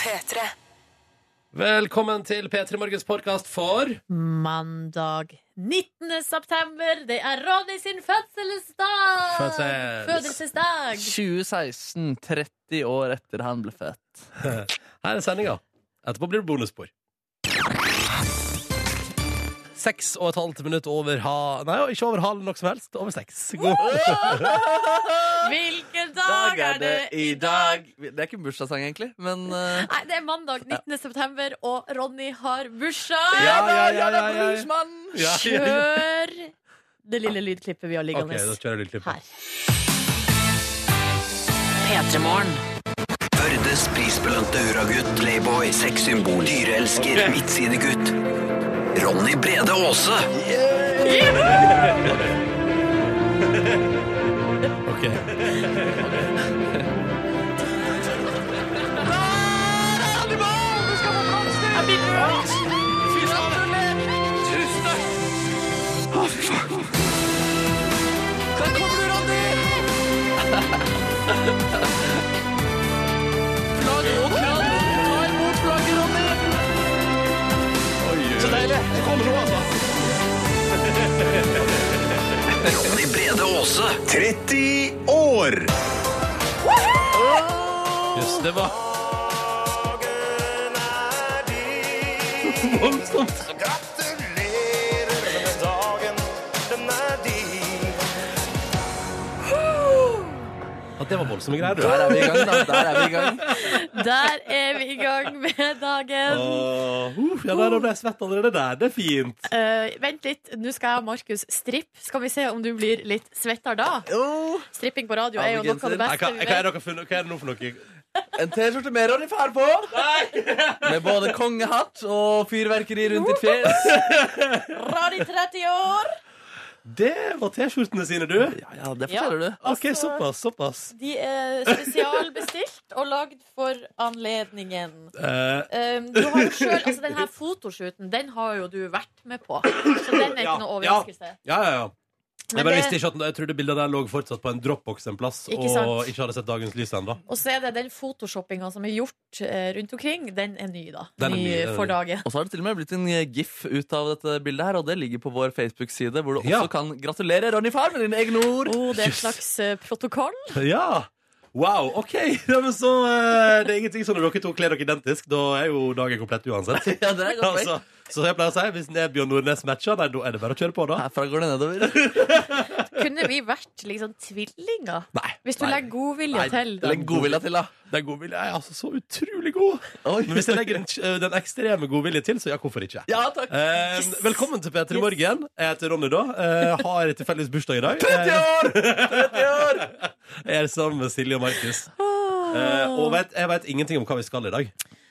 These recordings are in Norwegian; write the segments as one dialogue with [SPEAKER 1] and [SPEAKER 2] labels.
[SPEAKER 1] P3.
[SPEAKER 2] Velkommen til P3 Morgens podkast for
[SPEAKER 3] Mandag 19. september. Det er Ronny sin fødselsdag!
[SPEAKER 2] Fødsels.
[SPEAKER 3] Fødselsdag!
[SPEAKER 4] 2016, 30 år etter han ble født.
[SPEAKER 2] Her er sendinga. Etterpå blir det bonusspor. Seks og et halvt minutt over ha... Nei, ikke over halv nok som helst. Over seks. God.
[SPEAKER 3] Hvilken dag er det i dag?
[SPEAKER 4] Det er ikke en bursdagssang, egentlig, men eh,
[SPEAKER 3] Nei, det er mandag 19. september, og Ronny har bursdag!
[SPEAKER 4] Ja, ja, ja,
[SPEAKER 2] ja, ja,
[SPEAKER 4] det er
[SPEAKER 2] ja.
[SPEAKER 4] bluesmannen!
[SPEAKER 2] Ja.
[SPEAKER 3] Kjør det lille lydklippet vi har
[SPEAKER 2] OK,
[SPEAKER 3] liggende
[SPEAKER 2] da kjører jeg lydklippet.
[SPEAKER 3] her.
[SPEAKER 5] Førdes prisbelønte hurragutt, playboy, sexsymbol, dyreelsker, midtsidegutt. Ronny Brede Aase.
[SPEAKER 2] Ok.
[SPEAKER 5] Ronny Brede Aase.
[SPEAKER 6] 30 år!
[SPEAKER 2] Just det var
[SPEAKER 6] Gratulerer med dagen, den er din.
[SPEAKER 2] At det var voldsomme greier,
[SPEAKER 4] Der
[SPEAKER 2] du.
[SPEAKER 4] er vi i gang, da. Der er vi i gang.
[SPEAKER 3] Der er vi i gang med dagen.
[SPEAKER 2] Åh, uh, ja, der ble jeg svett allerede der. Det er fint.
[SPEAKER 3] Eh, vent litt, nå skal jeg og Markus strippe. Skal vi se om du blir litt svettere da? Stripping på radio er jo noe av det
[SPEAKER 2] Nei, hva,
[SPEAKER 3] beste vi
[SPEAKER 2] hva, er
[SPEAKER 3] vet.
[SPEAKER 2] dere funnet, hva er det nå for noe?
[SPEAKER 4] En T-skjorte med Ronny Fær på. Med både kongehatt og fyrverkeri rundt ditt fjes.
[SPEAKER 3] Ronny 30 år!
[SPEAKER 2] Det var T-skjortene sine, du.
[SPEAKER 4] Ja, ja, det
[SPEAKER 3] Ja.
[SPEAKER 4] forteller du.
[SPEAKER 2] OK,
[SPEAKER 3] Altså-
[SPEAKER 2] såpass. såpass.
[SPEAKER 3] De er spesialbestilt og lagd for anledningen.
[SPEAKER 2] Eh,
[SPEAKER 3] Um, du har jo selv, altså Den her fotoshooten Den har jo du vært med på, så den er ikke
[SPEAKER 2] Ja,
[SPEAKER 3] noe overraskelse.
[SPEAKER 2] ja, ja, ja.
[SPEAKER 3] Men
[SPEAKER 2] Jeg bare
[SPEAKER 3] det-
[SPEAKER 2] visste ikke at Jeg trodde bildet der lå fortsatt på en dropbox en plass,
[SPEAKER 3] Ikke
[SPEAKER 2] og
[SPEAKER 3] sant.
[SPEAKER 2] ikke hadde sett dagens lys ennå.
[SPEAKER 3] Og så er det den photoshoppinga som er gjort eh, rundt omkring, den er ny, da.
[SPEAKER 2] Den er
[SPEAKER 3] ny,
[SPEAKER 2] ny, den er
[SPEAKER 3] for
[SPEAKER 2] ny.
[SPEAKER 3] dagen.
[SPEAKER 4] Og så har det til og med blitt en eh, gif ut av dette bildet her, og det ligger på vår Facebook-side, hvor du også
[SPEAKER 2] Ja.
[SPEAKER 4] kan gratulere Ronny Fær med dine egne ord.
[SPEAKER 3] Oh, det er et
[SPEAKER 2] Yes.
[SPEAKER 3] slags eh, protokoll.
[SPEAKER 2] Ja! Wow, OK! Ja, men så eh, Det er ingenting sånn når dere to kler dere identisk. Da er jo dagen komplett uansett.
[SPEAKER 4] Ja, det er et godt poeng.
[SPEAKER 2] Altså, så jeg pleier å si hvis det er Bjørn Nordnes matcher, nei, da er det bare å kjøre på, da.
[SPEAKER 4] Herfra går det nedover.
[SPEAKER 3] Kunne vi vært liksom tvillinger?
[SPEAKER 2] Nei.
[SPEAKER 3] Hvis du
[SPEAKER 2] nei,
[SPEAKER 3] legger godvilje til. da.
[SPEAKER 4] Legg godvilja til, da.
[SPEAKER 2] Den godviljen er altså så utrolig god.
[SPEAKER 4] Oi.
[SPEAKER 2] Men hvis jeg legger eh, den, den ekstreme godviljen til, så ja, hvorfor ikke?
[SPEAKER 4] Ja, takk.
[SPEAKER 2] Eh, Velkommen til P3 Morgen. Jeg heter Ronny, da. Eh, har tilfeldigvis bursdag i dag. Eh,
[SPEAKER 4] 30 år! 30 år!
[SPEAKER 2] Jeg er sammen med Silje og Markus. Eh,
[SPEAKER 3] Ah.
[SPEAKER 2] og vet, jeg vet ingenting om hva vi skal i dag.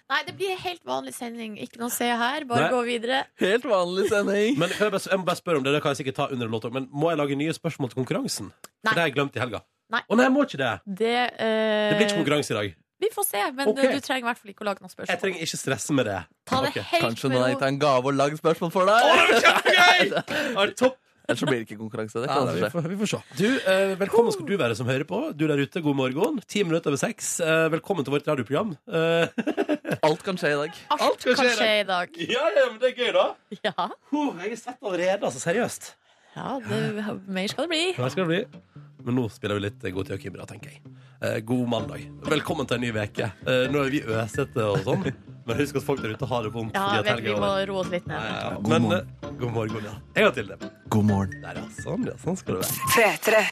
[SPEAKER 3] Nei, det blir en helt vanlig sending. Ikke noe å se her. Bare
[SPEAKER 2] Nei.
[SPEAKER 3] gå videre.
[SPEAKER 4] Helt vanlig sending.
[SPEAKER 2] Men kan jeg, bare, jeg må bare spørre om det, det kan jeg sikkert ta under låta, men må jeg lage nye spørsmål til konkurransen?
[SPEAKER 3] Nei.
[SPEAKER 2] For det har jeg glemt i helga.
[SPEAKER 3] Nei.
[SPEAKER 2] Å nei, jeg må ikke det!
[SPEAKER 3] Det, eh,
[SPEAKER 2] Det blir ikke konkurranse i dag.
[SPEAKER 3] Vi får se, men eh,
[SPEAKER 2] Ok.
[SPEAKER 3] du trenger i hvert fall ikke å lage noe spørsmål.
[SPEAKER 2] Jeg trenger ikke stresse med det.
[SPEAKER 3] Ta det
[SPEAKER 2] Ok.
[SPEAKER 3] helt
[SPEAKER 4] Kanskje
[SPEAKER 3] med
[SPEAKER 4] noen har
[SPEAKER 3] ro.
[SPEAKER 4] gitt deg en gave og lagd spørsmål for deg?
[SPEAKER 2] Er det topp?
[SPEAKER 4] Ellers så blir det ikke konkurranse. Det
[SPEAKER 2] Ja,
[SPEAKER 4] kan
[SPEAKER 2] nei,
[SPEAKER 4] også
[SPEAKER 2] vi,
[SPEAKER 4] skje.
[SPEAKER 2] får, vi får se. Du, eh, velkommen skal du være som hører på. Du der ute, god morgen. Ti minutter over seks. Eh, velkommen til vårt radioprogram. Eh,
[SPEAKER 4] Alt kan skje i dag.
[SPEAKER 3] Alt,
[SPEAKER 2] kan
[SPEAKER 3] kan
[SPEAKER 2] skje i
[SPEAKER 3] skje i dag.
[SPEAKER 2] ja, ja, men det er gøy, da.
[SPEAKER 3] Ja.
[SPEAKER 2] Huh, jeg er svett allerede, altså. Seriøst.
[SPEAKER 3] Ja,
[SPEAKER 2] Ah.
[SPEAKER 3] det, mer skal det bli.
[SPEAKER 2] Hva skal det bli? Men nå spiller vi litt eh, God tid og Kibra, tenker jeg. Eh, god mandag. Velkommen til en ny veke Eh, nå er vi øsete og sånn, men husk at folk der ute har det vondt.
[SPEAKER 3] Ja,
[SPEAKER 2] fordi at
[SPEAKER 3] vel,
[SPEAKER 2] helgen
[SPEAKER 3] vi
[SPEAKER 2] er
[SPEAKER 3] må
[SPEAKER 2] over.
[SPEAKER 3] roe oss litt ned.
[SPEAKER 2] Ja,
[SPEAKER 4] God
[SPEAKER 2] men,
[SPEAKER 4] morgen.
[SPEAKER 2] eh, god morgen, ja. En gang til det.
[SPEAKER 4] God morgen.
[SPEAKER 2] Der, ja. Sånn, ja. Sånn skal det være.
[SPEAKER 1] P3.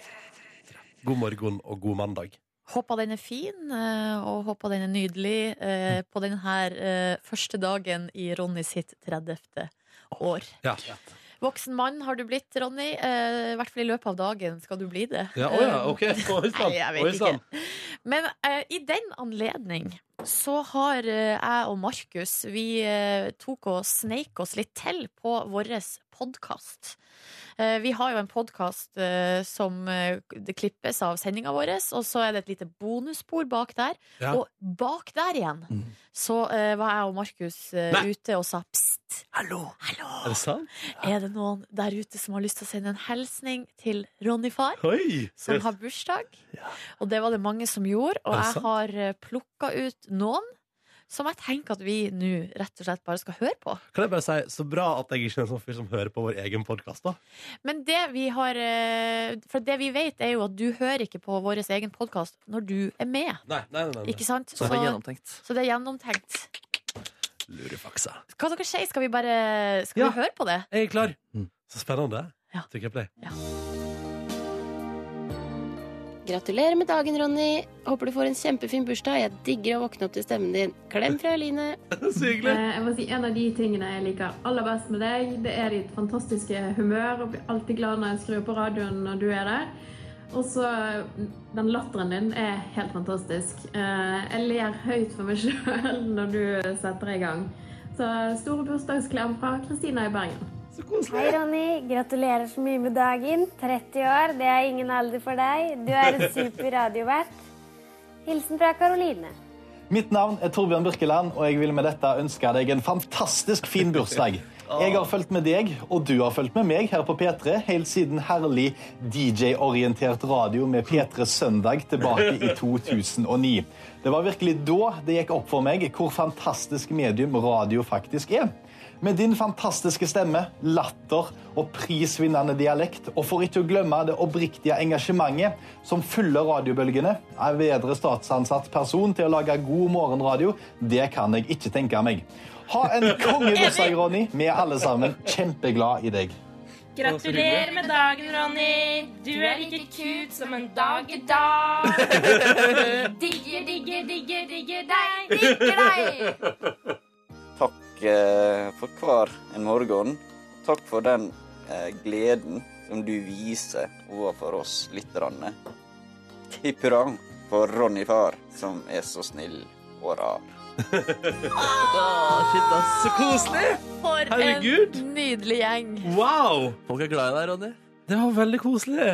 [SPEAKER 2] God morgen og god mandag.
[SPEAKER 3] Håper den er fin, eh, og håper den er nydelig eh,
[SPEAKER 2] Mm.
[SPEAKER 3] på den her eh, første dagen i Ronny sitt 30. år.
[SPEAKER 2] Ja.
[SPEAKER 3] Voksen mann har du blitt, Ronny. Eh, I hvert fall i løpet av dagen skal du bli det. Eh,
[SPEAKER 2] Ja, å ja, OK. Oi
[SPEAKER 3] Um,
[SPEAKER 2] sann.
[SPEAKER 3] Nei, jeg vet
[SPEAKER 2] Oi sann.
[SPEAKER 3] Men eh, i den anledning så har eh, jeg og Markus Vi eh, tok og sneik oss litt til på vår podkast. Eh, Vi har jo en podkast som eh, det klippes av sendinga vår, og så er det et lite bonusspor bak der.
[SPEAKER 2] Ja. Mm.
[SPEAKER 3] Og bak der igjen så eh, var jeg og Markus eh,
[SPEAKER 2] Nei.
[SPEAKER 3] ute og sa pst, hallo,
[SPEAKER 2] Er
[SPEAKER 3] hallo.
[SPEAKER 2] det sant?
[SPEAKER 3] Er det noen der ute som har lyst til å sende en hilsning til Ronny far?
[SPEAKER 2] Oi!
[SPEAKER 3] Som har bursdag. Og det var det mange som gjorde. Og
[SPEAKER 2] Er det
[SPEAKER 3] jeg har plukka ut noen som jeg tenker at vi nå rett og slett bare skal høre på.
[SPEAKER 2] Kan jeg bare si, så bra at jeg ikke er en sånn fyr som hører på vår egen podkast, da.
[SPEAKER 3] Men det vi har eh, For det vi vet, er jo at du hører ikke på vår egen podkast når du er med.
[SPEAKER 2] Nei, nei, nei,
[SPEAKER 3] Ikke sant?
[SPEAKER 4] Så det er gjennomtenkt.
[SPEAKER 3] så det er gjennomtenkt.
[SPEAKER 2] Lurefaksa.
[SPEAKER 3] Hva dere sier? Skal vi bare Skal
[SPEAKER 2] Ja.
[SPEAKER 3] vi høre på det?
[SPEAKER 2] Jeg er klar.
[SPEAKER 4] Mm.
[SPEAKER 2] Så spennende.
[SPEAKER 3] Ja.
[SPEAKER 2] Trykker jeg play.
[SPEAKER 1] Gratulerer med dagen, Ronny. Håper du får en kjempefin bursdag. Jeg digger å våkne opp til stemmen din. Klem fra Eline.
[SPEAKER 2] Så hyggelig.
[SPEAKER 7] Eh, Jeg må si En av de tingene jeg liker aller best med deg, det er ditt fantastiske humør. og blir alltid glad når jeg skrur på radioen når du er der. Og så Den latteren din er helt fantastisk. Eh, Jeg ler høyt for meg sjøl når du setter i gang. Så store bursdagsklem fra Kristina i Bergen.
[SPEAKER 8] Hei, Ronny. Gratulerer så mye med dagen. 30 år, det er ingen alder for deg. Du er en super radiovert. Hilsen fra Karoline.
[SPEAKER 9] Mitt navn er Torbjørn Birkeland, og jeg vil med dette ønske deg en fantastisk fin bursdag. Jeg har fulgt med deg, og du har fulgt med meg her på P3 helt siden herlig DJ-orientert radio med P3 Søndag tilbake i 2009. Det var virkelig da det gikk opp for meg hvor fantastisk medium radio faktisk er. Med din fantastiske stemme, latter og prisvinnende dialekt, og for ikke å glemme det oppriktige engasjementet som fyller radiobølgene, er bedre statsansatt person til å lage god morgenradio, det kan jeg ikke tenke meg. Ha en kongebursdag, Ronny. Vi er alle sammen kjempeglad i deg.
[SPEAKER 2] Gratulerer
[SPEAKER 10] med dagen, Ronny. Du er like cute som en dag i dag. Digger, digger, digger, digger deg. Digger deg.
[SPEAKER 11] Takk eh, for hver en morgen. Takk for den eh, gleden som du viser overfor oss lytterne. Hipp hurra for Ronny far, som er så snill og rar.
[SPEAKER 4] Ah, shit, ass.
[SPEAKER 2] Så koselig!
[SPEAKER 3] For
[SPEAKER 2] Herregud.
[SPEAKER 3] en nydelig gjeng.
[SPEAKER 2] Wow!
[SPEAKER 4] Folk er glad i deg, Ronny.
[SPEAKER 2] Det var veldig koselig.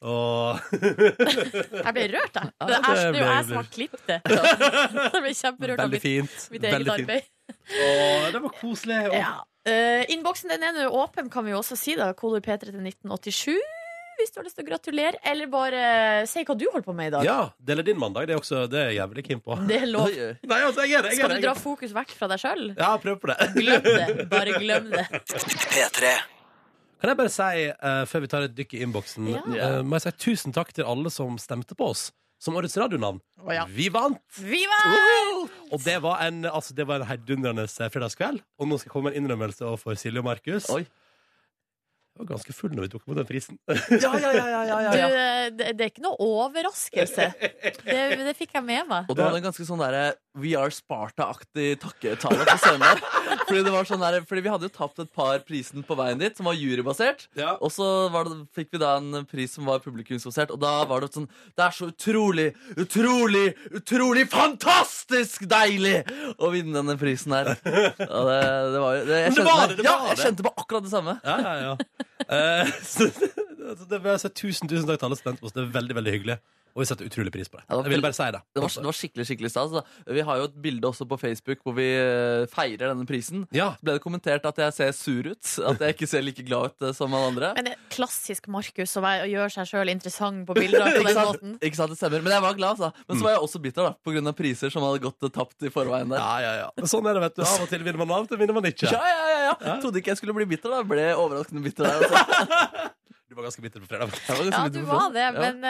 [SPEAKER 2] Åh.
[SPEAKER 3] Jeg ble rørt, jeg.
[SPEAKER 2] Ja,
[SPEAKER 3] Det er,
[SPEAKER 2] det
[SPEAKER 3] det er jo
[SPEAKER 2] ble-
[SPEAKER 3] jeg som har klippet det. Jeg ble kjemperørt av
[SPEAKER 2] Veldig
[SPEAKER 3] mitt,
[SPEAKER 2] fint.
[SPEAKER 3] mitt eget
[SPEAKER 2] Veldig fint.
[SPEAKER 3] arbeid.
[SPEAKER 2] Åh, det var koselig. Åh.
[SPEAKER 3] Ja. Eh, Innboksen den er nå åpen, kan vi jo også si. da Kodord P3 til 1987. Hvis du har lyst til å gratulere, eller bare eh, si hva du holder på med i dag.
[SPEAKER 2] Ja, deler din mandag. Det er, også, det er jeg jævlig keen på.
[SPEAKER 3] Det er lov.
[SPEAKER 4] Oi, oi.
[SPEAKER 2] Nei, altså, jeg er det. Jeg
[SPEAKER 3] Skal
[SPEAKER 2] er
[SPEAKER 3] du
[SPEAKER 2] det,
[SPEAKER 3] dra
[SPEAKER 2] jeg er det.
[SPEAKER 3] fokus vekk fra deg sjøl?
[SPEAKER 2] Ja, prøv på det.
[SPEAKER 3] Glem det. Bare glem det.
[SPEAKER 5] P3.
[SPEAKER 2] Kan jeg bare si, eh, før vi tar et dykk i innboksen,
[SPEAKER 3] Ja.
[SPEAKER 2] eh, må jeg si tusen takk til alle som stemte på oss som årets radionavn.
[SPEAKER 3] Å ja.
[SPEAKER 2] Vi vant!
[SPEAKER 3] Viva!
[SPEAKER 2] Og det var en, altså, det var en heidundrende fredagskveld. Og nå skal jeg komme med en innrømmelse overfor Silje og Markus.
[SPEAKER 4] Oi.
[SPEAKER 2] Jeg var ganske full når vi tok imot den prisen.
[SPEAKER 4] Ja, ja, ja, ja, ja,
[SPEAKER 3] Du,
[SPEAKER 4] ja.
[SPEAKER 3] eh, det, det er ikke noe overraskelse. Det, det fikk jeg med meg.
[SPEAKER 4] Og du hadde en ganske sånn derre We are Sparta-aktig takketale på scenen der. Fordi, det var sånn der, fordi vi hadde jo tapt et par prisen på veien dit, som var jurybasert.
[SPEAKER 2] Ja.
[SPEAKER 4] Og så var det, fikk vi da en pris som var publikumsbasert, og da var det sånn Det er så utrolig, utrolig, utrolig fantastisk deilig å vinne denne prisen her. Ja, det, det var jo det, jeg
[SPEAKER 2] Men det
[SPEAKER 4] kjente
[SPEAKER 2] var
[SPEAKER 4] meg-
[SPEAKER 2] det, det var
[SPEAKER 4] Ja, jeg
[SPEAKER 2] det.
[SPEAKER 4] kjente på akkurat det samme.
[SPEAKER 2] Ja, ja, ja. Eh, så, så det vil jeg si tusen, tusen takk til alle som stemte på oss. Det er veldig, veldig hyggelig. Og vi setter utrolig pris på det.
[SPEAKER 4] Ja, det var
[SPEAKER 2] Jeg ville bare si det.
[SPEAKER 4] Det var, det var skikkelig skikkelig stas. da. Vi har jo et bilde også på Facebook hvor vi eh, feirer denne prisen.
[SPEAKER 2] Ja.
[SPEAKER 4] Så ble det kommentert at jeg ser sur ut. At jeg ikke ser like glad ut eh, som alle andre.
[SPEAKER 3] Men det er klassisk Markus å være- å gjøre seg sjøl interessant på bilder på den måten.
[SPEAKER 4] Ikke sant, det stemmer, Men jeg var glad, altså.
[SPEAKER 2] Mm.
[SPEAKER 4] Men så var jeg også bitter da, på grunn av priser som hadde gått eh, tapt i forveien. der
[SPEAKER 2] Ja, ja, ja. Men Sånn er det, vet du. Av og til vinner man, av og til vinner man ikke.
[SPEAKER 4] ja, ja, ja, ja. Trodde ikke jeg skulle bli bitter, da. Ble overraskende bitter der. Altså.
[SPEAKER 2] Du var ganske bitter på fredag.
[SPEAKER 4] Jeg var ganske
[SPEAKER 3] Ja,
[SPEAKER 4] bitter
[SPEAKER 3] du
[SPEAKER 4] på
[SPEAKER 3] var
[SPEAKER 4] fredag.
[SPEAKER 3] det,
[SPEAKER 4] Ja.
[SPEAKER 3] men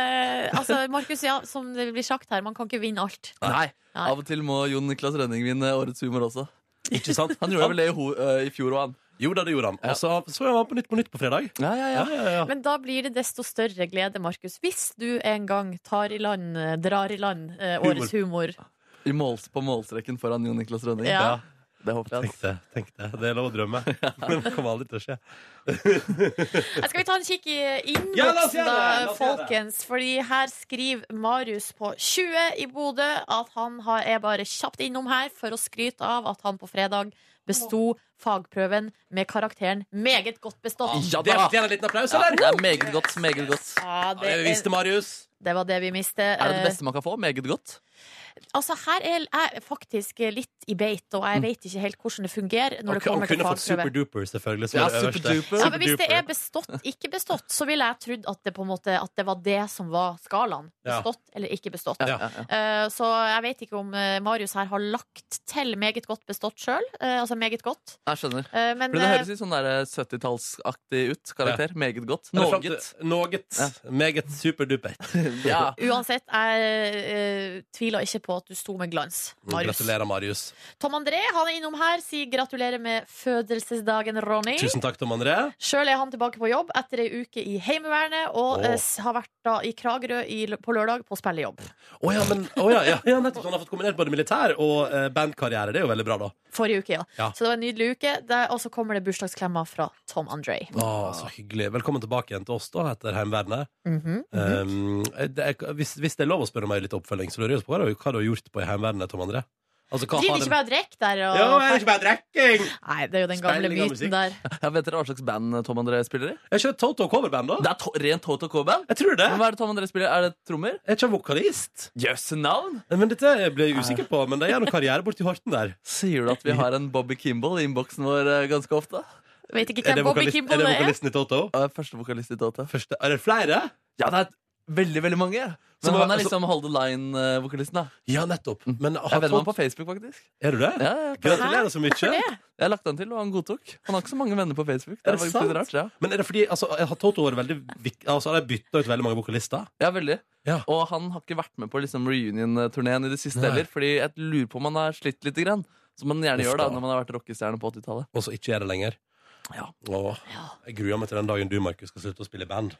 [SPEAKER 3] eh, altså, Markus, ja, som det blir sagt her, man kan ikke vinne alt.
[SPEAKER 4] Nei.
[SPEAKER 3] Nei.
[SPEAKER 4] Av og til må Jon Niklas Rønning vinne Årets humor også.
[SPEAKER 2] Ikke sant?
[SPEAKER 4] Han gjorde vel det i, ho eh, i fjor òg, han.
[SPEAKER 2] Jo da, det gjorde han. Og så så jeg han på Nytt på Nytt på fredag.
[SPEAKER 4] Ja, ja, ja.
[SPEAKER 3] Men da blir det desto større glede, Markus, hvis du en gang tar i land, eh, drar i land eh, årets humor.
[SPEAKER 4] I måls på målstreken foran Jon Niklas Rønning.
[SPEAKER 3] Ja.
[SPEAKER 4] Det håper jeg. altså.
[SPEAKER 2] Tenk det. tenk Det Det er lov å drømme. Men det kommer aldri til å skje.
[SPEAKER 3] Skal vi ta en kikk i
[SPEAKER 2] Ja, la oss
[SPEAKER 3] innboksen,
[SPEAKER 2] gjøre det! La
[SPEAKER 3] da,
[SPEAKER 2] oss gjøre det.
[SPEAKER 3] folkens? Fordi her skriver Marius på 20 i Bodø at han har, er bare kjapt innom her for å skryte av at han på fredag besto fagprøven med karakteren meget godt bestått.
[SPEAKER 2] det altså. fortjener en liten applaus,
[SPEAKER 4] Ja,
[SPEAKER 2] eller?
[SPEAKER 4] det er meget godt. meget godt
[SPEAKER 3] Ja, det er-
[SPEAKER 2] Marius.
[SPEAKER 3] Det var det vi mistet.
[SPEAKER 4] Er det det beste man kan få? Meget godt?
[SPEAKER 3] Altså, her er jeg faktisk litt i beit, og jeg vet ikke helt hvordan det fungerer når
[SPEAKER 2] Og,
[SPEAKER 3] det
[SPEAKER 2] og
[SPEAKER 3] kommer til
[SPEAKER 2] kunne fått
[SPEAKER 3] fagprøve.
[SPEAKER 2] superduper, selvfølgelig. Som
[SPEAKER 4] Ja,
[SPEAKER 2] er det øverste.
[SPEAKER 4] superduper.
[SPEAKER 3] Ja, men hvis det
[SPEAKER 2] Superduper.
[SPEAKER 3] er bestått, ikke bestått, så ville jeg trodd at det på en måte At det var det som var skalaen.
[SPEAKER 2] Ja.
[SPEAKER 3] Bestått eller ikke bestått.
[SPEAKER 2] Ja, ja,
[SPEAKER 3] Eh, så jeg vet ikke om eh, Marius her har lagt til meget godt bestått sjøl. altså meget godt.
[SPEAKER 4] Jeg skjønner.
[SPEAKER 3] Eh, men,
[SPEAKER 4] Fordi det
[SPEAKER 3] eh,
[SPEAKER 4] høres litt sånn der, eh, 70-tallsaktig ut. Karakter. Meget godt.
[SPEAKER 2] Eller fram til-
[SPEAKER 4] Noget.
[SPEAKER 2] Noget. Meget superdupert.
[SPEAKER 4] Ja.
[SPEAKER 3] eh, Uansett, jeg eh, tviler ikke på at du sto med glans, Marius.
[SPEAKER 2] Mm, Gratulerer, Marius.
[SPEAKER 3] Tom André han er innom her, sier gratulerer med fødselsdagen, Ronny.
[SPEAKER 2] Tusen takk, Tom André.
[SPEAKER 3] Sjøl er han tilbake på jobb etter ei uke i Heimevernet og
[SPEAKER 2] Åh.
[SPEAKER 3] eh, s- har vært da i Kragerø i, l- på lørdag på spillejobb.
[SPEAKER 2] Å ja, men å ja, ja, ja, nettopp. Han har fått kombinert både militær og eh, bandkarriere. Det er jo veldig bra, da.
[SPEAKER 3] Forrige uke, ja.
[SPEAKER 2] Ja.
[SPEAKER 3] Så det var en nydelig uke. Der, og så kommer det bursdagsklemmer fra Tom André.
[SPEAKER 2] Å, så hyggelig. Velkommen tilbake igjen til oss, da, etter Heimevernet.
[SPEAKER 3] Mhm,
[SPEAKER 2] Um, det er, hvis, hvis det er lov å spørre meg litt oppfølging, så lurer jeg på hva, du- hva du har gjort på i Heimevernet, Tom André? Altså, hva
[SPEAKER 3] Driver
[SPEAKER 2] har
[SPEAKER 4] liksom
[SPEAKER 3] ikke
[SPEAKER 2] den-
[SPEAKER 3] bare og drikker der? Og...
[SPEAKER 2] Ja, jeg er ikke bare drikking!
[SPEAKER 3] Nei, det er jo den gamle
[SPEAKER 4] Speiling av
[SPEAKER 3] myten der.
[SPEAKER 4] Jeg vet dere hva slags band eh, Tom André spiller i?
[SPEAKER 2] Jeg kjører Toto coverband, da.
[SPEAKER 4] Det er to rent Toto coverband?
[SPEAKER 2] Jeg tror det.
[SPEAKER 4] Men hva er det Tom André spiller? Er det trommer?
[SPEAKER 2] Jeg er ikke vokalist.
[SPEAKER 4] Jøsse navn!
[SPEAKER 2] Men Dette ble jeg usikker på, men det gjør noe karriere borti Horten der.
[SPEAKER 4] Sier du at vi har en Bobby Kimball i innboksen vår eh, ganske ofte?
[SPEAKER 3] Vet ikke hvem Bobby Kimball det er.
[SPEAKER 2] i Toto?
[SPEAKER 4] Første vokalist i Toto.
[SPEAKER 2] er det flere?
[SPEAKER 4] Ja, det er veldig, veldig mange.
[SPEAKER 2] Som
[SPEAKER 4] Men han
[SPEAKER 2] har-
[SPEAKER 4] er
[SPEAKER 2] som-
[SPEAKER 4] liksom Hold the Line-vokalisten, da.
[SPEAKER 2] Ja, nettopp. Men
[SPEAKER 4] Mm. Jeg vet om han på Facebook, faktisk.
[SPEAKER 2] Er du det?
[SPEAKER 4] Ja, ja.
[SPEAKER 2] Gratulerer så mye. Hvorfor det?
[SPEAKER 4] Jeg har lagt han til, og han godtok. Han har ikke så mange venner på Facebook.
[SPEAKER 2] Er
[SPEAKER 4] Det er,
[SPEAKER 2] det
[SPEAKER 4] faktisk
[SPEAKER 2] sant?
[SPEAKER 4] litt rart, ja.
[SPEAKER 2] Men er det fordi altså, har Toto vært veldig vik- Altså, har de bytta ut veldig mange vokalister?
[SPEAKER 4] Ja, veldig.
[SPEAKER 2] Ja.
[SPEAKER 4] Og han har ikke vært med på liksom, reunion-turneen i det siste
[SPEAKER 2] Nei.
[SPEAKER 4] heller, fordi jeg lurer på om han har slitt litt. Grann. Som man gjerne
[SPEAKER 2] Uff
[SPEAKER 4] gjør da,
[SPEAKER 2] da.
[SPEAKER 4] når man har vært rockestjerne på 80-tallet.
[SPEAKER 2] Og så ikke gjør det lenger?
[SPEAKER 4] Ja.
[SPEAKER 2] Åh, jeg gruer meg til den dagen du, Markus, skal slutte å spille i band.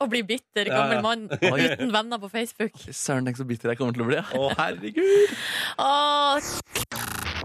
[SPEAKER 3] Og blir bitter
[SPEAKER 2] Ja, ja.
[SPEAKER 3] gammel mann
[SPEAKER 2] Oi.
[SPEAKER 3] uten venner på Facebook.
[SPEAKER 4] Søren, tenk så bitter jeg kommer til å bli.
[SPEAKER 2] Å, herregud!
[SPEAKER 3] Åh,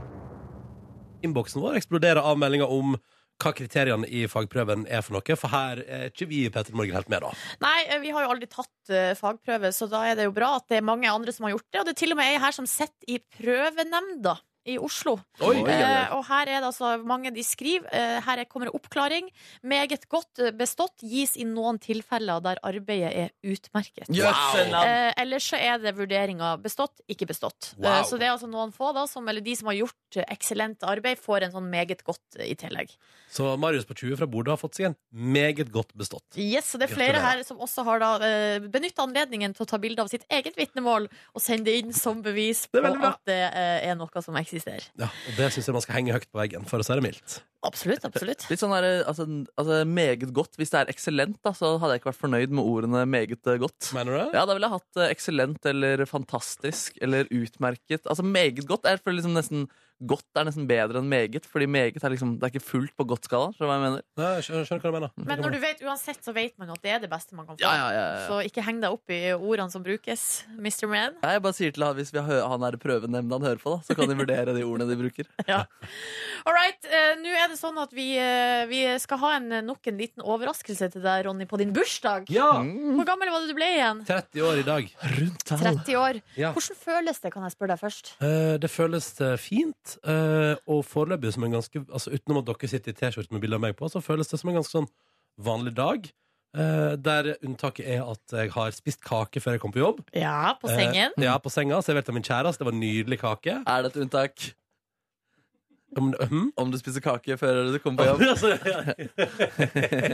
[SPEAKER 2] Innboksen vår eksploderer av meldinger om hva kriteriene i fagprøven er for noe, for her er ikke vi i Petter Morgen helt med, da.
[SPEAKER 3] Nei, eh, vi har jo aldri tatt eh, fagprøve, så da er det jo bra at det er mange andre som har gjort det. Og det er til og med ei her som sitter i prøvenemnda i Oslo.
[SPEAKER 12] Oi, oi, oi.
[SPEAKER 3] Eh, og her er det altså mange de skriver. eh, her er- kommer det oppklaring. Meget godt eh, bestått gis i noen tilfeller der arbeidet er utmerket.
[SPEAKER 12] Jøsse navn.
[SPEAKER 3] Eh, ellers så er det vurderinger bestått, ikke bestått.
[SPEAKER 12] Wow.
[SPEAKER 3] Eh, så det er altså noen få, da, som, eller de som har gjort eh, eksellent arbeid, får en sånn meget godt eh, i tillegg.
[SPEAKER 2] Så Marius på 20 fra Bodø har fått seg en meget godt bestått.
[SPEAKER 3] Yes, og det er flere
[SPEAKER 2] Gratulerer.
[SPEAKER 3] her som også har da eh, benytta anledningen til å ta bilde av sitt eget vitnemål og sende det inn som bevis på at det eh, er noe som eksisterer.
[SPEAKER 2] Ja, og det syns jeg man skal henge høyt på veggen, for å si det mildt.
[SPEAKER 3] Absolutt, absolutt.
[SPEAKER 4] Litt sånn der, altså, altså, meget godt. Hvis det er eksellent, da, så hadde jeg ikke vært fornøyd med ordene meget eh, godt.
[SPEAKER 2] Mener du det?
[SPEAKER 4] Ja, Da ville jeg hatt eh, eksellent eller fantastisk eller utmerket. Altså meget godt. Jeg føler liksom nesten Godt er nesten bedre enn meget, fordi meget er liksom, det er ikke fullt på godt-skalaen. Skjønner du hva jeg mener?
[SPEAKER 2] Nei, jeg skjønner, skjønner hva du mener.
[SPEAKER 3] Men når du vet uansett, så vet man at det er det beste man kan få.
[SPEAKER 4] Ja, ja,
[SPEAKER 2] Eh.
[SPEAKER 4] ja, ja.
[SPEAKER 3] Så ikke heng deg opp i ordene som brukes, Mr. Man.
[SPEAKER 4] Nei, jeg bare sier til han Hvis vi hø- han er i prøvenemnda han hører på, da, så kan de vurdere de ordene de bruker.
[SPEAKER 3] All right, eh, nå er det sånn at vi, eh, vi skal ha en, nok en liten overraskelse til deg, Ronny, på din bursdag.
[SPEAKER 2] Ja.
[SPEAKER 4] Mm.
[SPEAKER 3] Hvor gammel var det du ble igjen?
[SPEAKER 2] 30 år i dag.
[SPEAKER 4] Rundt
[SPEAKER 3] 30 år.
[SPEAKER 2] Ja.
[SPEAKER 3] Hvordan føles det, kan jeg spørre deg først?
[SPEAKER 2] Eh, det føles eh, fint, eh, og foreløpig som en ganske Altså Utenom at dere sitter i T-skjorte med bilde av meg på, så føles det som en ganske sånn vanlig dag. eh, der unntaket er at jeg har spist kake før jeg kom på jobb.
[SPEAKER 3] Ja, på
[SPEAKER 2] Eh,
[SPEAKER 3] sengen.
[SPEAKER 2] ja, på senga. Servert av min kjæreste. Det var nydelig kake.
[SPEAKER 4] Er det et unntak?
[SPEAKER 2] Om, hm? Altså,
[SPEAKER 4] du spiser kake før du kommer på jobb?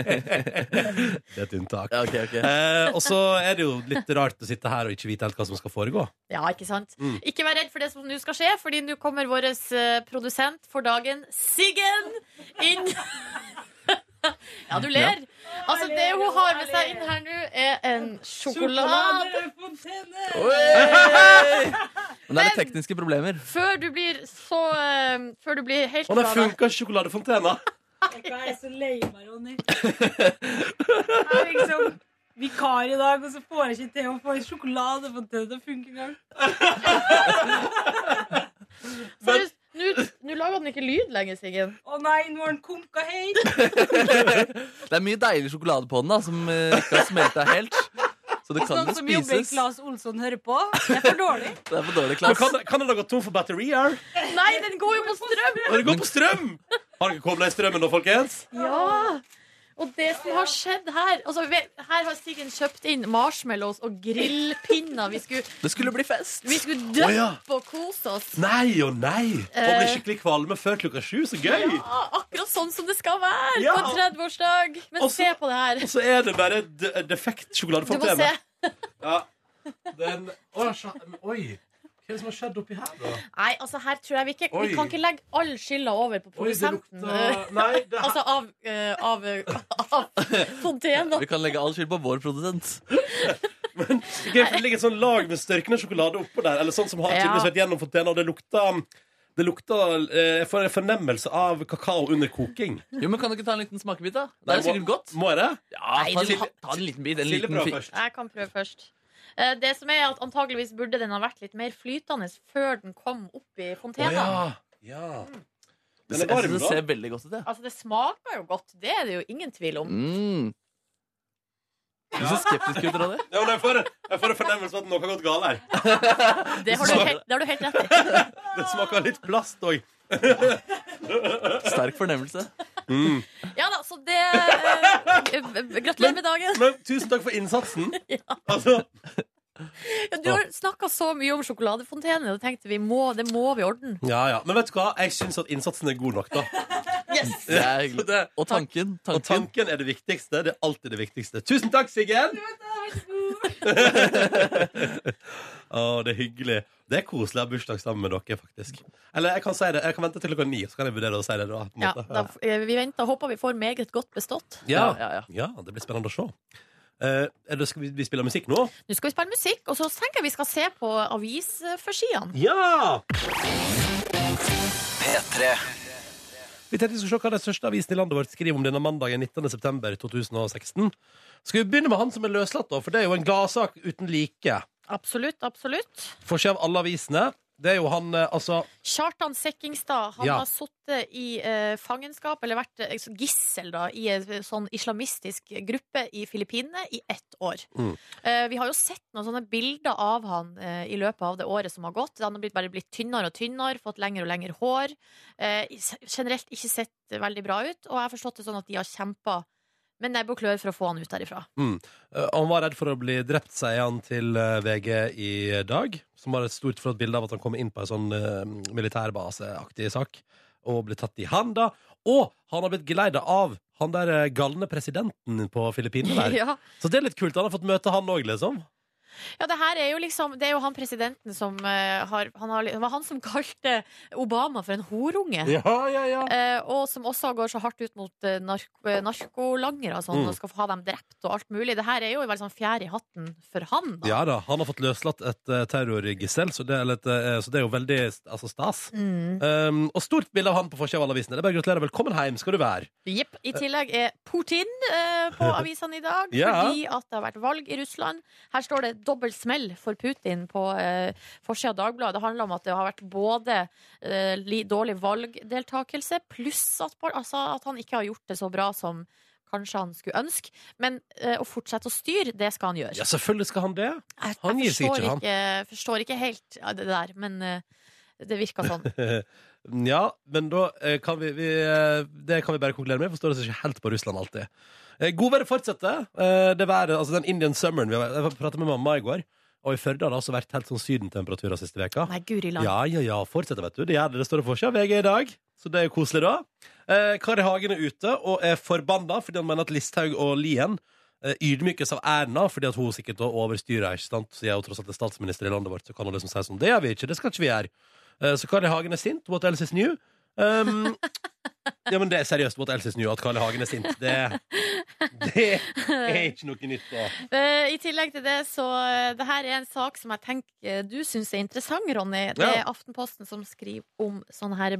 [SPEAKER 2] det er et unntak.
[SPEAKER 4] ok, ok.
[SPEAKER 2] Eh, og så er det jo litt rart å sitte her og ikke vite helt hva som skal foregå.
[SPEAKER 3] Ja, ikke sant?
[SPEAKER 2] Mm.
[SPEAKER 3] Ikke vær redd for det som nå skal skje, fordi nå kommer vår eh, produsent for dagen, Siggen, inn. ja, du ler. Altså, det hun har med seg inn her nå, er en sjokolade.
[SPEAKER 4] Oi! Men det er litt tekniske problemer.
[SPEAKER 3] Før du blir så eh, Før du blir helt
[SPEAKER 2] Og det
[SPEAKER 3] glad, da.
[SPEAKER 2] funka sjokoladefontena!
[SPEAKER 13] Jeg er så lei meg, Ronny. Jeg er liksom vikar i dag, og så får jeg ikke til å få en sjokoladefontene til å funke engang.
[SPEAKER 3] Seriøst, Nå nå lager den ikke lyd lenger, Siggen.
[SPEAKER 13] Å nei, nå har den konka helt.
[SPEAKER 4] Det er mye deilig sjokolade på den da som eh, ikke har smelta helt. Så det
[SPEAKER 13] Hvis
[SPEAKER 3] sånn
[SPEAKER 4] kan
[SPEAKER 13] noen
[SPEAKER 4] jo
[SPEAKER 13] Sånn som jobber i
[SPEAKER 4] spises.
[SPEAKER 13] Claes Olsson hører på, det er for dårlig.
[SPEAKER 4] Det er for dårlig
[SPEAKER 2] Men
[SPEAKER 4] klass.
[SPEAKER 2] Kan, kan det da gå tom for batterier?
[SPEAKER 3] Nei, den går jo på strøm!
[SPEAKER 2] Og det går på strøm! Har dere kommet i strømmen nå, folkens?
[SPEAKER 3] Ja! Og det som har skjedd her altså, ve- Her har Siggen kjøpt inn marshmallows og grillpinner. Vi skulle,
[SPEAKER 2] Det skulle bli fest.
[SPEAKER 3] vi skulle
[SPEAKER 2] Å,
[SPEAKER 3] døppe
[SPEAKER 2] ja.
[SPEAKER 3] og kose oss.
[SPEAKER 2] Nei og nei! Og bli
[SPEAKER 3] Eh.
[SPEAKER 2] skikkelig kvalme før klokka sju. Så gøy!
[SPEAKER 3] Ja, akkurat sånn som det skal være
[SPEAKER 2] Ja.
[SPEAKER 3] på en 30-årsdag. Men se på det her.
[SPEAKER 2] Og så er det bare de
[SPEAKER 3] Du
[SPEAKER 2] defekt
[SPEAKER 3] må
[SPEAKER 2] sjokoladefonte
[SPEAKER 3] se.
[SPEAKER 2] hjemme. Ja. Den Å, sja- men Oi! Hva er det som har skjedd oppi her, da?
[SPEAKER 3] Nei, altså her tror jeg vi ikke
[SPEAKER 2] Oi.
[SPEAKER 3] Vi kan ikke legge all skylda over på
[SPEAKER 2] Oi, det
[SPEAKER 3] produsenten.
[SPEAKER 2] lukta- Nei, det her-
[SPEAKER 3] altså av, eh, av, eh, av fontena.
[SPEAKER 4] Vi kan legge all skyld på vår produsent.
[SPEAKER 2] Det er gøy, for det ligger et sånn lag med størkende sjokolade oppå der. Eller sånn som har
[SPEAKER 3] Ja.
[SPEAKER 2] tydeligvis vært gjennom fontena, og det lukter det lukter eh, jeg får en fornemmelse av kakao under koking.
[SPEAKER 4] Jo, men Kan du ikke ta en liten smakebit? da? Det er
[SPEAKER 2] Nei, må-
[SPEAKER 4] sikkert godt.
[SPEAKER 2] Må jeg det?
[SPEAKER 4] Ja,
[SPEAKER 3] Nei,
[SPEAKER 4] ta,
[SPEAKER 3] du
[SPEAKER 4] en
[SPEAKER 3] har-
[SPEAKER 4] liten, ta en liten bit. En
[SPEAKER 2] Silje,
[SPEAKER 4] liten
[SPEAKER 2] prøv
[SPEAKER 4] fi-
[SPEAKER 2] først.
[SPEAKER 3] Jeg kan prøve først. Eh, Det som er at Antageligvis burde den ha vært litt mer flytende før den kom opp i
[SPEAKER 2] Å
[SPEAKER 3] fontena.
[SPEAKER 2] ja. ja.
[SPEAKER 4] Det,
[SPEAKER 2] Den er
[SPEAKER 4] ser- jeg
[SPEAKER 2] varm,
[SPEAKER 4] synes det
[SPEAKER 2] da.
[SPEAKER 4] ser veldig godt ut. Ja.
[SPEAKER 3] Altså, det smaker jo godt. Det er det jo ingen tvil om.
[SPEAKER 4] Mm. Du ser skeptisk ut, Ronny.
[SPEAKER 2] Ja, men jeg, får, jeg får en fornemmelse av at noe har gått galt her.
[SPEAKER 3] Det har du helt, det har du helt rett i.
[SPEAKER 2] Det smaker litt plast òg.
[SPEAKER 4] Sterk fornemmelse.
[SPEAKER 2] Mm.
[SPEAKER 3] Ja da, så det eh, Gratulerer med dagen.
[SPEAKER 2] Men tusen takk for innsatsen. Altså,
[SPEAKER 3] Ja, Du har snakka så mye om sjokoladefontene, og da tenkte vi må, det må vi ordne.
[SPEAKER 2] ja, ja. Men vet du hva? Jeg syns at innsatsen er god nok, da.
[SPEAKER 3] Yes!
[SPEAKER 4] Det er hyggelig.
[SPEAKER 2] Det,
[SPEAKER 4] Og tanken.
[SPEAKER 2] og
[SPEAKER 4] tanken.
[SPEAKER 2] tanken er det viktigste. Det er alltid det viktigste. Tusen takk, Siggen! Å, det er hyggelig. Det er koselig å ha bursdag sammen med dere, faktisk. Eller jeg kan si det, jeg kan vente til klokka ni, så kan jeg vurdere å si det da. På en
[SPEAKER 3] Ja,
[SPEAKER 2] måte.
[SPEAKER 3] da, eh, vi venter og håper vi får meget godt bestått.
[SPEAKER 2] Ja.
[SPEAKER 4] Ja, ja,
[SPEAKER 2] ja, det blir spennende å se. Eh, er det, skal vi, vi spille musikk nå?
[SPEAKER 3] Nå skal vi spille musikk, og så tenker jeg vi skal se på avisforsidene.
[SPEAKER 2] Ja!
[SPEAKER 5] P3.
[SPEAKER 2] Vi tenkte vi skulle se hva de største avisene i landet vårt skriver om denne mandagen 19. september 2016. Skal vi begynne med han som er løslatt, da? For det er jo en gladsak uten like.
[SPEAKER 3] Absolutt, absolutt.
[SPEAKER 2] Forskjell av alle avisene. Det er jo han, eh, altså
[SPEAKER 3] Kjartan Sekkingstad han
[SPEAKER 2] Ja.
[SPEAKER 3] har sittet i eh, fangenskap, eller vært eh, så gissel, da, i en sånn islamistisk gruppe i Filippinene i ett år.
[SPEAKER 2] Mm.
[SPEAKER 3] Eh, vi har jo sett noen sånne bilder av han eh, i løpet av det året som har gått. Han har blitt, bare blitt tynnere og tynnere, fått lengre og lengre hår. Eh, i- generelt ikke sett veldig bra ut, og jeg har forstått det sånn at de har kjempa med nebb og klør for å få han ut derifra.
[SPEAKER 2] eh, Han var redd for å bli drept, sier han til eh, VG i dag. Som har et stort flott bilde av at han kommer inn på en sånn eh, militærbaseaktig sak. Og blir tatt i handa. Og han har blitt geleida av han der eh, galne presidenten på Filippinene der.
[SPEAKER 3] ja.
[SPEAKER 2] Så det er litt kult. Han har fått møte han òg, liksom.
[SPEAKER 3] Ja, det her er jo liksom Det er jo han presidenten som eh, har, han har Det var han som kalte Obama for en horunge.
[SPEAKER 2] ja, ja.
[SPEAKER 3] Eh, og som også går så hardt ut mot eh, nark eh, narkolangere og sånn,
[SPEAKER 2] Mm.
[SPEAKER 3] og skal få ha dem drept og alt mulig. Det her er jo en veldig sånn fjær i hatten for han, da.
[SPEAKER 2] Ja da, han har fått løslatt et eh, terrorgissel, så det, er litt, eh, så det er jo veldig altså, stas.
[SPEAKER 3] Mm.
[SPEAKER 2] Um, og stort bilde av han på forsida av alle avisene. Det er bare å gratulere. Velkommen hjem skal du være.
[SPEAKER 3] Jepp.
[SPEAKER 2] Eh.
[SPEAKER 3] I tillegg er Putin eh, på avisene i dag,
[SPEAKER 2] Ja.
[SPEAKER 3] fordi at det har vært valg i Russland. Her står det 'dobbel smell for Putin' på eh, forsida av Dagbladet. Det handler om at det har vært både eh, li, dårlig valgdeltakelse, pluss at, par- altså, at han ikke har gjort det så bra som kanskje han skulle ønske. Men eh, å fortsette å styre, det skal han gjøre.
[SPEAKER 2] Ja, selvfølgelig skal han det.
[SPEAKER 3] Jeg,
[SPEAKER 2] Han
[SPEAKER 3] jeg
[SPEAKER 2] gir seg
[SPEAKER 3] forstår,
[SPEAKER 2] ikke, han.
[SPEAKER 3] ikke, forstår ikke helt ja, det der, men eh, det virka sånn.
[SPEAKER 2] ja, men da eh, kan vi, vi eh, Det kan vi bare konkludere med. Forstår oss ikke helt på Russland alltid. Eh, Godværet fortsetter. Eh, Det været, altså den Indian summeren vi har, Jeg pratet med mamma i går, og i Førde har det altså vært helt sånn sydentemperaturer siste veka
[SPEAKER 3] Nei, guri land.
[SPEAKER 2] Ja, ja, ja, fortsetter, vet du. Det gjør det. Det står det for seg. VG i dag. Så det er jo koselig, da. Eh, Kari Hagen er ute og er forbanna fordi han mener at Listhaug og Lien eh, ydmykes av Erna fordi at hun sikkert da overstyrer. ikke sant? Så jeg er jo tross alt er statsminister i landet vårt, så kan hun liksom si sånn. Det gjør vi ikke. Det skal ikke vi gjøre. Eh, så Kari Hagen er sint. What else is new? Um, ja, men det er seriøst. What else is new? At Kari Hagen er sint. Det, det er ikke noe nytt. da.
[SPEAKER 3] Eh, I tillegg til det, så eh, det her er en sak som jeg tenker eh, du syns er interessant, Ronny. Det
[SPEAKER 2] Ja.
[SPEAKER 3] er Aftenposten som skriver om sånne her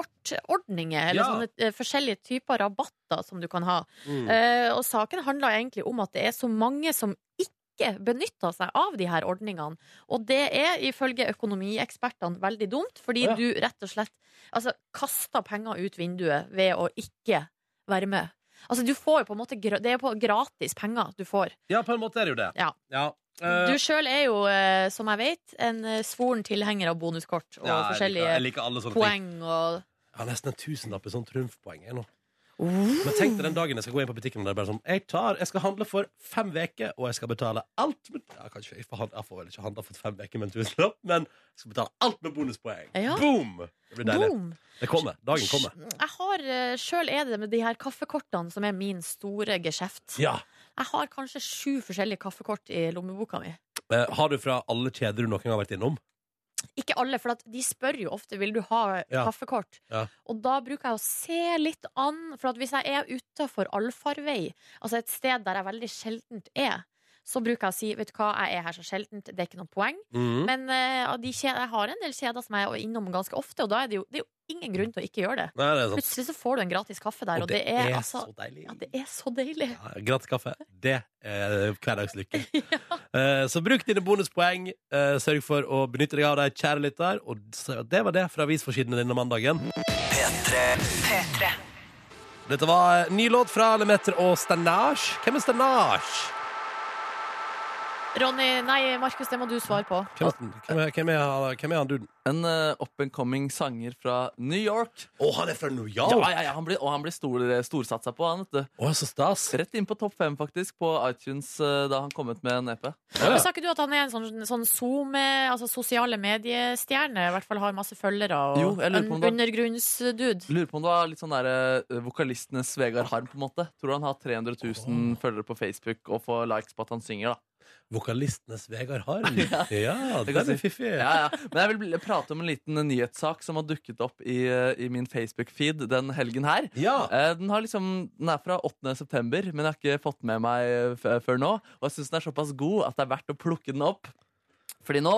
[SPEAKER 3] bonuskortordninger, eller
[SPEAKER 2] Ja.
[SPEAKER 3] sånne eh, forskjellige typer rabatter som du kan ha.
[SPEAKER 2] Mm.
[SPEAKER 3] Eh, og saken handler egentlig om at det er så mange som ikke ikke benytta seg av de her ordningene. Og det er ifølge økonomiekspertene veldig dumt, fordi
[SPEAKER 10] Å, ja.
[SPEAKER 3] du rett og slett altså, kaster penger ut vinduet ved å ikke være med. Altså, du får jo på en måte gra- Det er på gratis penger du får.
[SPEAKER 2] Ja, på en måte er det jo det.
[SPEAKER 3] Ja.
[SPEAKER 2] Eh,
[SPEAKER 3] Du sjøl er jo, eh, som jeg vet, en eh, svoren tilhenger av bonuskort og
[SPEAKER 2] Ja, jeg liker-
[SPEAKER 3] forskjellige
[SPEAKER 2] jeg liker alle sånne
[SPEAKER 3] poeng
[SPEAKER 2] ting.
[SPEAKER 3] og
[SPEAKER 2] Jeg har nesten en tusenlapp i sånn trumfpoeng jeg nå. Men tenk deg den dagen jeg skal gå inn på butikken og det er bare sånn Jeg tar, jeg skal handle for fem uker, og jeg skal betale alt med ja, kanskje, jeg, får, hand- jeg får vel ikke handle for fem uker med en tusenlapp, men jeg skal betale alt med bonuspoeng.
[SPEAKER 3] Ja.
[SPEAKER 2] Boom! Det blir deilig.
[SPEAKER 3] Boom!
[SPEAKER 2] Det kommer. Dagen kommer.
[SPEAKER 3] Jeg har, eh, Sjøl er det med de her kaffekortene som er min store geskjeft.
[SPEAKER 2] Ja.
[SPEAKER 3] Jeg har kanskje sju forskjellige kaffekort i lommeboka mi.
[SPEAKER 2] Eh, har du fra alle kjeder du noen gang har vært innom?
[SPEAKER 3] Ikke alle, for at de spør jo ofte vil du ha
[SPEAKER 2] Ja.
[SPEAKER 3] kaffekort.
[SPEAKER 2] Ja.
[SPEAKER 3] Og da bruker jeg å se litt an, for at hvis jeg er utafor allfarvei, altså et sted der jeg veldig sjeldent er, så bruker jeg å si vet du hva, jeg er her så sjeldent, det er ikke noe poeng.
[SPEAKER 10] Mhm.
[SPEAKER 2] Mm.
[SPEAKER 3] Men eh, av de kjeder, jeg har en del kjeder som jeg er innom ganske ofte, og da er det jo, det er jo ingen grunn til å ikke gjøre det.
[SPEAKER 2] Nei, det er sånn- sant.
[SPEAKER 3] Plutselig så får du en gratis kaffe der, og, det, er, altså
[SPEAKER 2] så deilig.
[SPEAKER 3] Ja, det er så deilig.
[SPEAKER 2] Gratis kaffe. Det er hverdagslykke. Eh, Så bruk dine bonuspoeng. eh, Sørg for å benytte deg av deg, kjære lytter. Og så- det var det fra avisforsidene denne mandagen.
[SPEAKER 5] P3.
[SPEAKER 2] Dette var en ny låt fra Lemeter og Stanage. Hvem er Stanage?
[SPEAKER 3] Ronny, nei, Markus, det må du svare på.
[SPEAKER 2] Hvem er, hvem er, hvem er, hvem er han duden?
[SPEAKER 4] En eh, up and coming sanger fra New York.
[SPEAKER 2] Å, han er fra New York?
[SPEAKER 4] Ja, ja, ja han blir, og han blir stor, eh, storsatsa på, han, vet du.
[SPEAKER 2] så stas.
[SPEAKER 4] Rett inn på topp fem, faktisk, på iTunes eh, da han kom ut med en EP.
[SPEAKER 3] Men Sa ikke du at han er en sånn, sånn Zoom, eh, altså sosiale mediestjerne? I hvert fall har masse følgere og
[SPEAKER 4] Jo, jeg lurer på om
[SPEAKER 3] en
[SPEAKER 4] det-
[SPEAKER 3] undergrunnsdude.
[SPEAKER 4] Lurer på om det var litt sånn der, eh, vokalistenes Vegard Harm, på en måte. Tror han har 300 000 følgere på Facebook og får likes på at han synger, da.
[SPEAKER 2] Vokalistenes Vegard Harm. Ja, det er fiffig.
[SPEAKER 4] Ja, ja. Men jeg vil bl- prate om en liten nyhetssak som har dukket opp i, eh, i min Facebook-feed den helgen her. Eh, Den, har liksom, den er fra 8. september, men jeg har ikke fått med meg eh, f- før nå. Og jeg syns den er såpass god at det er verdt å plukke den opp. Fordi nå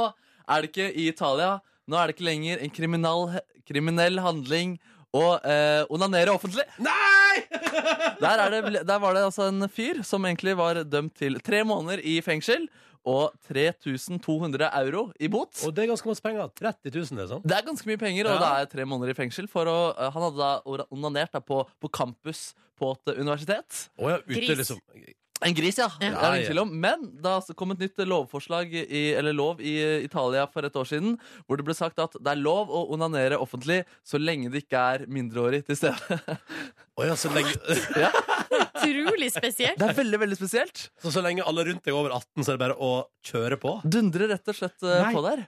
[SPEAKER 4] er det ikke i Italia Nå er det ikke lenger en kriminal, kriminell handling å eh, onanere offentlig. Der, er det, der var det altså en fyr som egentlig var dømt til tre måneder i fengsel og 3200 euro i bot.
[SPEAKER 2] Og det er ganske masse penger. 30 000, liksom.
[SPEAKER 4] Det er ganske mye penger, og det
[SPEAKER 2] Ja.
[SPEAKER 4] er tre måneder i fengsel. For å, eh, han hadde da ora- onanert da på, på campus på et eh, universitet.
[SPEAKER 2] Å ja, ute Gris. liksom.
[SPEAKER 4] En gris, ja. Det er
[SPEAKER 2] Ja,
[SPEAKER 4] det ingen
[SPEAKER 2] ja.
[SPEAKER 4] tvil om. Men det har altså kommet nytt lovforslag i, eller lov i eh, Italia for et år siden, hvor det ble sagt at det er lov å onanere offentlig så lenge det ikke er mindreårig til stede.
[SPEAKER 2] Å ja, så lenge
[SPEAKER 4] ja.
[SPEAKER 3] Utrolig spesielt.
[SPEAKER 4] Det er veldig, veldig spesielt.
[SPEAKER 2] Så så lenge alle rundt deg er over 18, så er det bare å kjøre på?
[SPEAKER 4] Dundre rett og slett eh,
[SPEAKER 2] Nei,
[SPEAKER 4] på der.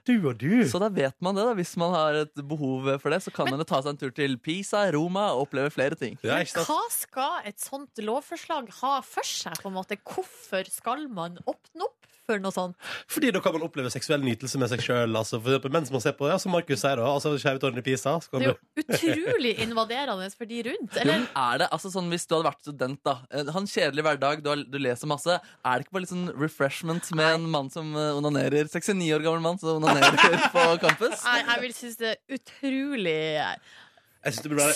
[SPEAKER 4] Så da vet man det, da. Hvis man har et behov for det, så kan man jo ta seg en tur til Pisa, Roma og oppleve flere ting.
[SPEAKER 3] Hva skal et sånt lovforslag ha for seg? på en måte? Hvorfor skal man åpne opp for noe sånt?
[SPEAKER 2] Fordi da kan man oppleve seksuell nytelse med seg sjøl. Altså, for eksempel mens man ser på, ja, som Markus sier, da, altså skjevtårnet i Pisa. så kan
[SPEAKER 3] Det er
[SPEAKER 2] du-
[SPEAKER 3] jo utrolig invaderende for de rundt. Eller
[SPEAKER 4] Jo, men er det, altså sånn Hvis du hadde vært student, da eh, Han kjedelig hverdag, du, har, du leser masse. Er det ikke bare litt sånn refreshment med en mann som eh, onanerer? 69 år gammel mann som onanerer på campus?
[SPEAKER 3] jeg, jeg vil synes det er utrolig eh,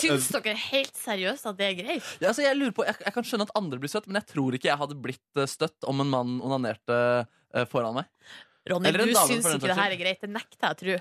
[SPEAKER 3] Syns dere helt seriøst at det er greit?
[SPEAKER 4] Ja, altså, jeg, lurer på, jeg, jeg kan skjønne at andre blir støtt, men jeg tror ikke jeg hadde blitt eh, støtt om en mann onanerte eh, foran meg.
[SPEAKER 3] Ronny,
[SPEAKER 4] Eller en
[SPEAKER 3] du
[SPEAKER 4] dame,
[SPEAKER 3] syns
[SPEAKER 4] for den
[SPEAKER 3] ikke det
[SPEAKER 4] saks
[SPEAKER 3] her er greit. Det nekter jeg å tro.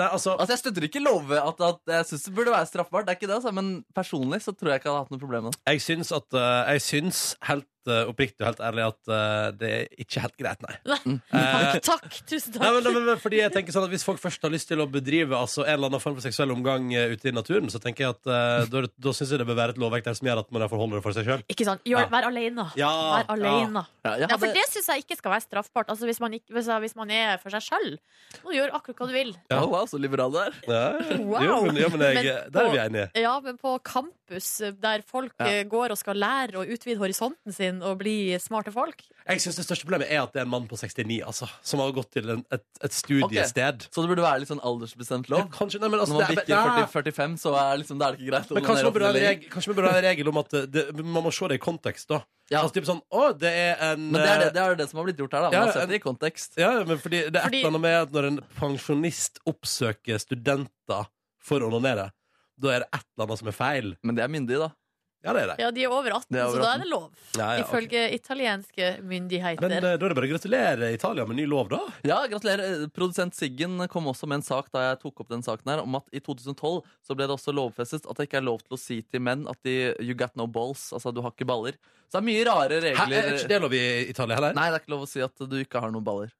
[SPEAKER 2] Nei, altså,
[SPEAKER 4] Jeg støtter ikke love at, at jeg syns det burde være straffbart, det er ikke det, altså, men personlig så tror jeg ikke jeg hadde hatt noe problem med det.
[SPEAKER 2] Jeg syns at eh, Jeg syns helt eh, oppriktig og helt ærlig at eh, det er ikke helt greit, nei. Eh,
[SPEAKER 3] Takk, tusen takk.
[SPEAKER 2] Nei, men, men, men, fordi jeg tenker sånn at Hvis folk først har lyst til å bedrive altså, en eller annen form for seksuell omgang eh, ute i naturen, så tenker jeg at eh, da, da syns jeg det bør være et lovverk der som gjør at man derfor holder det for seg sjøl.
[SPEAKER 3] Ikke sant? Gjør, Vær alene.
[SPEAKER 2] Ja,
[SPEAKER 3] Vær alene.
[SPEAKER 2] ja. Ja,
[SPEAKER 3] Ja,
[SPEAKER 2] jeg hadde-
[SPEAKER 3] for det syns jeg ikke skal være straffbart. Altså, hvis, man ikke, hvis, hvis man er for seg sjøl. Må du gjøre akkurat hva du vil.
[SPEAKER 4] Oh, wow, så liberal du er.
[SPEAKER 3] Wow.
[SPEAKER 2] Jo, men, jo, men jeg,
[SPEAKER 3] Men
[SPEAKER 2] der er vi
[SPEAKER 3] på-
[SPEAKER 2] enige.
[SPEAKER 3] Ja, men på campus, der folk
[SPEAKER 2] Ja.
[SPEAKER 3] eh, går og skal lære og utvide horisonten sin og bli smarte folk
[SPEAKER 2] Jeg synes Det største problemet er at det er en mann på 69 altså, som har gått til en, et, et studiested.
[SPEAKER 4] Så det burde være litt sånn aldersbestemt lov?
[SPEAKER 2] Kanskje, nei, men altså,
[SPEAKER 4] Når man
[SPEAKER 2] det er-
[SPEAKER 4] bikker
[SPEAKER 2] nei.
[SPEAKER 4] 40, 45, så er, liksom, da er det ikke greit. å
[SPEAKER 2] Men kanskje
[SPEAKER 4] onanere
[SPEAKER 2] man burde ha en
[SPEAKER 4] offentlig
[SPEAKER 2] regel, kanskje man burde ha en regel om at eh, det, man må se det i kontekst. da Altså typ sånn, å, det er en eh,
[SPEAKER 4] Men det er det, det er jo det som har blitt gjort her. da Man
[SPEAKER 2] Ja,
[SPEAKER 4] har sett det i kontekst
[SPEAKER 2] Ja, men fordi det er
[SPEAKER 4] Fordi-
[SPEAKER 2] et eller annet med at når en pensjonist oppsøker studenter for å onanere, da er det et eller annet som er feil.
[SPEAKER 4] Men det er myndig, da.
[SPEAKER 2] Ja, det er de.
[SPEAKER 3] Ja, de er over 18,
[SPEAKER 2] Det er over
[SPEAKER 3] så da
[SPEAKER 2] 18.
[SPEAKER 3] er det lov.
[SPEAKER 2] Ja, ja, ok.
[SPEAKER 3] Ifølge italienske myndigheter.
[SPEAKER 2] Men eh, da er det bare å gratulere Italia med ny lov, da.
[SPEAKER 4] Ja, gratulerer. Eh, Produsent Siggen kom også med en sak da jeg tok opp den saken her, om at i 2012 så ble det også lovfestet at det ikke er lov til å si til menn at de You got no balls. Altså, du har ikke baller. Så det er mye rare regler.
[SPEAKER 2] Hæ, er ikke det lov i Italia heller?
[SPEAKER 4] Nei, det er ikke lov å si at du ikke har noen baller.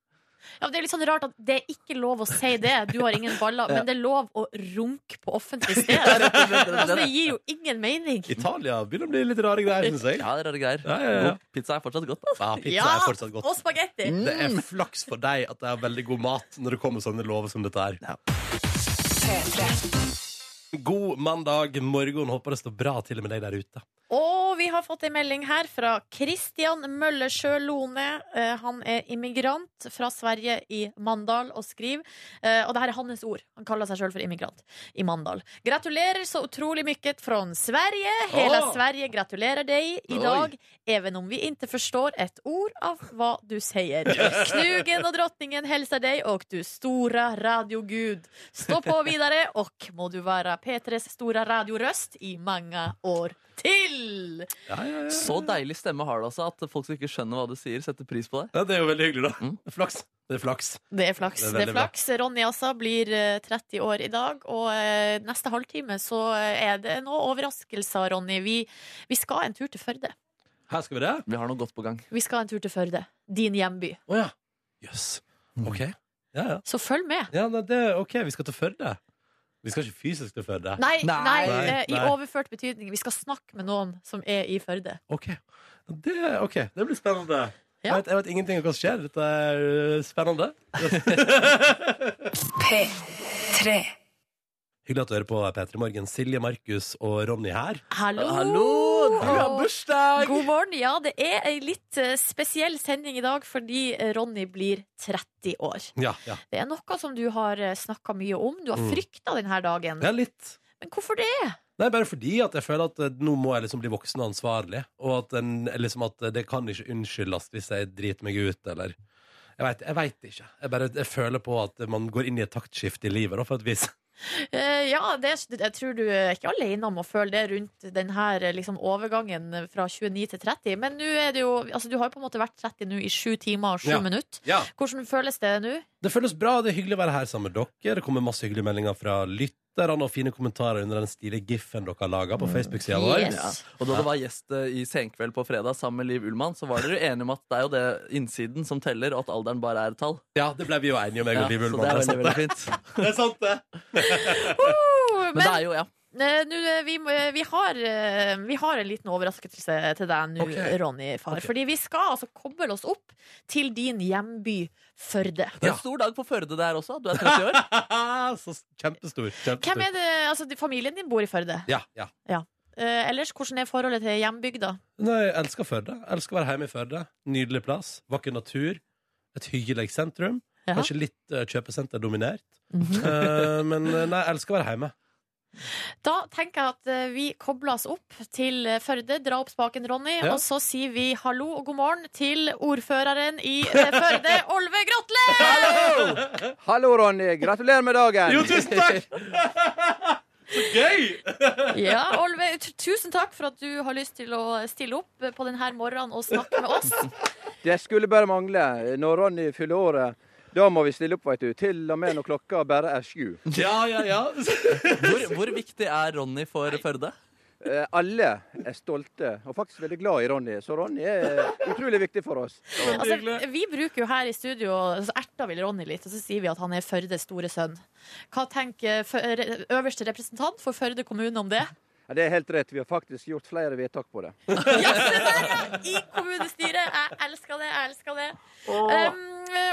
[SPEAKER 3] Ja, men det er litt sånn rart at det er ikke lov å si det. Du har ingen baller.
[SPEAKER 4] Ja.
[SPEAKER 3] Men det er lov å runke på offentlig sted. altså, det gir jo ingen mening.
[SPEAKER 2] Italia begynner å bli litt rare greier, syns jeg.
[SPEAKER 4] Ja, det er rare greier.
[SPEAKER 2] Ja, ja, ja.
[SPEAKER 4] God Pizza er fortsatt godt. altså.
[SPEAKER 2] Ja, pizza
[SPEAKER 3] Ja,
[SPEAKER 2] er fortsatt godt. Mm.
[SPEAKER 3] og spagetti.
[SPEAKER 2] Det er flaks for deg at det er veldig god mat når det kommer sånne lover som dette her. God mandag morgen. Håper det står bra til med deg der ute.
[SPEAKER 3] Og vi har fått en melding her fra Christian Møllesjø Lone. Eh, Han er immigrant fra Sverige i Mandal og skriver eh, Og det her er hans ord. Han kaller seg sjøl for immigrant i Mandal. Gratulerer så utrolig mycket från Sverige. Hela
[SPEAKER 12] Åh!
[SPEAKER 3] Sverige gratulerar dig idag. Även om vi inte förstår ett ord av vad du säger. Knugen och drottningen hälsar dig och du stora radiogud. Stå på vidare och må du vara Petres stora radioröst i många år till!
[SPEAKER 4] Så deilig stemme har du altså, at folk som ikke skjønner hva du sier, setter pris på det.
[SPEAKER 2] Ja, det er jo veldig hyggelig, da. Mm. Flaks. Det er flaks.
[SPEAKER 3] Det er flaks. Det er,
[SPEAKER 4] veldig bra.
[SPEAKER 3] flaks. Ronny altså blir eh, 30 år i dag, og eh, neste halvtime så eh, er det noen overraskelser, Ronny. Vi, vi skal en tur til Førde.
[SPEAKER 2] Her skal vi det.
[SPEAKER 4] Vi har noe godt på gang.
[SPEAKER 3] Vi skal en tur til Førde. Din hjemby.
[SPEAKER 2] Å ja. Jøss. OK. Mm. Ja, ja.
[SPEAKER 3] Så følg med.
[SPEAKER 2] Ja, nei, det, er OK, vi skal til Førde. Vi skal ikke fysisk til Førde.
[SPEAKER 3] Nei, nei, eh, i
[SPEAKER 2] nei.
[SPEAKER 3] overført betydning. Vi skal snakke med noen som er i Førde.
[SPEAKER 2] OK. Det, ok, det blir spennende. Jeg, vet, jeg vet ingenting om hva som skjer. Dette er øh, spennende.
[SPEAKER 5] P3.
[SPEAKER 2] Hyggelig at du hører på P3 Morgen. Silje, Markus og Ronny her.
[SPEAKER 3] Hallo!
[SPEAKER 2] Du har
[SPEAKER 3] bursdag! God morgen. Ja, det er ei litt eh, spesiell sending i dag fordi eh, Ronny blir 30 år.
[SPEAKER 2] Ja, ja.
[SPEAKER 3] Det er noe som du har snakka mye om. Du har
[SPEAKER 2] Mm.
[SPEAKER 3] frykta denne dagen.
[SPEAKER 2] Ja, litt.
[SPEAKER 3] Men hvorfor det?
[SPEAKER 2] Nei, bare fordi at jeg føler at eh, nå må jeg liksom bli voksen og ansvarlig. Og at, en, liksom at det kan ikke unnskyldes hvis jeg driter meg ut, eller Jeg veit jeg vet ikke. Jeg bare jeg føler på at man går inn i et taktskifte i livet, da, for et vis.
[SPEAKER 3] Eh, ja, det, jeg tror du er ikke alene om å føle det rundt denne liksom, overgangen fra 29 til 30. Men nå er det jo, altså, du har jo på en måte vært 30 nå i sju timer og sju
[SPEAKER 2] Ja.
[SPEAKER 3] minutter.
[SPEAKER 2] Ja.
[SPEAKER 3] Hvordan føles det nå?
[SPEAKER 2] Det føles bra. Det er hyggelig å være her sammen med dere. Det kommer masse hyggelige meldinger fra lytterne og fine kommentarer under den stilige gif-en dere har laga
[SPEAKER 4] Mm.
[SPEAKER 2] på Facebook-sida vår.
[SPEAKER 4] Ja. Og da det var gjest eh, i Senkveld på fredag sammen med Liv Ullmann, så var dere enige om at det er jo det innsiden som teller, og at alderen bare er et tall.
[SPEAKER 2] Ja, det ble vi jo enige om, jeg og Liv Ullmann.
[SPEAKER 4] Så det
[SPEAKER 2] Det
[SPEAKER 4] er
[SPEAKER 2] er
[SPEAKER 4] veldig, veldig fint.
[SPEAKER 2] Det er sant, det.
[SPEAKER 3] Men,
[SPEAKER 4] det er jo, ja.
[SPEAKER 3] Eh, nå, eh, vi, må- eh, vi, har, eh, vi har en liten overraskelse til deg nå,
[SPEAKER 4] Ok.
[SPEAKER 3] Ronny. Far,
[SPEAKER 4] Ok.
[SPEAKER 3] Fordi vi skal altså koble oss opp til din hjemby Førde.
[SPEAKER 4] Det er en stor dag på Førde der også. Du er 30 år.
[SPEAKER 2] Så kjempestor. kjempestor.
[SPEAKER 3] Hvem er det, altså, de- Familien din bor i Førde.
[SPEAKER 2] Ja, ja.
[SPEAKER 3] Ja. Eh, ellers, hvordan er forholdet til hjembygda?
[SPEAKER 2] Nei, jeg elsker Førde. Jeg elsker å være hjemme i Førde. Nydelig plass. Vakker natur. Et hyggelig sentrum.
[SPEAKER 3] Ja.
[SPEAKER 2] Kanskje litt eh, kjøpesenterdominert. Eh, men eh, nei, jeg elsker å være hjemme.
[SPEAKER 3] Da tenker jeg at eh, vi kobler oss opp til eh, Førde. Dra opp spaken, Ronny.
[SPEAKER 2] Ja.
[SPEAKER 3] Og så sier vi hallo og god morgen til ordføreren i eh, Førde, Olve Grotle!
[SPEAKER 14] Hallo, Ronny. Gratulerer med dagen.
[SPEAKER 2] Jo, tusen takk! Gøy!
[SPEAKER 3] Ja, Olve, t- tusen takk for at du har lyst til å stille opp eh, på denne morgenen og snakke med oss.
[SPEAKER 14] Det skulle bare mangle. Når Ronny fyller året, da må vi stille opp, veit du. Til og med når klokka bare er sju.
[SPEAKER 2] Ja, ja, ja.
[SPEAKER 4] Hvor, hvor viktig er Ronny for Førde?
[SPEAKER 14] Eh, Alle er stolte, og faktisk veldig glad i Ronny. Så Ronny er eh, utrolig viktig for oss.
[SPEAKER 3] Altså, vi bruker jo her i studio så erter vi Ronny litt, og så sier vi at han er Førdes store sønn. Hva tenker fø- re- øverste representant for Førde kommune om det?
[SPEAKER 14] Ja, det er helt rett. Vi har faktisk gjort flere vedtak på det.
[SPEAKER 3] I kommunestyret! Jeg elsker det, jeg elsker det. Um,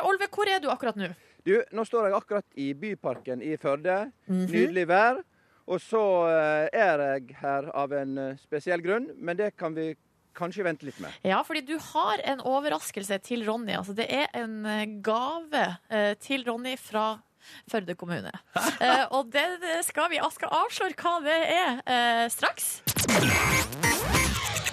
[SPEAKER 3] Olve, hvor er du akkurat nå?
[SPEAKER 14] Du, nå står jeg akkurat i Byparken i Førde. Nydelig vær. Og så eh, er jeg her av en eh, spesiell grunn, men det kan vi kanskje vente litt med.
[SPEAKER 3] Ja, fordi du har en overraskelse til Ronny. Altså, det er en eh, gave eh, til Ronny fra Førde kommune. Eh, og det det skal vi jeg skal avsløre hva det er eh, straks.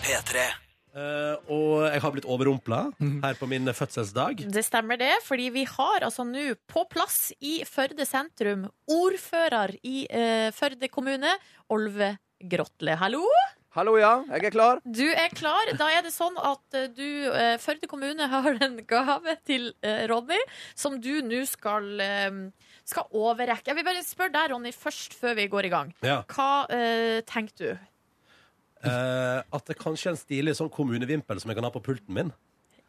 [SPEAKER 2] Eh, og jeg har blitt overrumpla her på min eh, fødselsdag.
[SPEAKER 3] Det stemmer det, fordi vi har altså nå på plass i Førde sentrum ordfører i eh, Førde kommune, Olve Grotle. Hallo!
[SPEAKER 14] Hallo, ja. Jeg er klar.
[SPEAKER 3] Du er klar. Da er det sånn at eh, du, eh, Førde kommune har en gave til eh, Ronny, som du nå skal, eh, skal overrekke. Jeg vil bare spørre deg, Ronny, først før vi går i gang.
[SPEAKER 2] Ja.
[SPEAKER 3] Hva eh, tenker du?
[SPEAKER 2] Eh, at det kanskje er en stilig sånn kommunevimpel som jeg kan ha på pulten min.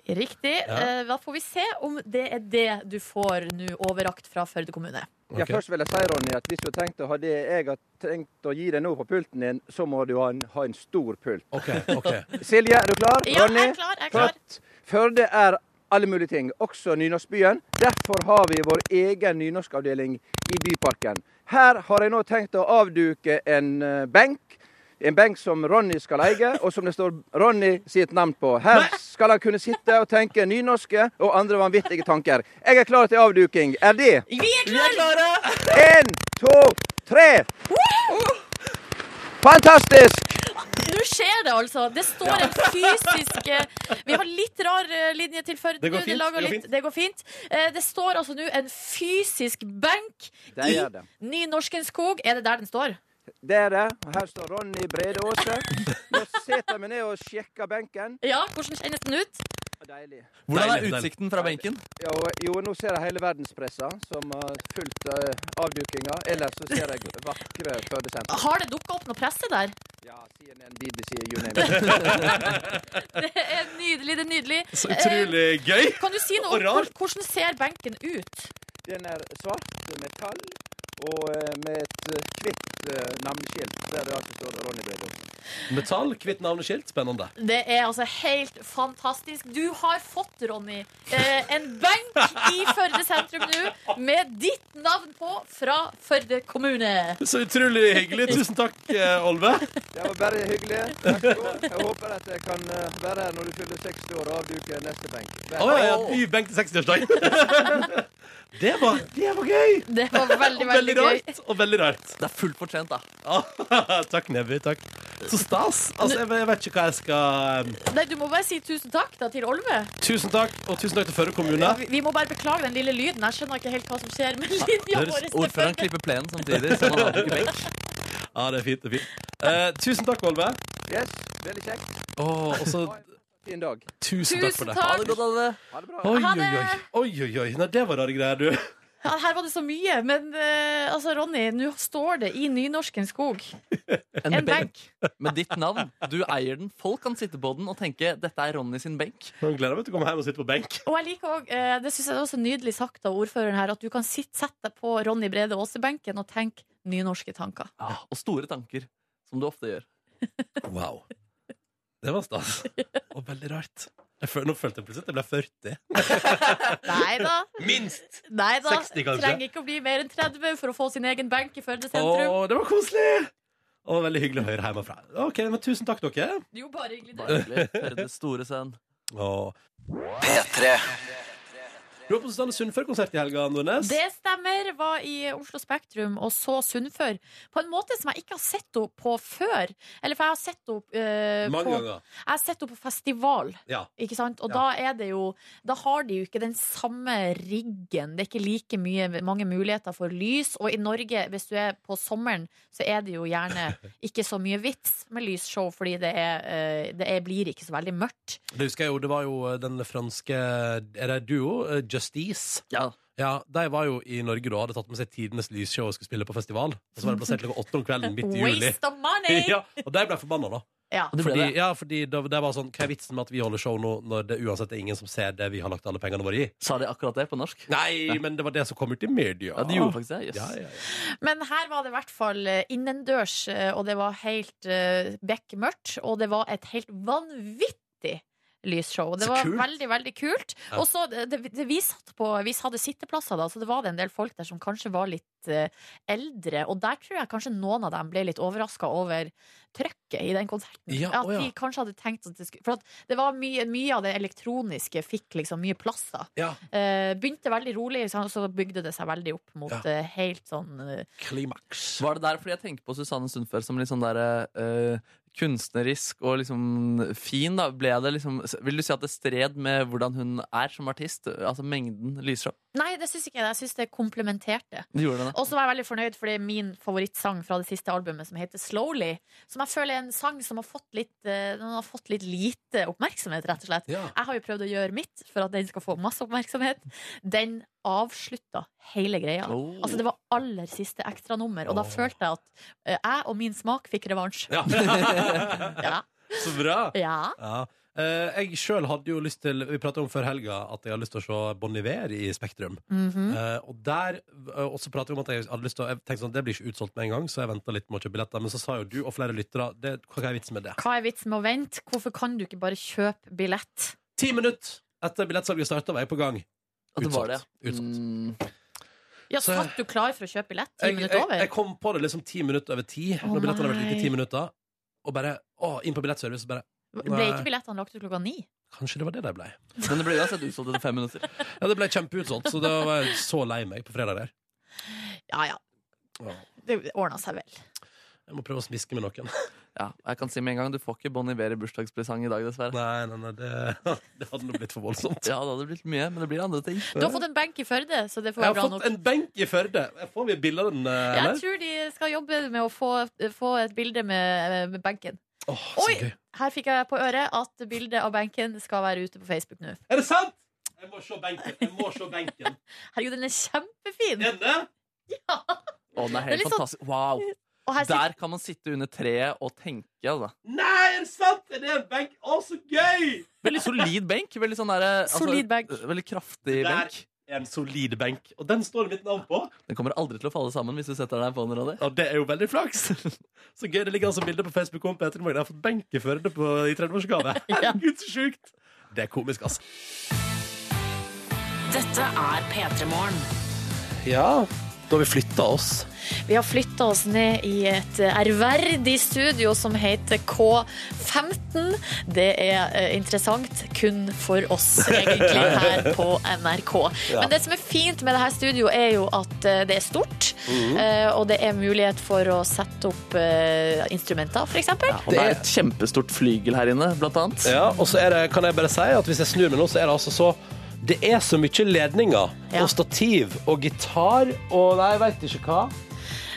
[SPEAKER 3] Riktig.
[SPEAKER 2] Ja.
[SPEAKER 3] Eh, da får vi se om det er det du får nå overrakt fra Førde kommune.
[SPEAKER 14] Ja, først vil jeg si, Ronny, at hvis du har tenkt å ha det jeg har tenkt å gi deg nå på pulten din, så må du ha en, ha en stor pult. Silje, er du klar?
[SPEAKER 6] Ja, jeg er
[SPEAKER 14] Ronny?
[SPEAKER 6] klar, jeg er klar.
[SPEAKER 14] Flott. Førde er alle mulige ting, også nynorskbyen. Derfor har vi vår egen nynorskavdeling i Byparken. Her har jeg nå tenkt å avduke en eh, benk. En benk som Ronny skal eie, og som det står Ronny sitt navn på. Her skal han kunne sitte og tenke nynorske og andre vanvittige tanker. Jeg er klar til avduking. Er det?
[SPEAKER 3] Vi er klare!
[SPEAKER 14] En, to, tre. Fantastisk!
[SPEAKER 3] Nå skjer det, altså. Det står en fysisk eh, Vi har litt rar eh, linje til Førde.
[SPEAKER 14] Det går
[SPEAKER 3] nå.
[SPEAKER 14] fint, det
[SPEAKER 3] lager
[SPEAKER 14] går
[SPEAKER 3] litt-
[SPEAKER 14] fint.
[SPEAKER 3] det går fint. Eh, Det står altså nå en fysisk benk
[SPEAKER 14] Der
[SPEAKER 3] i
[SPEAKER 14] er det.
[SPEAKER 3] Nynorskens skog. Er det der den står?
[SPEAKER 14] Det er det. Og her står Ronny Brede Aase. Nå setter jeg meg ned og sjekker benken.
[SPEAKER 3] Ja, hvordan kjennes den ut?
[SPEAKER 14] Deilig.
[SPEAKER 4] Hvordan er utsikten fra benken?
[SPEAKER 14] Jo, jo, nå ser jeg hele verdenspressa som har fulgt eh, avdukinga. Ellers så ser jeg vakre fødesenter.
[SPEAKER 3] Har det dukka opp noe presse der?
[SPEAKER 6] Ah!
[SPEAKER 14] Ja, CNN, BBC, you name it.
[SPEAKER 3] Det er nydelig. det er nydelig
[SPEAKER 14] Så utrolig
[SPEAKER 3] Eh,
[SPEAKER 14] gøy
[SPEAKER 3] Kan du si noe
[SPEAKER 14] og
[SPEAKER 3] om hvor-
[SPEAKER 14] rart.
[SPEAKER 3] hvordan ser benken ut?
[SPEAKER 14] Den er svart metall og eh, med et eh, kvitt eh, navneskilt der det altså står Ronny Brede Aase.
[SPEAKER 2] Metall, hvitt navneskilt. Spennende.
[SPEAKER 3] Det er altså helt fantastisk. Du har fått, Ronny, eh, en benk i Førde sentrum nå med ditt navn på fra Førde kommune.
[SPEAKER 2] Så utrolig hyggelig. Tusen takk, eh, Olve.
[SPEAKER 14] Det var bare hyggelig. Vær så god. Jeg håper at jeg kan eh, være her når du fyller 60 år og avduke neste benk. Vær
[SPEAKER 2] Å
[SPEAKER 14] så
[SPEAKER 2] ja, ja,
[SPEAKER 14] god.
[SPEAKER 2] ny benk til 60-årsdag. Det var, det var gøy!
[SPEAKER 3] Det var veldig,
[SPEAKER 2] Og
[SPEAKER 3] veldig gøy.
[SPEAKER 2] rart. Og veldig rart.
[SPEAKER 4] Det er fullt fortjent,
[SPEAKER 2] da. takk, Nebby. Takk. Så stas. Altså, jeg, jeg vet ikke hva jeg skal um,
[SPEAKER 3] Nei, du må bare si tusen takk da til Olve.
[SPEAKER 2] Tusen takk, og tusen takk til Førde kommune.
[SPEAKER 3] Vi- Vi må bare beklage den lille lyden. Jeg skjønner ikke helt hva som skjer med linja vår.
[SPEAKER 4] Høres ordføreren klippe plenen samtidig. Så man har ikke benk.
[SPEAKER 2] Ja, det er fint. det er fint. Eh, tusen takk, Olve.
[SPEAKER 14] Yes, veldig kjekt.
[SPEAKER 2] Å, og så
[SPEAKER 14] Fin dag.
[SPEAKER 2] tusen takk for det.
[SPEAKER 3] Ha det godt,
[SPEAKER 4] alle.
[SPEAKER 14] Ha det bra.
[SPEAKER 2] Oi, oi, oi. oi, oi, oi. Nei, det var rare greier, du.
[SPEAKER 3] Ja, her var det så mye, men eh, altså, Ronny, nå står det i Nynorskens skog.
[SPEAKER 4] En,
[SPEAKER 3] En
[SPEAKER 4] benk. Med ditt navn. Du eier den. Folk kan sitte på den og tenke dette er Ronny sin benk.
[SPEAKER 2] Nå gleder jeg meg til å komme hjem og sitte på benk.
[SPEAKER 3] Og jeg liker også, eh, det synes jeg er også nydelig sagt av ordføreren her, at du kan sitte, sette deg på Ronny Brede Aase-benken og tenke nynorske tanker.
[SPEAKER 4] Ja, og store tanker, som du ofte gjør.
[SPEAKER 2] Wow. Det var stas. Og veldig rart. Jeg føl nå følte jeg plutselig at jeg ble 40.
[SPEAKER 3] Nei da.
[SPEAKER 2] Minst!
[SPEAKER 3] Nei da.
[SPEAKER 2] 60 kanskje.
[SPEAKER 3] Trenger ikke å bli mer enn 30 for å få sin egen benk i Førde
[SPEAKER 2] Å,
[SPEAKER 3] sentrum.
[SPEAKER 2] det var koselig! Og veldig hyggelig å høre hjemmefra. OK, men tusen takk, dere.
[SPEAKER 3] Jo, bare hyggelig.
[SPEAKER 4] Bare hyggelig. Førdes store sønn.
[SPEAKER 2] P3. Du var på Susanne Sundfør-konsert i helga, Nordnes.
[SPEAKER 3] Det stemmer. Var i Oslo Spektrum og så Sunnfør. På en måte som jeg ikke har sett henne på før. Eller for jeg har sett henne eh,
[SPEAKER 2] Mange
[SPEAKER 3] på,
[SPEAKER 2] ganger.
[SPEAKER 3] Jeg har sett henne på festival.
[SPEAKER 2] Ja.
[SPEAKER 3] Ikke sant? Og
[SPEAKER 2] Ja.
[SPEAKER 3] da er det jo Da har de jo ikke den samme riggen. Det er ikke like mye, mange muligheter for lys. Og i Norge, hvis du er på sommeren, så er det jo gjerne ikke så mye vits med lysshow, fordi det, er, eh, det er, blir ikke så veldig mørkt.
[SPEAKER 2] Det husker jeg jo, det var jo eh, den franske Er det duo? Eh, Justice.
[SPEAKER 4] Ja.
[SPEAKER 2] De var jo i Norge da, hadde tatt med seg tidenes lysshow og skulle spille på festival. Og så var det plassert klokka åtte om kvelden midt i juli.
[SPEAKER 3] Waste of money!
[SPEAKER 2] ja, og de ble forbanna, da.
[SPEAKER 3] Ja.
[SPEAKER 2] Fordi, ja, fordi det, det var sånn, Hva er vitsen med at vi holder show nå når det uansett er ingen som ser det vi har lagt alle pengene våre i?
[SPEAKER 4] Sa de akkurat det på norsk?
[SPEAKER 2] Nei, men det var det som kom ut i media.
[SPEAKER 4] Ja, de gjorde faktisk det, jøss.
[SPEAKER 2] Ja, ja, ja.
[SPEAKER 3] Men her var det i hvert fall eh, innendørs, eh, og det var helt eh, bekmørkt. Og det var et helt vanvittig lysshow. Det
[SPEAKER 10] Så
[SPEAKER 3] var
[SPEAKER 10] kult.
[SPEAKER 3] veldig, veldig kult.
[SPEAKER 10] Ja.
[SPEAKER 3] Og så eh, det, det, vi, satt på, vi hadde sitteplasser, da, så det var det en del folk der som kanskje var litt eh, eldre. Og der tror jeg kanskje noen av dem ble litt overraska over trøkket i den konserten.
[SPEAKER 10] Ja,
[SPEAKER 3] at
[SPEAKER 10] å ja.
[SPEAKER 3] de kanskje hadde tenkt at det skulle For at det var mye, mye av det elektroniske fikk liksom mye plass, da.
[SPEAKER 2] Ja.
[SPEAKER 3] Eh, begynte veldig rolig, så så bygde det seg veldig opp mot eh, helt sånn eh,
[SPEAKER 2] Klimaks.
[SPEAKER 4] Var det der fordi jeg tenker på Susanne Sundfør som litt sånn der eh, kunstnerisk og liksom fin, da? Ble det liksom Vil du si at det stred med hvordan hun er som artist? Altså mengden lysshow?
[SPEAKER 3] Nei, det syns ikke jeg. Jeg syns det komplementerte.
[SPEAKER 4] Du gjorde det.
[SPEAKER 3] Og så var jeg veldig fornøyd, for det er min favorittsang fra det siste albumet, som heter 'Slowly'. Som jeg føler er en sang som har fått litt, eh, den har fått litt lite oppmerksomhet, rett og slett. Jeg har jo prøvd å gjøre mitt for at den skal få masse oppmerksomhet. Den avslutta hele greia.
[SPEAKER 4] Oh.
[SPEAKER 3] Altså, det var aller siste ekstranummer, og da
[SPEAKER 2] Oh.
[SPEAKER 3] følte jeg at eh, jeg og min smak fikk revansj.
[SPEAKER 2] Ja. Så bra.
[SPEAKER 3] Ja.
[SPEAKER 2] Eh, jeg sjøl hadde jo lyst til Vi prata om før helga at jeg har lyst til å se Bon Iver i Spektrum.
[SPEAKER 3] Mhm.
[SPEAKER 2] Eh, og der eh, og så prater vi om at jeg hadde lyst til å Jeg tenkte sånn, det blir ikke utsolgt med en gang, så jeg venta litt med å kjøpe billetter. Men så sa jo du og flere lyttere det, Hva er vitsen med det?
[SPEAKER 3] Hva er vitsen med å vente? Hvorfor kan du ikke bare kjøpe billett?
[SPEAKER 2] Ti minutter etter billettsalget starta, var jeg på gang.
[SPEAKER 4] det var det, Mm.
[SPEAKER 2] Utsolgt.
[SPEAKER 3] Ja,
[SPEAKER 2] Så-
[SPEAKER 3] Satt du klar for å kjøpe billett ti
[SPEAKER 2] Jeg,
[SPEAKER 3] minutter
[SPEAKER 2] jeg,
[SPEAKER 3] over?
[SPEAKER 2] jeg kom på det liksom ti minutter over ti,
[SPEAKER 3] Å,
[SPEAKER 2] når billettene hadde vært
[SPEAKER 3] nei.
[SPEAKER 2] ute i ti minutter. Og bare å, inn på billettservice, og bare
[SPEAKER 3] Ble
[SPEAKER 2] nei,
[SPEAKER 3] ikke billettene lagt ut klokka ni?
[SPEAKER 2] Kanskje det var det de ble.
[SPEAKER 4] Men det ble uansett utsolgt etter fem minutter.
[SPEAKER 2] Ja, det ble kjempeutsolgt, så da var jeg så lei meg på fredag der.
[SPEAKER 3] Ja ja,
[SPEAKER 2] Ja.
[SPEAKER 3] det ordna seg vel.
[SPEAKER 2] Jeg må prøve å smiske med noen.
[SPEAKER 4] Ja, jeg kan si med en gang Du får ikke Bon Iver i bursdagspresang i dag, dessverre.
[SPEAKER 2] Nei, nei, nei, det, hadde nå blitt for voldsomt.
[SPEAKER 4] Ja, det hadde blitt mye, men det blir andre ting.
[SPEAKER 3] Du har fått en benk i Førde, så det får være
[SPEAKER 2] Jeg har
[SPEAKER 3] bra
[SPEAKER 2] fått
[SPEAKER 3] nok.
[SPEAKER 2] en benk i Førde. Får vi bilde av den, eh,
[SPEAKER 3] Jeg
[SPEAKER 2] eller?
[SPEAKER 3] tror de skal jobbe med å få, få et bilde med, med benken. Oi! Her fikk jeg på øret at bildet av benken skal være ute på Facebook nå.
[SPEAKER 2] Er det sant?! Jeg må se benken. Jeg må se benken.
[SPEAKER 3] Herregud, den er kjempefin!
[SPEAKER 4] Å, den er
[SPEAKER 3] Det er
[SPEAKER 4] helt
[SPEAKER 3] litt sånn-
[SPEAKER 4] fantastisk. Wow!
[SPEAKER 3] Og her sitter-
[SPEAKER 4] Der kan man sitte under treet og tenke, altså.
[SPEAKER 2] Nei, er det sant?! Er det en benk? Å, så gøy!
[SPEAKER 4] Veldig solid benk. Veldig sånn derre altså,
[SPEAKER 2] Solid
[SPEAKER 4] Veldig kraftig
[SPEAKER 2] Det der
[SPEAKER 4] benk.
[SPEAKER 2] er en solid benk, og den står det mitt navn på.
[SPEAKER 4] Den kommer aldri til å falle sammen hvis du setter deg på den. Ronny.
[SPEAKER 2] Og det er jo veldig flaks! Så gøy. Det ligger altså bilde på Facebook om Peter i morgen. Jeg har fått benk i Førde på, i 30-årsgave. Herregud, så sjukt! Det er komisk, altså.
[SPEAKER 5] Dette er P3 Morgen.
[SPEAKER 2] Ja, da har vi flytta oss.
[SPEAKER 3] Vi har flytta oss ned i et ærverdig studio som heter K15. Det er eh, interessant kun for oss, egentlig, her på NRK.
[SPEAKER 10] Ja.
[SPEAKER 3] Men det som er fint med det her studioet, er jo at eh, det er stort.
[SPEAKER 10] Mhm.
[SPEAKER 3] eh, Og det er mulighet for å sette opp eh, instrumenter, f.eks.
[SPEAKER 4] Og det er et kjempestort flygel her inne, blant annet.
[SPEAKER 2] Ja, og så er det, kan jeg bare si at hvis jeg snur meg nå, så er det altså så Det er så mye ledninger og stativ og gitar og nei, jeg veit ikke hva.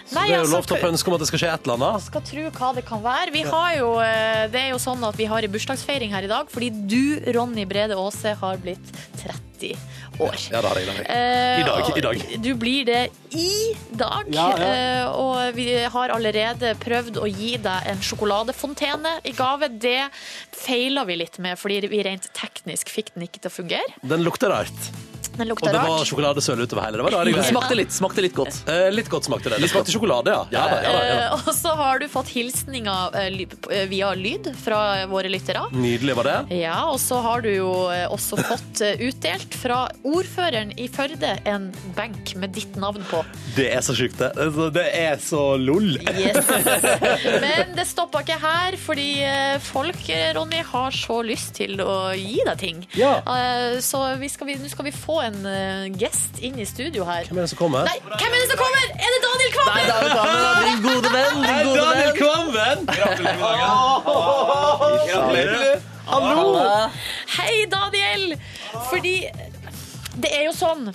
[SPEAKER 2] Så
[SPEAKER 3] Nei,
[SPEAKER 2] det er jo
[SPEAKER 3] altså,
[SPEAKER 2] lov til å ønske om at det skal skje et eller annet.
[SPEAKER 3] skal tro hva det kan være. Vi
[SPEAKER 2] Ja.
[SPEAKER 3] har jo, eh, det er jo sånn at vi har en bursdagsfeiring her i dag, fordi du, Ronny Brede Aase, har blitt 30 år.
[SPEAKER 2] Ja, det har jeg. det har
[SPEAKER 3] Eh,
[SPEAKER 2] jeg. I dag. I dag.
[SPEAKER 3] og Du blir det i dag.
[SPEAKER 2] Ja, ja.
[SPEAKER 3] Eh, Og vi har allerede prøvd å gi deg en sjokoladefontene i gave. Det feila vi litt med, fordi vi rent teknisk fikk den ikke til å fungere.
[SPEAKER 2] Eh, Den lukter rart.
[SPEAKER 3] Den
[SPEAKER 2] Og
[SPEAKER 3] lukta
[SPEAKER 2] det
[SPEAKER 3] rart.
[SPEAKER 2] var sjokoladesøl utover hele. Det var rare
[SPEAKER 4] Det
[SPEAKER 2] greier.
[SPEAKER 4] smakte litt, smakte litt godt.
[SPEAKER 2] Eh, litt godt smakte det. Det smakte sjokolade, ja. Ja, da, ja, da, ja.
[SPEAKER 3] Eh, Og så har du fått hilsninger eh, ly- eh, via lyd fra våre lyttere.
[SPEAKER 2] da. Nydelig var det.
[SPEAKER 3] Ja, og så har du jo eh, også fått eh, utdelt fra ordføreren i Førde en benk med ditt navn på.
[SPEAKER 2] Det er så sjukt, det. Altså, Det er så lol.
[SPEAKER 3] Men det stoppa ikke her, fordi eh, folk, eh, Ronny, har så lyst til å gi deg ting.
[SPEAKER 2] Ja.
[SPEAKER 3] Eh, Så vi skal vi- nå skal vi få en eh, gjest inn i studio her.
[SPEAKER 2] Hvem er det som kommer?
[SPEAKER 3] Nei, hvem er det som kommer? Er det Daniel Kvammen?
[SPEAKER 4] Nei, Daniel Kvammen, ja, din gode venn, din
[SPEAKER 2] Hei,
[SPEAKER 4] gode
[SPEAKER 2] Daniel
[SPEAKER 4] venn.
[SPEAKER 2] Kvammen! Gratulerer med dagen. Gratulerer.
[SPEAKER 3] Hallo! Hei, Daniel! Fordi det er jo sånn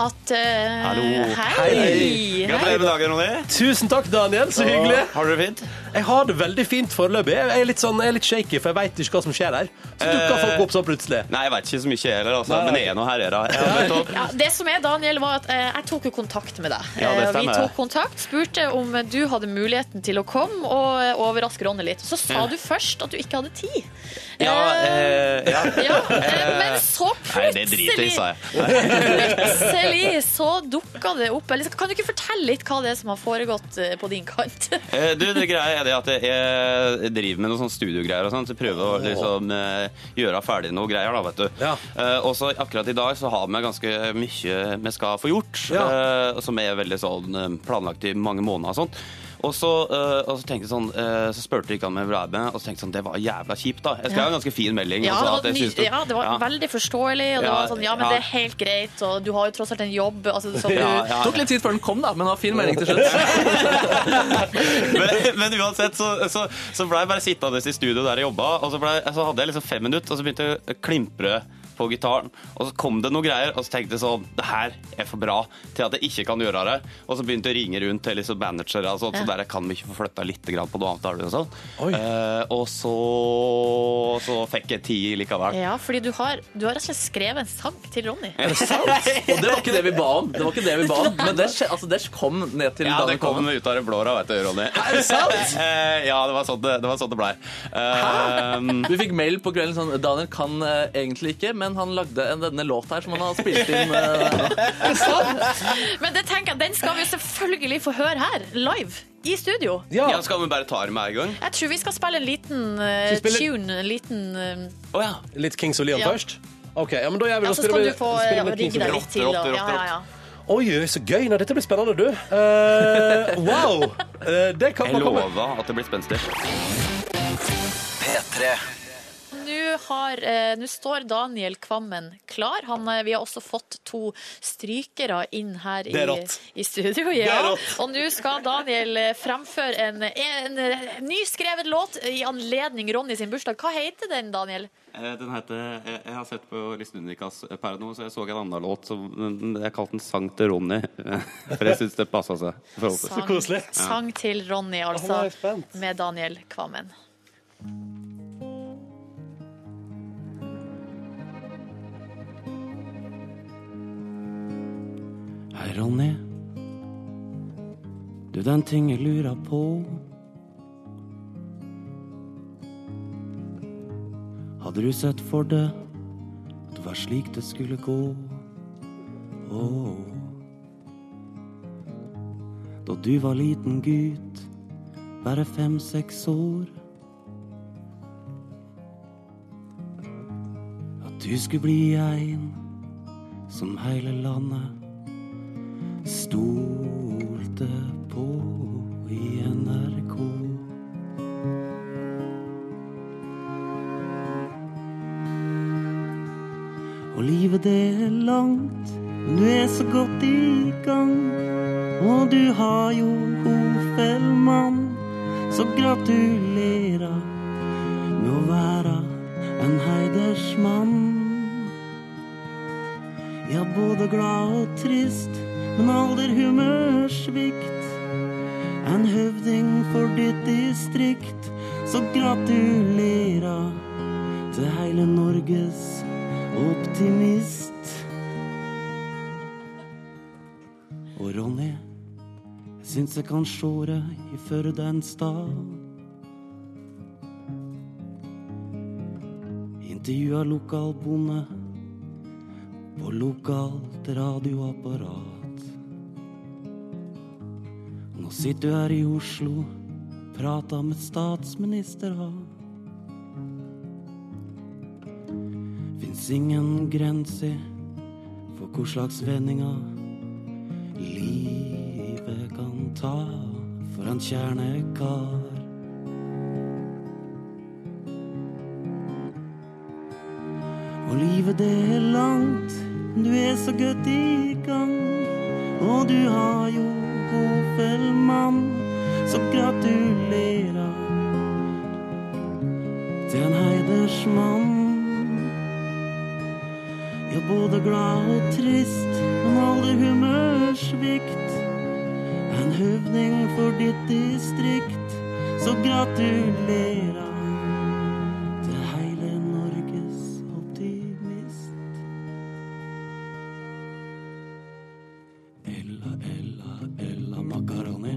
[SPEAKER 3] at eh, Hei!
[SPEAKER 2] Gratulerer med dagen, Ronny. Tusen takk, Daniel. Så hyggelig. Har du det fint? Jeg har det veldig fint foreløpig. Jeg er litt, sånn, jeg er litt shaky, for jeg veit ikke hva som skjer her. Så dukker
[SPEAKER 12] Eh,
[SPEAKER 2] folk opp sånn plutselig.
[SPEAKER 12] Nei, jeg veit ikke så mye jeg heller, altså. men jeg er nå her. Jeg, da. jeg, vet du-
[SPEAKER 3] Ja, det som er, Daniel, var at eh, jeg tok jo kontakt med deg.
[SPEAKER 12] Ja, det
[SPEAKER 3] Eh, Vi
[SPEAKER 12] stemmer.
[SPEAKER 3] tok kontakt, spurte om du hadde muligheten til å komme og eh, overraske Ronny litt. Så sa
[SPEAKER 12] Ja.
[SPEAKER 3] du først at du ikke hadde tid.
[SPEAKER 12] Mm. ja, eh, ja.
[SPEAKER 3] eh, men så
[SPEAKER 12] Nei, det driter jeg i, sa jeg.
[SPEAKER 3] Plutselig så dukka det opp. Eller, kan du ikke fortelle litt hva det er som har foregått eh, på din kant?
[SPEAKER 12] Eh, Du, det greia er det at jeg driver med noen sånne studiogreier og sånt, så jeg prøver å liksom eh, gjøre ferdig noe greier, da, vet du. Eh, Og så akkurat i dag så har vi ganske mye vi skal få gjort, eh, som er veldig sånn eh, planlagt i mange måneder og sånt. Og så, eh, og så tenkte jeg sånn, eh, så spurte jeg ikke han med ble med, og så tenkte jeg sånn, det var jævla kjipt da. Jeg skrev
[SPEAKER 3] Ja.
[SPEAKER 12] en ganske fin melding.
[SPEAKER 3] Ja, det
[SPEAKER 12] og sa
[SPEAKER 3] var,
[SPEAKER 12] Altså, at jeg
[SPEAKER 3] ny,
[SPEAKER 12] synes det-
[SPEAKER 3] ja, det var
[SPEAKER 12] Ja.
[SPEAKER 3] veldig forståelig. Og det
[SPEAKER 12] Ja,
[SPEAKER 3] var sånn, ja, men
[SPEAKER 12] ja.
[SPEAKER 3] det er helt greit, og du har jo tross alt en jobb. Altså, som du,
[SPEAKER 12] Ja, ja.
[SPEAKER 4] Tok litt tid før den kom, da, men det var fin melding til slutt.
[SPEAKER 12] men, men uansett så, så, så ble jeg bare sittende i studio der jeg jobba, og så, ble, jeg- så hadde jeg liksom fem minutter, og så begynte jeg å klimpre
[SPEAKER 6] på gitaren. Og så kom det noen greier, og så tenkte jeg sånn Det her er for bra til at jeg ikke kan gjøre det. Og så begynte jeg å ringe rundt til liksom managere og sånt,
[SPEAKER 3] Ja.
[SPEAKER 6] så bare kan vi ikke få flytta litt grann på noen avtaler og sånn. Eh, og så, så fikk jeg ti likevel.
[SPEAKER 3] Ja, fordi du har, du har rett og slett skrevet en sang til Ronny.
[SPEAKER 6] Er det sant?
[SPEAKER 4] Og det var ikke det vi ba om. Det var ikke det vi ba om Men det, skje- altså, det kom ned til
[SPEAKER 6] Ja,
[SPEAKER 4] Daniel
[SPEAKER 6] det kom
[SPEAKER 4] Coleman.
[SPEAKER 6] ut av det blå, da, vet du, Ronny.
[SPEAKER 4] Er det sant?
[SPEAKER 6] Eh, ja, det var sånn det, det, var sånn det Eh, blei.
[SPEAKER 4] Vi fikk mail på kvelden sånn Daniel kan eh, egentlig ikke, men han lagde en, denne låta her som han har spilt inn. eh,
[SPEAKER 3] Men det tenker jeg, den skal vi jo selvfølgelig få høre her, live, i studio.
[SPEAKER 6] Ja. skal vi bare ta det med en gang?
[SPEAKER 3] Jeg tror vi skal spille en liten eh,
[SPEAKER 2] Skal vi spille-
[SPEAKER 3] tune, en liten eh,
[SPEAKER 2] Litt Kings of Leon
[SPEAKER 3] Ja.
[SPEAKER 2] først? Ok, ja, men da gjør vi
[SPEAKER 3] Ja,
[SPEAKER 2] da
[SPEAKER 3] så
[SPEAKER 2] spiller
[SPEAKER 3] skal
[SPEAKER 2] vi-
[SPEAKER 3] du få
[SPEAKER 2] spiller
[SPEAKER 3] eh,
[SPEAKER 2] vi litt Kings
[SPEAKER 3] rigge
[SPEAKER 2] of
[SPEAKER 3] deg
[SPEAKER 2] Leon.
[SPEAKER 3] litt til. Da. Ja, ja, ja.
[SPEAKER 2] Oi, oi, så gøy. Nei, dette blir spennende, du. Eh, wow! Eh, det kan
[SPEAKER 6] Jeg
[SPEAKER 2] man komme
[SPEAKER 6] lover at det blir spenstig.
[SPEAKER 12] P3.
[SPEAKER 3] Nå, har, eh, nå står Daniel Kvammen klar. Han, eh, vi har også fått to strykere inn her
[SPEAKER 7] Det er
[SPEAKER 3] i,
[SPEAKER 7] rått.
[SPEAKER 3] i studio.
[SPEAKER 7] Det er
[SPEAKER 3] Ja.
[SPEAKER 7] rått.
[SPEAKER 3] Og nå skal Daniel eh, fremføre en, en, eh, nyskrevet låt i anledning Ronny sin bursdag. Hva heter den, Daniel?
[SPEAKER 6] Eh, Den heter Jeg, jeg har sett på Listen Unikas per nå, så jeg så en annen låt som men Jeg kalte den Sang til Ronny. eh, For jeg syns det passa seg. i forhold til-
[SPEAKER 3] Sang- Sang til Ronny, altså. Med Daniel Kvammen.
[SPEAKER 6] Hei, Ronny. Du, den ting jeg lurer på. Hadde du sett for deg at det var slik det skulle gå? Åh. Da du var liten gutt, bare fem-seks år. At du skulle bli ein som heile landet stolte på i NRK. Og livet det er langt, men du er så godt i gang. Og du har jo Hofelmann, så gratulerer med å være en heidersmann. Ja, både glad og trist, men alder humørsvikt. En høvding for ditt distrikt, så gratulerer til heile Norges optimist. Og Ronny, jeg syns jeg kan sjå deg i Førde en stad. Intervjua lokal bonde på lokalt radioapparat. Nå sitter du her i Oslo, prater med statsminister ha. Fins ingen grenser for hvor slags vendinger livet kan ta for en kjernekar. Og livet det er langt, du er så godt i gang. Og du har jo Hofelmann, så gratulerer til en heidersmann. Ja, både glad og trist, men alder humørsvikt. En høvding for ditt distrikt, så gratulerer til heile Norges optimist. Ella, ella, ella makaroni.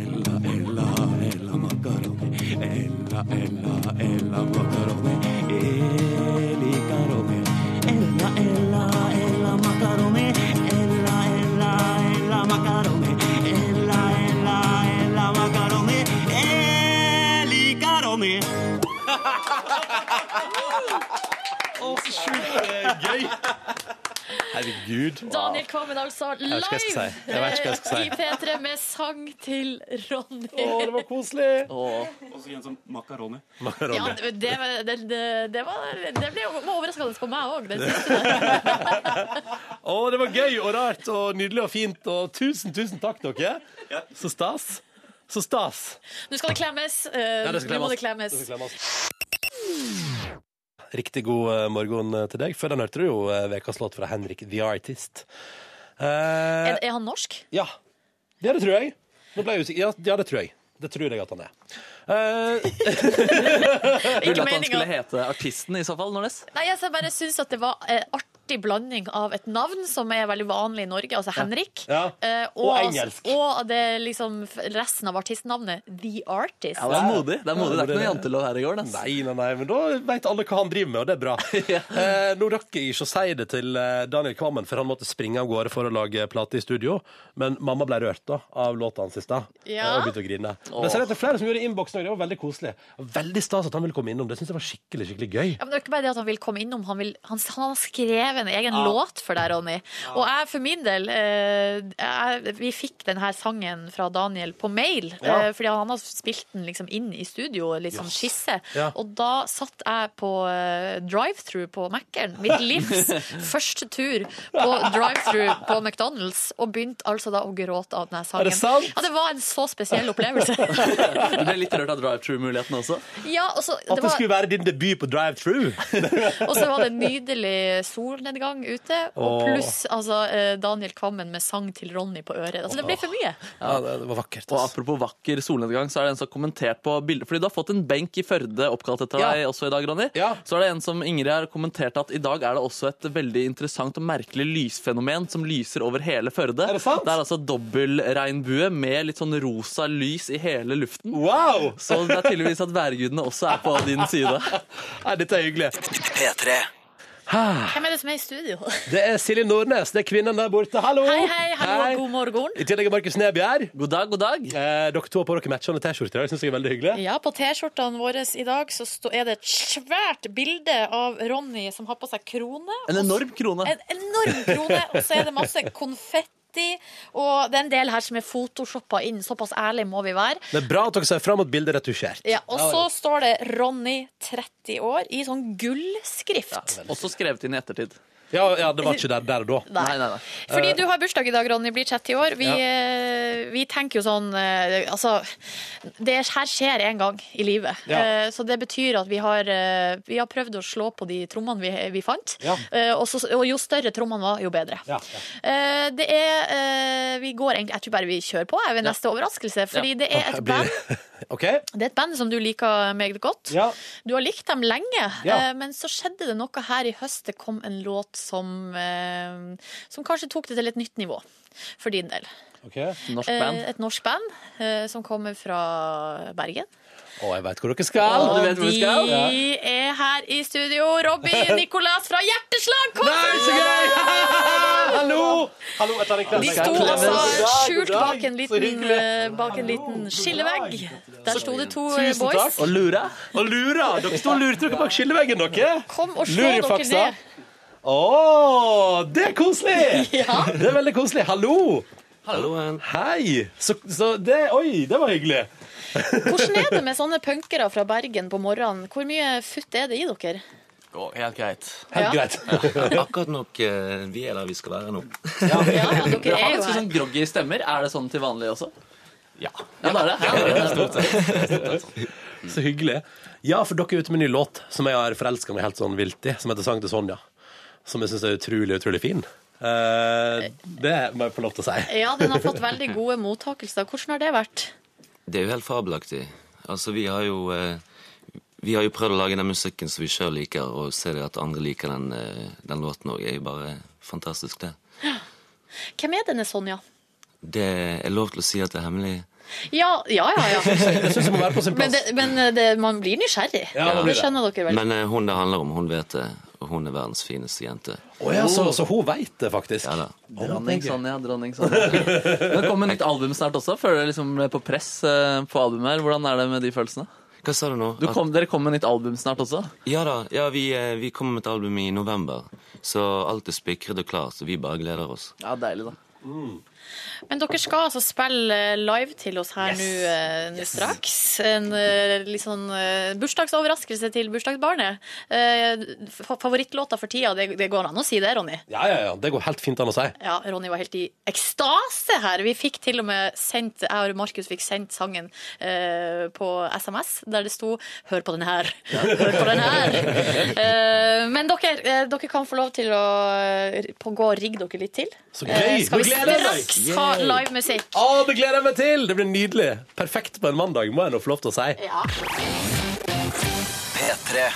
[SPEAKER 6] Ella, ella, ella makaroni. Ella, ella, ella makaroni. Eli karoni. Ella, ella, ella makaroni. Ella, ella, ella makaroni. Ella, ella, ella makaroni. Eli karoni.
[SPEAKER 2] Gøy! Herregud.
[SPEAKER 3] Daniel Kvammen altså
[SPEAKER 2] Jeg vet ikke hva jeg skal
[SPEAKER 3] live
[SPEAKER 2] si. Jeg vet ikke hva jeg skal si.
[SPEAKER 3] i P3 med sang til Ronny.
[SPEAKER 2] Å, det var koselig.
[SPEAKER 6] Og så igjen som makaroni.
[SPEAKER 3] Ja, det, det, var- det, det, det, var, det ble jo overraskende på meg òg.
[SPEAKER 2] Å, det var gøy og rart og nydelig og fint. Og tusen, tusen takk, dere. Så stas. Så stas.
[SPEAKER 3] Nå skal det klemmes. eh,
[SPEAKER 2] Ja, det skal
[SPEAKER 3] Nå må det
[SPEAKER 2] klemmes.
[SPEAKER 3] klemmes.
[SPEAKER 2] Det skal klemmes. Riktig god eh, morgen eh, til deg. Før den hørte du jo eh, ukas låt fra Henrik The Artist. Eh,
[SPEAKER 3] Er, er han norsk?
[SPEAKER 2] Ja. Ja, det tror jeg. Nå ble jeg usikker. Ja, ja, det tror jeg. Det tror jeg at han er. Eh,
[SPEAKER 4] Ville at han skulle hete Artisten i så fall, Nordnes?
[SPEAKER 3] Nei, altså, jeg bare syns at det var en artig blanding av et navn som er veldig vanlig i Norge, altså Henrik,
[SPEAKER 4] Ja.
[SPEAKER 3] eh,
[SPEAKER 4] Og engelsk.
[SPEAKER 3] Og det er liksom f- resten av artistnavnet, The Artist.
[SPEAKER 4] Ja, det er modig. Det er modig. Det er ikke noe jantelov her i går.
[SPEAKER 2] Nei, nei, nei, men da vet alle hva han driver med, og det er bra. eh, nå rakk jeg ikke å si det til eh, Daniel Kvammen, for han måtte springe av gårde for å lage plate i studio. Men mamma ble rørt da, av låta hans i stad, eh,
[SPEAKER 15] Ja.
[SPEAKER 2] og begynte å grine. Men så er det at det er flere som gjorde innboksen òg, det var veldig koselig. Veldig stas at han ville komme innom, det syns jeg var skikkelig, skikkelig gøy.
[SPEAKER 3] Ja, men det er ikke bare det at han vil komme innom, han, vil, han, han har skrevet en egen
[SPEAKER 2] Ja.
[SPEAKER 3] låt for deg, Ronny. Og jeg for min del, eh, jeg, vi fikk denne sangen fra Daniel på mail,
[SPEAKER 10] Ja.
[SPEAKER 3] eh, fordi han har spilt den liksom inn i studio, litt sånn
[SPEAKER 10] Yes.
[SPEAKER 3] skisse.
[SPEAKER 10] Ja.
[SPEAKER 3] Og da satt jeg på eh, drive-thru på Mac-en, mitt livs første tur på drive-thru på McDonald's, og begynte altså da å gråte av denne sangen.
[SPEAKER 4] det sant?
[SPEAKER 3] Ja, det var en så spesiell opplevelse.
[SPEAKER 4] Du ble litt rørt av drive-true-muligheten også?
[SPEAKER 3] Ja, og så, det var,
[SPEAKER 2] være din debut på drive-true!
[SPEAKER 3] Og så var det en nydelig solnedgang ute, og
[SPEAKER 2] Åh.
[SPEAKER 3] pluss altså, eh, Daniel Kvammen med sang til Ronny på øret. Altså, det ble for mye.
[SPEAKER 4] Ja,
[SPEAKER 2] det, var vakkert.
[SPEAKER 4] Og apropos vakker solnedgang, så er det en som har kommentert på bildet. Fordi du har fått en benk i Førde oppkalt etter
[SPEAKER 2] Ja.
[SPEAKER 4] deg også i dag, Ronny. Så er det en som Ingrid har kommentert at i dag er det også et veldig interessant og merkelig lysfenomen som lyser over hele Førde. Er det sant? Det er altså dobbeltregnbue med litt sånn rosa lys i hele luften.
[SPEAKER 2] Wow!
[SPEAKER 4] Så det er tydeligvis at værgudene også er på din side.
[SPEAKER 2] Nei, dette er hyggelig.
[SPEAKER 4] P3.
[SPEAKER 3] Hvem er det som er i studio?
[SPEAKER 2] Det er Silje Nordnes, det er kvinnen der borte. Hallo!
[SPEAKER 3] Hei, hei, hallo, god morgen.
[SPEAKER 2] I tillegg er Markus Neby her.
[SPEAKER 4] God dag, god dag.
[SPEAKER 2] Eh, dere to har på dere matchende T-skjorter i dag, syns jeg er veldig hyggelig.
[SPEAKER 3] Ja, på T-skjortene våre i dag så stå- er det et svært bilde av Ronny som har på seg krone.
[SPEAKER 4] En enorm krone.
[SPEAKER 3] En enorm krone, og så er det masse konfetti. Og det er en del her som er photoshoppa inn. Såpass ærlig må vi være.
[SPEAKER 2] Det er bra at dere ser fram mot bildet retusjert.
[SPEAKER 3] Ja, og så står det 'Ronny 30 år' i sånn gullskrift.
[SPEAKER 4] Også skrevet inn i ettertid.
[SPEAKER 2] Ja, ja, det var ikke der, der og da.
[SPEAKER 3] Nei. Nei, Fordi du har bursdag i dag, Ronny, blir 30 år. Vi,
[SPEAKER 2] Ja.
[SPEAKER 3] eh, vi tenker jo sånn eh, Altså, det her skjer én gang i livet.
[SPEAKER 10] Ja.
[SPEAKER 3] Eh, Så det betyr at vi har, eh, vi har prøvd å slå på de trommene vi, vi fant.
[SPEAKER 10] Ja.
[SPEAKER 3] Eh, Og, så, og jo større trommene var, jo bedre. Eh, Det er eh, Vi går egentlig Jeg tror bare vi kjører på jeg, ved neste overraskelse, fordi det er et band
[SPEAKER 2] OK?
[SPEAKER 3] det er et band som du liker meget godt.
[SPEAKER 2] Ja.
[SPEAKER 3] Du har likt dem lenge,
[SPEAKER 2] Ja.
[SPEAKER 3] eh, men så skjedde det noe her i høst. Det kom en låt som, eh, som kanskje tok det til et nytt nivå, for din del.
[SPEAKER 2] Norsk
[SPEAKER 3] Eh, Et norsk band eh, som kommer fra Bergen.
[SPEAKER 2] Å, jeg veit hvor dere skal.
[SPEAKER 3] Og de er her i studio. Robbie Nicolas fra Hjerteslag
[SPEAKER 2] Nei, så gøy! Hallo! Hallo, jeg tar en klem.
[SPEAKER 3] De sto altså skjult bak en liten, eh, bak en liten skillevegg. Der sto det to eh,
[SPEAKER 2] Tusen takk.
[SPEAKER 3] boys.
[SPEAKER 2] Og lura. Og lura. Dere sto og lurte dere bak skilleveggen, dere.
[SPEAKER 3] Kom og slå
[SPEAKER 2] Lurer
[SPEAKER 3] dere
[SPEAKER 2] faksa.
[SPEAKER 3] ned.
[SPEAKER 2] Å, det er koselig! Det er veldig koselig. Hallo! Hallo. Hei! Så, så det Oi, det var hyggelig.
[SPEAKER 3] Hvordan er det med sånne punkere fra Bergen på morgenen? Hvor mye futt er det i dere?
[SPEAKER 16] helt greit.
[SPEAKER 3] Helt Ja.
[SPEAKER 16] Ja, akkurat nok eh, vi er der vi skal være nå.
[SPEAKER 4] Du
[SPEAKER 3] er
[SPEAKER 4] har
[SPEAKER 3] jo
[SPEAKER 4] ganske
[SPEAKER 3] her.
[SPEAKER 4] sånn groggy stemmer. Er det sånn til vanlig også? Ja. Ja, det er det.
[SPEAKER 2] Så hyggelig. Ja, for dere er ute med en ny låt som jeg har forelska meg helt sånn vilt i, som heter 'Sang til Sonja'. Som jeg syns er utrolig, utrolig fin. Eh, det må jeg få lov til å si.
[SPEAKER 3] Ja, den har fått veldig gode mottakelser. Hvordan har det vært?
[SPEAKER 16] Det er jo helt fabelaktig. Altså, vi har jo eh, Vi har jo prøvd å lage den musikken som vi sjøl liker, og se det at andre liker den, eh, den låten òg, er jo bare fantastisk, det.
[SPEAKER 3] Hvem er denne Sonja?
[SPEAKER 16] Det er lov til å si at det er hemmelig.
[SPEAKER 3] Ja, ja, ja. ja.
[SPEAKER 2] Jeg syns det må være på sin
[SPEAKER 3] Men,
[SPEAKER 16] plass.
[SPEAKER 3] det, men det, man blir nysgjerrig. det skjønner dere vel.
[SPEAKER 16] Men eh, hun det handler om, hun vet det. Og hun er verdens fineste jente.
[SPEAKER 2] Å ja, så, så hun veit det, faktisk.
[SPEAKER 16] Ja da.
[SPEAKER 4] Dronning Sonja, dronning Sonja. Det kommer nytt album snart også. Føler dere liksom på press eh, på albumet her? Hvordan er det med de følelsene?
[SPEAKER 16] Hva sa du nå?
[SPEAKER 4] Du kom, dere kommer med nytt album snart også?
[SPEAKER 16] Ja da, ja, vi, eh, vi kommer med et album i november. Så alt er spikret og klart, så vi bare gleder oss.
[SPEAKER 4] Ja, deilig da.
[SPEAKER 3] Men dere skal altså spille eh, live til oss her nå eh, nå straks. En eh, litt sånn eh, bursdagsoverraskelse til bursdagsbarnet. Eh, fa- Favorittlåta for tida, det, det går an å si det, Ronny?
[SPEAKER 2] Ja, ja, ja. Det går helt fint an å si.
[SPEAKER 3] Ja, Ronny var helt i ekstase her. Vi fikk til og med sendt, jeg og Markus fikk sendt sangen eh, på SMS, der det sto 'Hør på den her'. Hør på den her. Eh, men dere, eh, dere kan få lov til å eh, på, gå og rigge dere litt til.
[SPEAKER 2] Så
[SPEAKER 3] Eh,
[SPEAKER 2] gøy!
[SPEAKER 3] skal vi
[SPEAKER 2] Nå gleder jeg meg!
[SPEAKER 3] straks ha
[SPEAKER 2] Yay!
[SPEAKER 3] live musikk?
[SPEAKER 2] Å, det gleder jeg meg til! Det blir nydelig. Perfekt på en mandag, må jeg nå få lov til å si.
[SPEAKER 3] Ja.
[SPEAKER 2] P3.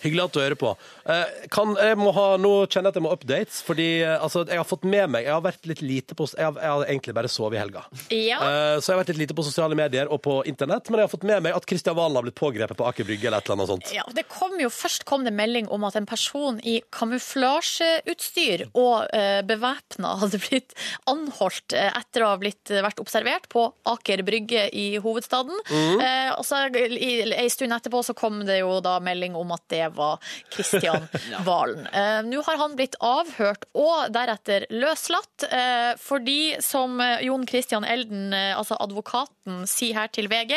[SPEAKER 2] Hyggelig at du hører på. Eh, Kan, jeg må ha, nå kjenner jeg at jeg må updates, fordi eh, altså, jeg har fått med meg Jeg har vært litt lite på Jeg har, jeg har egentlig bare sovet i helga.
[SPEAKER 3] Ja.
[SPEAKER 2] Eh, Så jeg har vært litt lite på sosiale medier og på internett, men jeg har fått med meg at Kristian Valen har blitt pågrepet på Aker Brygge eller et eller annet sånt.
[SPEAKER 3] Ja, det kom jo, Først kom det melding om at en person i kamuflasjeutstyr og eh, bevæpna hadde blitt anholdt eh, etter å ha blitt, eh, vært observert på Aker Brygge i hovedstaden.
[SPEAKER 10] Mhm.
[SPEAKER 3] Eh, og så i- Ei stund etterpå så kom det jo da melding om at det var Kristian
[SPEAKER 10] Ja.
[SPEAKER 3] Valen. Eh, Nå har han blitt avhørt og deretter løslatt, eh, fordi som eh, Jon Christian Elden, eh, altså advokaten, sier her til VG,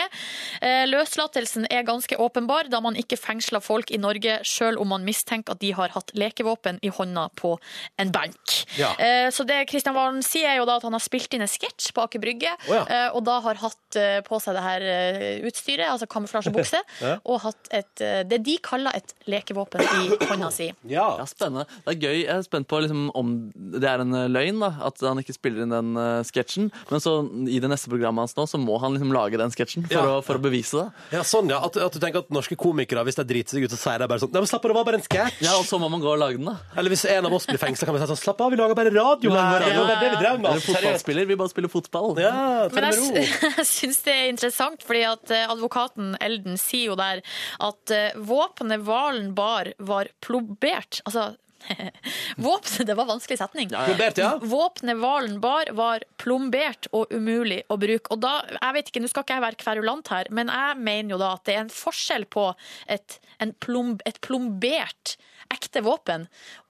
[SPEAKER 3] eh, løslatelsen er ganske åpenbar da man ikke fengsler folk i Norge selv om man mistenker at de har hatt lekevåpen i hånda på en benk.
[SPEAKER 10] Ja.
[SPEAKER 3] Eh, Så det Kristian Valen sier er jo da at han har spilt inn en sketsj på Aker Brygge,
[SPEAKER 10] Å ja.
[SPEAKER 3] eh, og da har hatt eh, på seg det her eh, utstyret, altså kamuflasjebukse,
[SPEAKER 4] Ja.
[SPEAKER 3] og hatt et, eh, det de kaller et lekevåpen i hånda si.
[SPEAKER 2] Ja.
[SPEAKER 4] Spennende. Det er gøy. Jeg er spent på liksom, om det er en eh, løgn, da, at han ikke spiller inn den eh, sketsjen. Men så i det neste programmet hans nå, så må han liksom lage den sketsjen for,
[SPEAKER 2] Ja.
[SPEAKER 4] å, for å bevise det.
[SPEAKER 2] Ja, sånn, ja. At, at du tenker at norske komikere, hvis de driter seg ut, så sier de bare sånn Nei, men slapp av, det var bare en sketsj.
[SPEAKER 4] Ja, og så må man gå og lage den, da.
[SPEAKER 2] Eller hvis en av oss blir fengsla, kan vi si sånn Slapp av, vi lager bare radio. men det var det vi drev med.
[SPEAKER 4] Eller fotballspiller. Vi bare spiller fotball.
[SPEAKER 2] Ja, ta
[SPEAKER 3] Men
[SPEAKER 2] det med
[SPEAKER 3] jeg,
[SPEAKER 2] ro.
[SPEAKER 3] sy- jeg syns det er interessant, fordi at eh, advokaten Elden sier jo der at eh, våpenet Valen bar, var plombert. Altså Våpenet Det var en vanskelig setning.
[SPEAKER 10] Ja, ja. Plombert, ja.
[SPEAKER 3] Våpenet Valen bar, var plombert og umulig å bruke. Og da, jeg vet ikke, Nå skal ikke jeg være kverulant her, men jeg mener jo da at det er en forskjell på et, en plomb, et plombert ekte våpen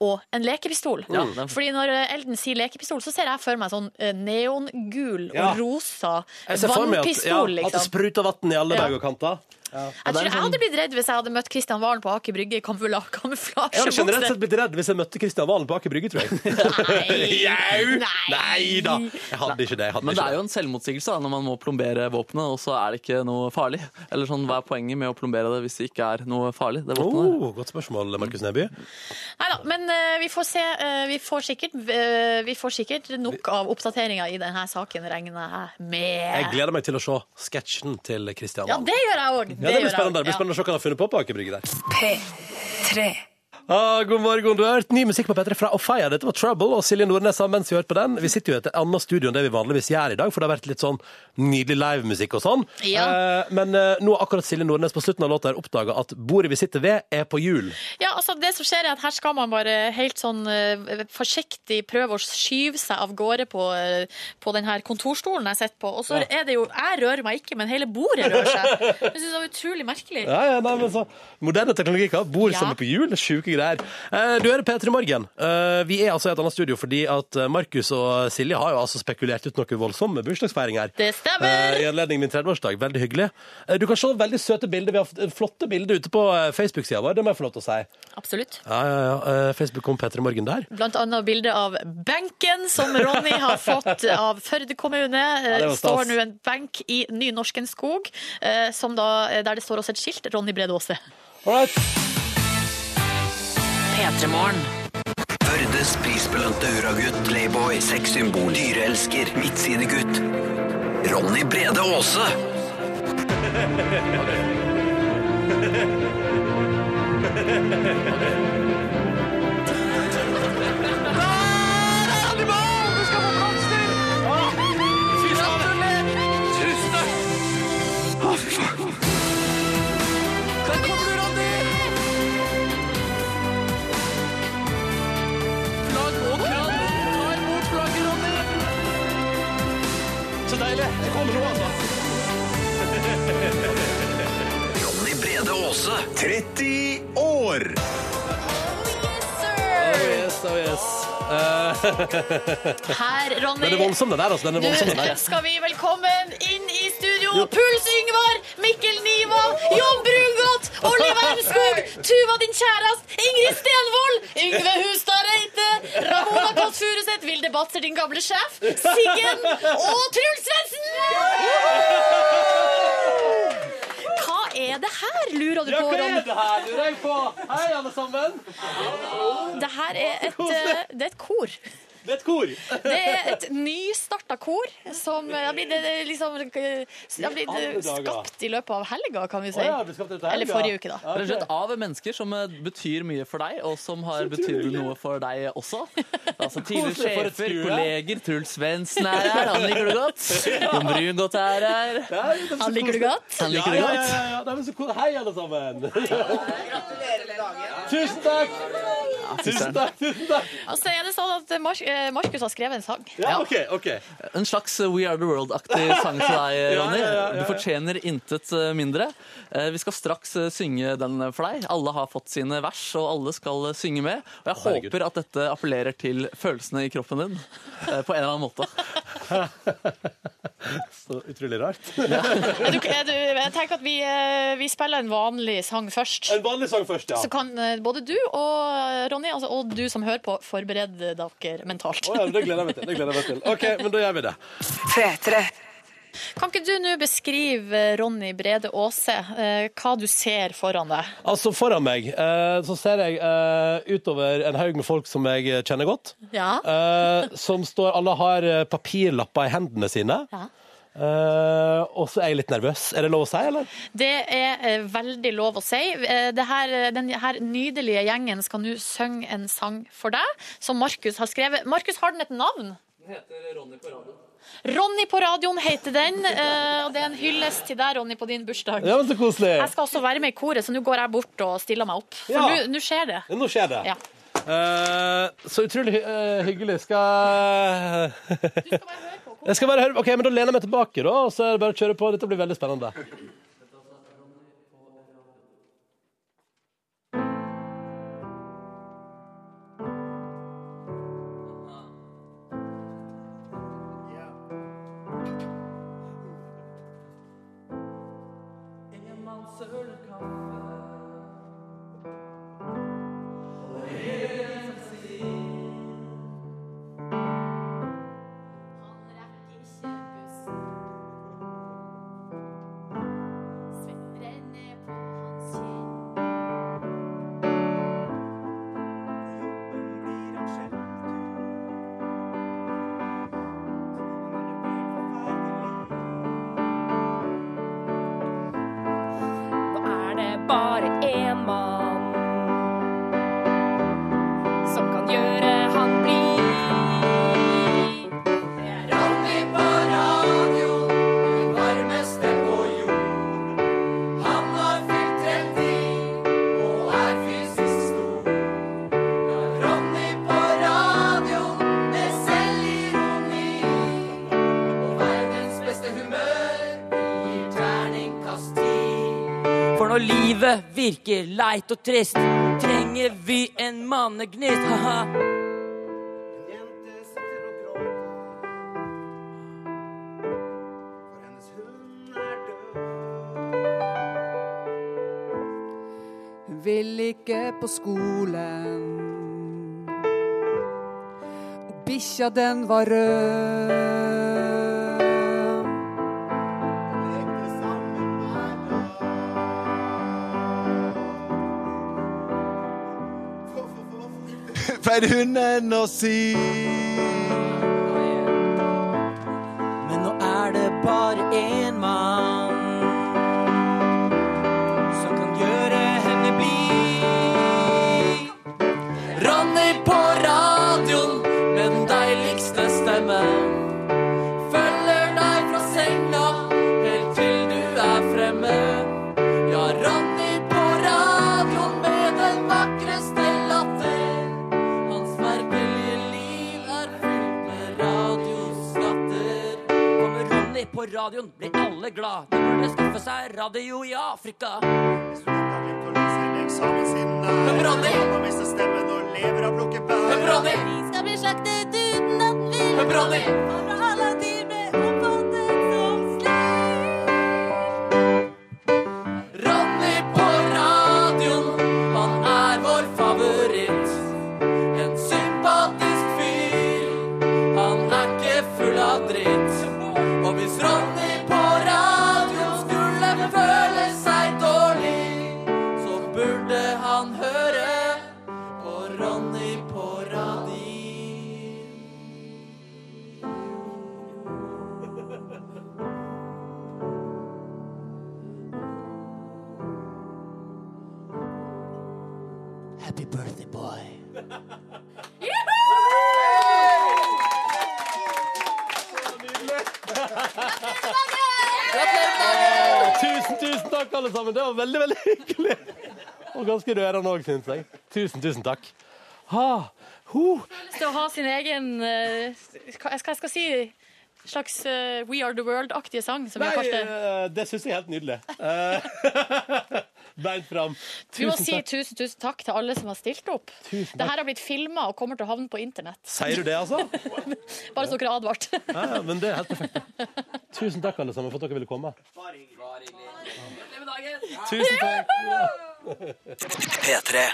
[SPEAKER 3] og en lekepistol.
[SPEAKER 10] Ja, det er-
[SPEAKER 3] Fordi når eh, Elden sier lekepistol, så ser jeg for meg sånn eh, neongul og
[SPEAKER 2] Ja.
[SPEAKER 3] rosa
[SPEAKER 2] Jeg ser for meg at, ja,
[SPEAKER 3] vannpistol,
[SPEAKER 2] at det
[SPEAKER 3] liksom.
[SPEAKER 2] spruter vann i alle
[SPEAKER 3] Ja.
[SPEAKER 2] bauger og kanter.
[SPEAKER 3] Jeg tror jeg
[SPEAKER 2] sånn-
[SPEAKER 3] hadde blitt redd hvis jeg hadde møtt Kristian Valen på Aker Brygge i kamufla-
[SPEAKER 2] Jeg hadde generelt sett
[SPEAKER 3] kamuflasjebukse.
[SPEAKER 2] blitt redd hvis jeg møtte Kristian Valen på Aker Brygge, tror jeg. Jau! Nei da! Jeg hadde ikke det. Jeg hadde
[SPEAKER 4] Men det
[SPEAKER 2] ikke
[SPEAKER 4] er jo en selvmotsigelse da, når man må plombere våpenet, og så er det ikke noe farlig. Eller sånn, Hva er poenget med å plombere det hvis det ikke er noe farlig? Det våpenet?
[SPEAKER 2] Oh, godt spørsmål, Markus Neby.
[SPEAKER 3] Neida, men eh, vi får se. eh, vi, får sikkert, eh, vi får sikkert nok av oppdateringer i denne saken, regner jeg
[SPEAKER 2] Jeg
[SPEAKER 3] med.
[SPEAKER 2] gleder meg til å se sketsjen til Kristian
[SPEAKER 3] Ja,
[SPEAKER 2] Valen.
[SPEAKER 3] det gjør jeg òg.
[SPEAKER 2] Ja, det blir spennende. Det blir spennende å se hva han har funnet på på Aker Brygge der.
[SPEAKER 5] P3.
[SPEAKER 2] Ah, god morgen, du har hørt ny musikk på P3 fra Ofaya. Dette var Trouble og Silje Nordnes har mens vi hørte på den. Vi sitter jo i et annet studio enn det vi vanligvis gjør i dag, for det har vært litt sånn nydelig livemusikk og sånn.
[SPEAKER 3] Ja.
[SPEAKER 2] Eh, men eh, nå har akkurat Silje Nordnes på slutten av låta her oppdaga at bordet vi sitter ved, er på hjul.
[SPEAKER 3] Ja, altså det som skjer er at Her skal man bare helt sånn eh, forsiktig prøve å skyve seg av gårde på, eh, på den her kontorstolen jeg sitter på. Og så
[SPEAKER 2] Ja.
[SPEAKER 3] er det jo Jeg rører meg ikke, men hele bordet rører seg. Jeg synes det var utrolig merkelig.
[SPEAKER 2] Ja, ja, nei, men så Moderne teknologi, hva? Bord som
[SPEAKER 3] Ja.
[SPEAKER 2] er på hjul? Sjuke greier. Eh, Du hører P3 Morgen. Eh, Vi er altså i et annet studio fordi at eh, Markus og Silje har jo altså spekulert ut noen voldsomme bursdagsfeiringer. Eh,
[SPEAKER 3] Det stemmer!
[SPEAKER 2] I anledning min 30-årsdag. Veldig hyggelig. Eh, Du kan se veldig søte bilder. Vi har fått flotte bilder ute på eh, Facebook-sida vår, det må jeg få lov til å si.
[SPEAKER 3] Absolutt.
[SPEAKER 2] Ja, ja, ja. Eh, Facebook kom P3 Morgen der.
[SPEAKER 3] Blant annet bilde av benken som Ronny har fått av Førde kommune.
[SPEAKER 2] Ja, det
[SPEAKER 3] det
[SPEAKER 2] var stas.
[SPEAKER 3] står nå en benk i Nynorsken skog, eh, som da, eh, der det står også et skilt 'Ronny Brede Aase'.
[SPEAKER 5] P3morgen.
[SPEAKER 15] Førdes prisbelønte hurragutt, playboy, sexsymbol, dyreelsker, midtsidegutt. Ronny Brede Aase.
[SPEAKER 2] Så deilig! Det kom nå,
[SPEAKER 15] Ronny Brede Aase. 30 år.
[SPEAKER 2] Oh yes, oh yes.
[SPEAKER 3] Her, Ronny.
[SPEAKER 2] Den er voldsom, den der. Altså. Den er voldsom, den
[SPEAKER 3] Nå
[SPEAKER 2] der.
[SPEAKER 3] ønsker vi velkommen inn i studio Puls Yngvar, Mikkel Niva, Jon Brungot, Oliver Elmskog, Tuva din kjærest, Ingrid Stenvold, Yngve Hustad Reite, Ramona Kåss Furuseth, Vilde Batzer, din gamle sjef, Siggen og Truls Svendsen! Hva er det her, lurer du
[SPEAKER 2] Ja,
[SPEAKER 3] på,
[SPEAKER 2] hva er
[SPEAKER 3] Ronny?
[SPEAKER 2] det her, lurer jeg på? Hei, alle sammen.
[SPEAKER 3] Det her er et, eh, det er et kor.
[SPEAKER 2] Det er et kor.
[SPEAKER 3] Det er et nystarta kor som eh, har blitt eh, liksom, eh, har blitt eh, skapt i løpet av helga, kan vi si.
[SPEAKER 4] Å ja, det ble skapt etter helga.
[SPEAKER 3] Eller forrige uke, da.
[SPEAKER 4] Rett og slett av mennesker som eh, betyr mye for deg, og som har betydd noe for deg også. Altså
[SPEAKER 2] Koselig
[SPEAKER 4] Tidligere
[SPEAKER 2] for et
[SPEAKER 4] sjefer,
[SPEAKER 2] skue.
[SPEAKER 4] kolleger. Truls Svendsen er her, han liker du godt. Jon Brungot er her.
[SPEAKER 3] Han liker du godt?
[SPEAKER 4] Han liker du
[SPEAKER 2] ja,
[SPEAKER 4] godt.
[SPEAKER 2] Ja, ja, ja. Nei, men så kos- Hei, alle sammen. Tusen takk. Tusen takk. Tusen takk.
[SPEAKER 3] Og så er det sånn at eh, Mar eh, Markus har skrevet en sang.
[SPEAKER 2] Ja, ok, ok.
[SPEAKER 4] En slags eh, We Are The World-aktig sang til deg,
[SPEAKER 2] Ja, ja,
[SPEAKER 4] Ronny.
[SPEAKER 2] ja, ja,
[SPEAKER 4] Du
[SPEAKER 2] ja.
[SPEAKER 4] fortjener intet eh, mindre. Eh, Vi skal straks eh, synge den for deg. Alle har fått sine vers, og alle skal eh, synge med. Og jeg
[SPEAKER 2] Herregud.
[SPEAKER 4] håper at dette appellerer til følelsene i kroppen din eh, på en eller annen måte.
[SPEAKER 2] Så utrolig rart.
[SPEAKER 3] Er du, er du, jeg tenker at vi, eh, vi spiller en vanlig sang først.
[SPEAKER 2] En vanlig sang først, ja.
[SPEAKER 3] Så kan eh, både du og eh, Ronny, altså, og du som hører på, forberede dere mentalt.
[SPEAKER 2] Å, ja, men det gleder jeg meg til. Det gleder jeg meg til. OK, men da gjør vi det.
[SPEAKER 3] Kan ikke du nå beskrive eh, Ronny Brede Aase, eh, hva du ser foran deg?
[SPEAKER 2] Altså, foran meg eh, så ser jeg eh, utover en haug med folk som jeg eh, kjenner godt.
[SPEAKER 3] Ja.
[SPEAKER 2] Eh, som står Alle har eh, papirlapper i hendene sine. Eh, og så er jeg litt nervøs. Er det lov å si, eller?
[SPEAKER 3] Det er eh, veldig lov å si. Eh, det her, den her nydelige gjengen skal nå synge en sang for deg, som Markus har skrevet. Markus, har den et navn? Ronny på radioen heter den, eh, og det er en hyllest til deg, Ronny, på din bursdag.
[SPEAKER 2] Ja, men så koselig.
[SPEAKER 3] Jeg skal også være med i koret, så nå går jeg bort og stiller meg opp. For
[SPEAKER 2] Ja.
[SPEAKER 3] nå- nå skjer det.
[SPEAKER 2] Nå skjer det.
[SPEAKER 3] Ja.
[SPEAKER 2] Eh, så utrolig hy eh, hyggelig. Skal Jeg skal bare høre Ok, men Da lener jeg meg tilbake, da, og så er det bare å kjøre på. Dette blir veldig spennende.
[SPEAKER 10] Nå er det bare én mann som kan gjøre han blid. Det er Ronny på radio, den varmeste på jord. Han har fylt 30 og er fysisk stor. Ja, Ronny på radio med selvironi. Og verdens beste humør gir terningkast ti.
[SPEAKER 17] For når livet virker leit og trist, trenger vi en mannegnist. Ha-ha.
[SPEAKER 18] Vil ikke på skolen. Og bikkja, den var rød.
[SPEAKER 19] feide hunden og si
[SPEAKER 17] Men nå er det bare én mann som kan gjøre henne blid.
[SPEAKER 15] Ronny på radioen med den deiligste stemmen.
[SPEAKER 17] Følger deg fra senga helt til du er fremme. Ja, Ronny på radioen med den vakreste latter. Hans merkelige liv er fylt med radioskatter. Kommer Ronny på radioen, blir alle glad. Det burde skaffe seg radio i Afrika. Ronny! Ronny!
[SPEAKER 19] Lever av plukke bær.
[SPEAKER 17] Ronny!
[SPEAKER 3] Skal bli
[SPEAKER 20] slaktet uten at vi
[SPEAKER 17] Med Bronny.
[SPEAKER 20] Fra alle dyr ble oppfattet som
[SPEAKER 17] Ronny på radioen, han er vår favoritt. En sympatisk fyr, han er ikke full av dritt. Og hvis Ronny på radioen skulle føle seg dårlig, så burde han høre på Ronny på radio. Happy birthday, boy.
[SPEAKER 2] Åh, Tusen, tusen takk, alle sammen. Det var veldig, veldig hyggelig. Og ganske rørende òg, syns jeg. Tusen, tusen takk. Ha, ho.
[SPEAKER 3] lyst til å ha sin egen eh, hva jeg skal, jeg skal si slags eh, We Are The World-aktige sang, som vi har
[SPEAKER 2] Nei,
[SPEAKER 3] kalt det.
[SPEAKER 2] eh, det syns jeg er helt nydelig. Eh, Beint fram.
[SPEAKER 3] Vi må si
[SPEAKER 2] Tusen takk.
[SPEAKER 3] tusen, tusen takk til alle som har stilt opp.
[SPEAKER 2] Tusen
[SPEAKER 3] Det her
[SPEAKER 2] takk.
[SPEAKER 3] har blitt filma og kommer til å havne på internett.
[SPEAKER 2] Sier du det, altså?
[SPEAKER 3] Bare så dere er advart.
[SPEAKER 2] Ja, ja, men det er helt perfekt. Tusen takk, alle sammen, for at dere ville komme. Tusen takk.
[SPEAKER 17] P3.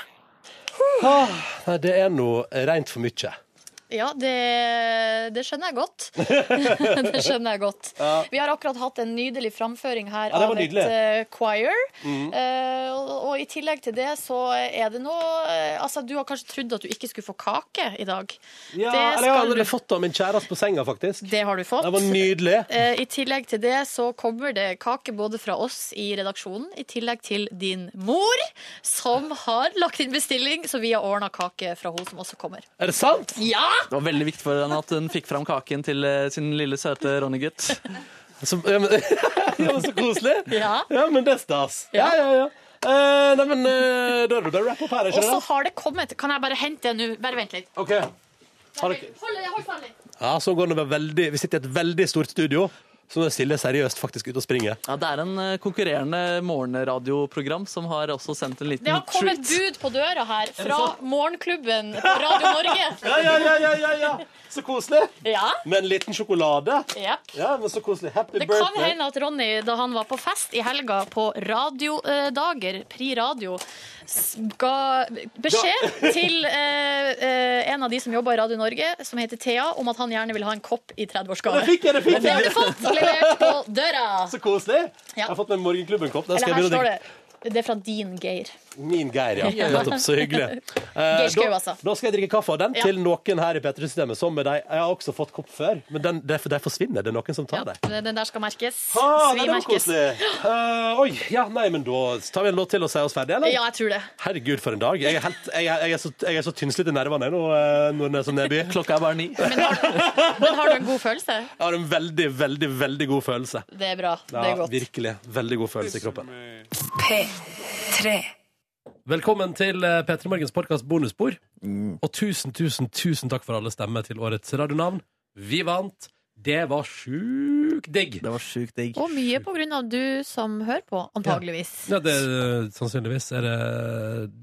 [SPEAKER 2] Ah, nei, det er nå rent for mye.
[SPEAKER 3] Ja, det, det skjønner jeg godt. det skjønner jeg godt.
[SPEAKER 2] Ja.
[SPEAKER 3] Vi har akkurat hatt en nydelig framføring her
[SPEAKER 2] Ja, det var
[SPEAKER 3] av et
[SPEAKER 2] nydelig.
[SPEAKER 3] eh, choir.
[SPEAKER 2] Mhm.
[SPEAKER 3] Eh, og, og i tillegg til det så er det noe eh, Altså, du har kanskje trodd at du ikke skulle få kake i dag.
[SPEAKER 2] Ja,
[SPEAKER 3] Det
[SPEAKER 2] eller jeg har
[SPEAKER 3] skal du
[SPEAKER 2] allerede fått det av min kjæreste på senga, faktisk.
[SPEAKER 3] Det har du fått.
[SPEAKER 2] Det var nydelig.
[SPEAKER 3] Eh, I tillegg til det så kommer det kake både fra oss i redaksjonen, i tillegg til din mor, som har lagt inn bestilling, så vi har ordna kake fra hun som også kommer.
[SPEAKER 2] Er det sant?
[SPEAKER 3] Ja!
[SPEAKER 4] Det var veldig viktig for henne at hun fikk fram kaken til eh, sin lille søte Ronny-gutt.
[SPEAKER 2] ja, men, så koselig!
[SPEAKER 3] Ja.
[SPEAKER 2] men det er stas. Ja, ja, ja. Eh, nei, men eh, da er det da er wrap up her,
[SPEAKER 3] Og
[SPEAKER 2] ikke
[SPEAKER 3] så
[SPEAKER 2] det?
[SPEAKER 3] har det kommet Kan jeg bare hente det nå? Bare vent litt.
[SPEAKER 2] OK. Har dere...
[SPEAKER 3] Hold, hold faen litt.
[SPEAKER 2] Ja, sånn går det med veldig Vi sitter i et veldig stort studio, så nå er Silje seriøst faktisk ute og springer.
[SPEAKER 4] Ja, Det er en eh, konkurrerende morgenradioprogram som har også sendt en liten
[SPEAKER 3] Det har kommet
[SPEAKER 4] treat.
[SPEAKER 3] bud på døra her fra Morgenklubben på Radio Norge.
[SPEAKER 2] Ja, ja, ja, ja, ja, ja. Så koselig!
[SPEAKER 3] Ja.
[SPEAKER 2] Med en liten sjokolade.
[SPEAKER 3] Japp.
[SPEAKER 2] Ja, men så koselig. Happy
[SPEAKER 3] Det kan
[SPEAKER 2] birthday.
[SPEAKER 3] hende at Ronny, da han var på fest i helga på radiodager, Pri Radio, s- ga beskjed til eh, eh, en av de som jobber i Radio Norge, som heter Thea, om at han gjerne vil ha en kopp i 30-årsgave.
[SPEAKER 2] Det fikk jeg, det fikk jeg.
[SPEAKER 3] har du fått levert på døra.
[SPEAKER 2] Så koselig!
[SPEAKER 3] Ja.
[SPEAKER 2] Jeg har fått meg en Morgenklubben-kopp. Den skal
[SPEAKER 3] Eller her
[SPEAKER 2] jeg begynne å
[SPEAKER 3] står
[SPEAKER 2] drikke.
[SPEAKER 3] det. Det er fra din Geir.
[SPEAKER 2] Min Geir, ja.
[SPEAKER 3] Ja.
[SPEAKER 2] Nettopp, så hyggelig. Eh,
[SPEAKER 3] Geir Skau,
[SPEAKER 2] da,
[SPEAKER 3] altså.
[SPEAKER 2] da skal jeg drikke kaffe av den
[SPEAKER 3] Ja.
[SPEAKER 2] til noen her i P3-systemet. Som med deg. Jeg har også fått kopp før, men den, det, det forsvinner. Det er noen som tar dem.
[SPEAKER 3] Den der skal merkes.
[SPEAKER 2] Ah, nei,
[SPEAKER 3] Svi
[SPEAKER 2] det var
[SPEAKER 3] merkes.
[SPEAKER 2] koselig. Eh, oi, ja, nei, men da tar vi en låt til og sier oss ferdige, eller?
[SPEAKER 3] Ja, jeg tror det.
[SPEAKER 2] Herregud, for en dag. Jeg er, helt, jeg, er- jeg er så, jeg er så tynnslitt i nervene nå, eh, når den er så nedby.
[SPEAKER 4] Klokka er bare ni.
[SPEAKER 3] Men har du en god følelse?
[SPEAKER 2] Jeg har en veldig, veldig, veldig god følelse.
[SPEAKER 3] Det er bra. Det er
[SPEAKER 2] Ja,
[SPEAKER 3] godt.
[SPEAKER 2] virkelig. Veldig god følelse i kroppen.
[SPEAKER 5] P3.
[SPEAKER 2] Velkommen til eh, P3 Morgens podkast bonusbord. Og tusen, tusen, tusen takk for alle stemmer til årets radionavn. Vi vant. Det var sjukt digg.
[SPEAKER 4] Det var sjukt digg.
[SPEAKER 3] Og mye på grunn av du som hører på, antageligvis.
[SPEAKER 2] Ja, det, er, sannsynligvis er det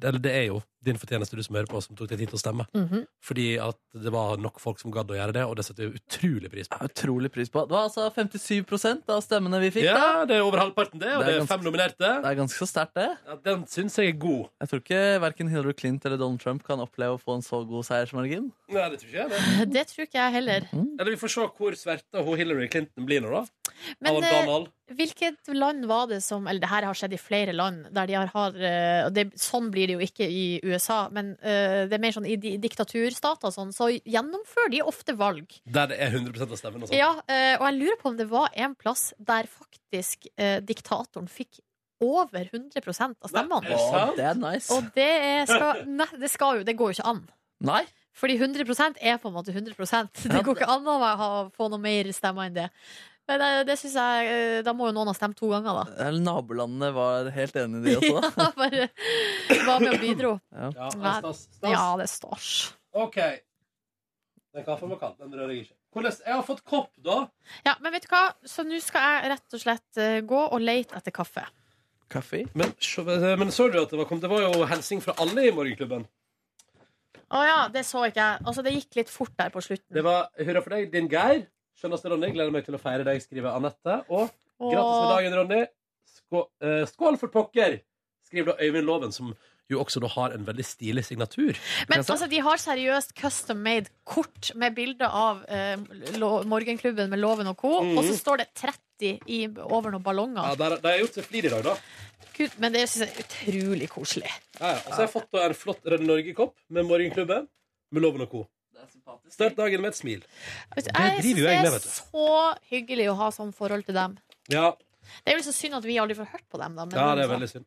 [SPEAKER 2] Eller det er jo din fortjeneste, du som hører på, som tok deg tid til å stemme.
[SPEAKER 3] Mhm.
[SPEAKER 2] Fordi at det var nok folk som gadd å gjøre det, og det setter vi utrolig pris på.
[SPEAKER 4] Utrolig pris på. Det var altså 57 av stemmene vi fikk.
[SPEAKER 2] Ja,
[SPEAKER 4] da.
[SPEAKER 2] det er over halvparten, det. Og det er,
[SPEAKER 4] ganske-
[SPEAKER 2] fem nominerte.
[SPEAKER 4] Det er ganske så sterkt, det.
[SPEAKER 2] Ja, den syns jeg er god.
[SPEAKER 4] Jeg tror ikke verken Hillary Clinton eller Donald Trump kan oppleve å få en så god seiersmargin.
[SPEAKER 2] Nei, det tror ikke jeg. Det.
[SPEAKER 3] Det tror ikke jeg heller.
[SPEAKER 2] Eller vi får se hvor sverta hun Hillary Clinton blir nå, da.
[SPEAKER 3] Men
[SPEAKER 2] Av
[SPEAKER 3] eh,
[SPEAKER 2] Donald.
[SPEAKER 3] hvilket land var det som Eller det her har skjedd i flere land. Der de har, har eh, og det, Sånn blir det jo ikke i USA, men eh, det er mer sånn i di- diktaturstater og sånn, så gjennomfører de ofte valg.
[SPEAKER 2] Der det er 100 av stemmen. altså. Og sånt.
[SPEAKER 3] Ja, eh, og jeg lurer på om det var en plass der faktisk eh, diktatoren fikk over 100 av
[SPEAKER 4] Nei,
[SPEAKER 3] stemmene.
[SPEAKER 4] er det sant? Å, det er nice.
[SPEAKER 3] Og det, er, skal, nei, det skal jo Det går jo ikke an.
[SPEAKER 4] Nei.
[SPEAKER 3] Fordi 100 er på en måte 100 Det
[SPEAKER 4] Ja,
[SPEAKER 3] går
[SPEAKER 4] det-
[SPEAKER 3] ikke an å ha- få noe mer stemmer enn det. Men eh, det synes jeg eh, Da må jo noen ha stemt to ganger, da.
[SPEAKER 4] Eller Nabolandene var helt enig i det også. da.
[SPEAKER 3] Ja, bare var med og bidro.
[SPEAKER 4] Ja. Ja,
[SPEAKER 2] det er stas. Stas.
[SPEAKER 3] Ja, det er stas.
[SPEAKER 2] OK. Den kaffen var kald. Den rører jeg ikke. Hvordan, jeg har fått kopp, da.
[SPEAKER 3] Ja, men vet du hva? Så nå skal jeg rett og slett eh, gå og lete etter kaffe.
[SPEAKER 4] Kaffe?
[SPEAKER 2] eh, Men, så- men så du at det var kommet? Det var jo hilsing fra alle i morgenklubben.
[SPEAKER 3] Å ja, det så ikke jeg. Altså, det gikk litt fort der på slutten.
[SPEAKER 2] Det var hurra for deg, din Geir. Skjønneste Ronny. Gleder meg til å feire deg, skriver Anette. Og
[SPEAKER 3] Åh.
[SPEAKER 2] gratis med dagen, Ronny. Skål, skål for pokker, skriver da Øyvind Loven, som jo også da har en veldig stilig signatur.
[SPEAKER 3] Men altså, de har seriøst custom made kort med bilder av eh, lo Morgenklubben med Loven og co.,
[SPEAKER 2] Mhm.
[SPEAKER 3] og så står det 30 i, over noen
[SPEAKER 2] ja,
[SPEAKER 3] ballonger.
[SPEAKER 2] der, De har gjort seg flid i dag, da.
[SPEAKER 3] Gud, men det syns jeg er utrolig koselig.
[SPEAKER 2] Ja, ja. Og så har jeg fått da en flott Rød Norge-kopp med Morgenklubben, med Loven og co. Start dagen med et smil.
[SPEAKER 3] Jeg
[SPEAKER 2] driver
[SPEAKER 3] synes
[SPEAKER 2] jo
[SPEAKER 3] det
[SPEAKER 2] jeg med,
[SPEAKER 3] er
[SPEAKER 2] vet du.
[SPEAKER 3] så hyggelig å ha sånn forhold til dem.
[SPEAKER 2] Ja,
[SPEAKER 3] Det er jo så synd at vi aldri får hørt på dem, da. men
[SPEAKER 2] ja det er
[SPEAKER 3] altså.
[SPEAKER 2] veldig synd.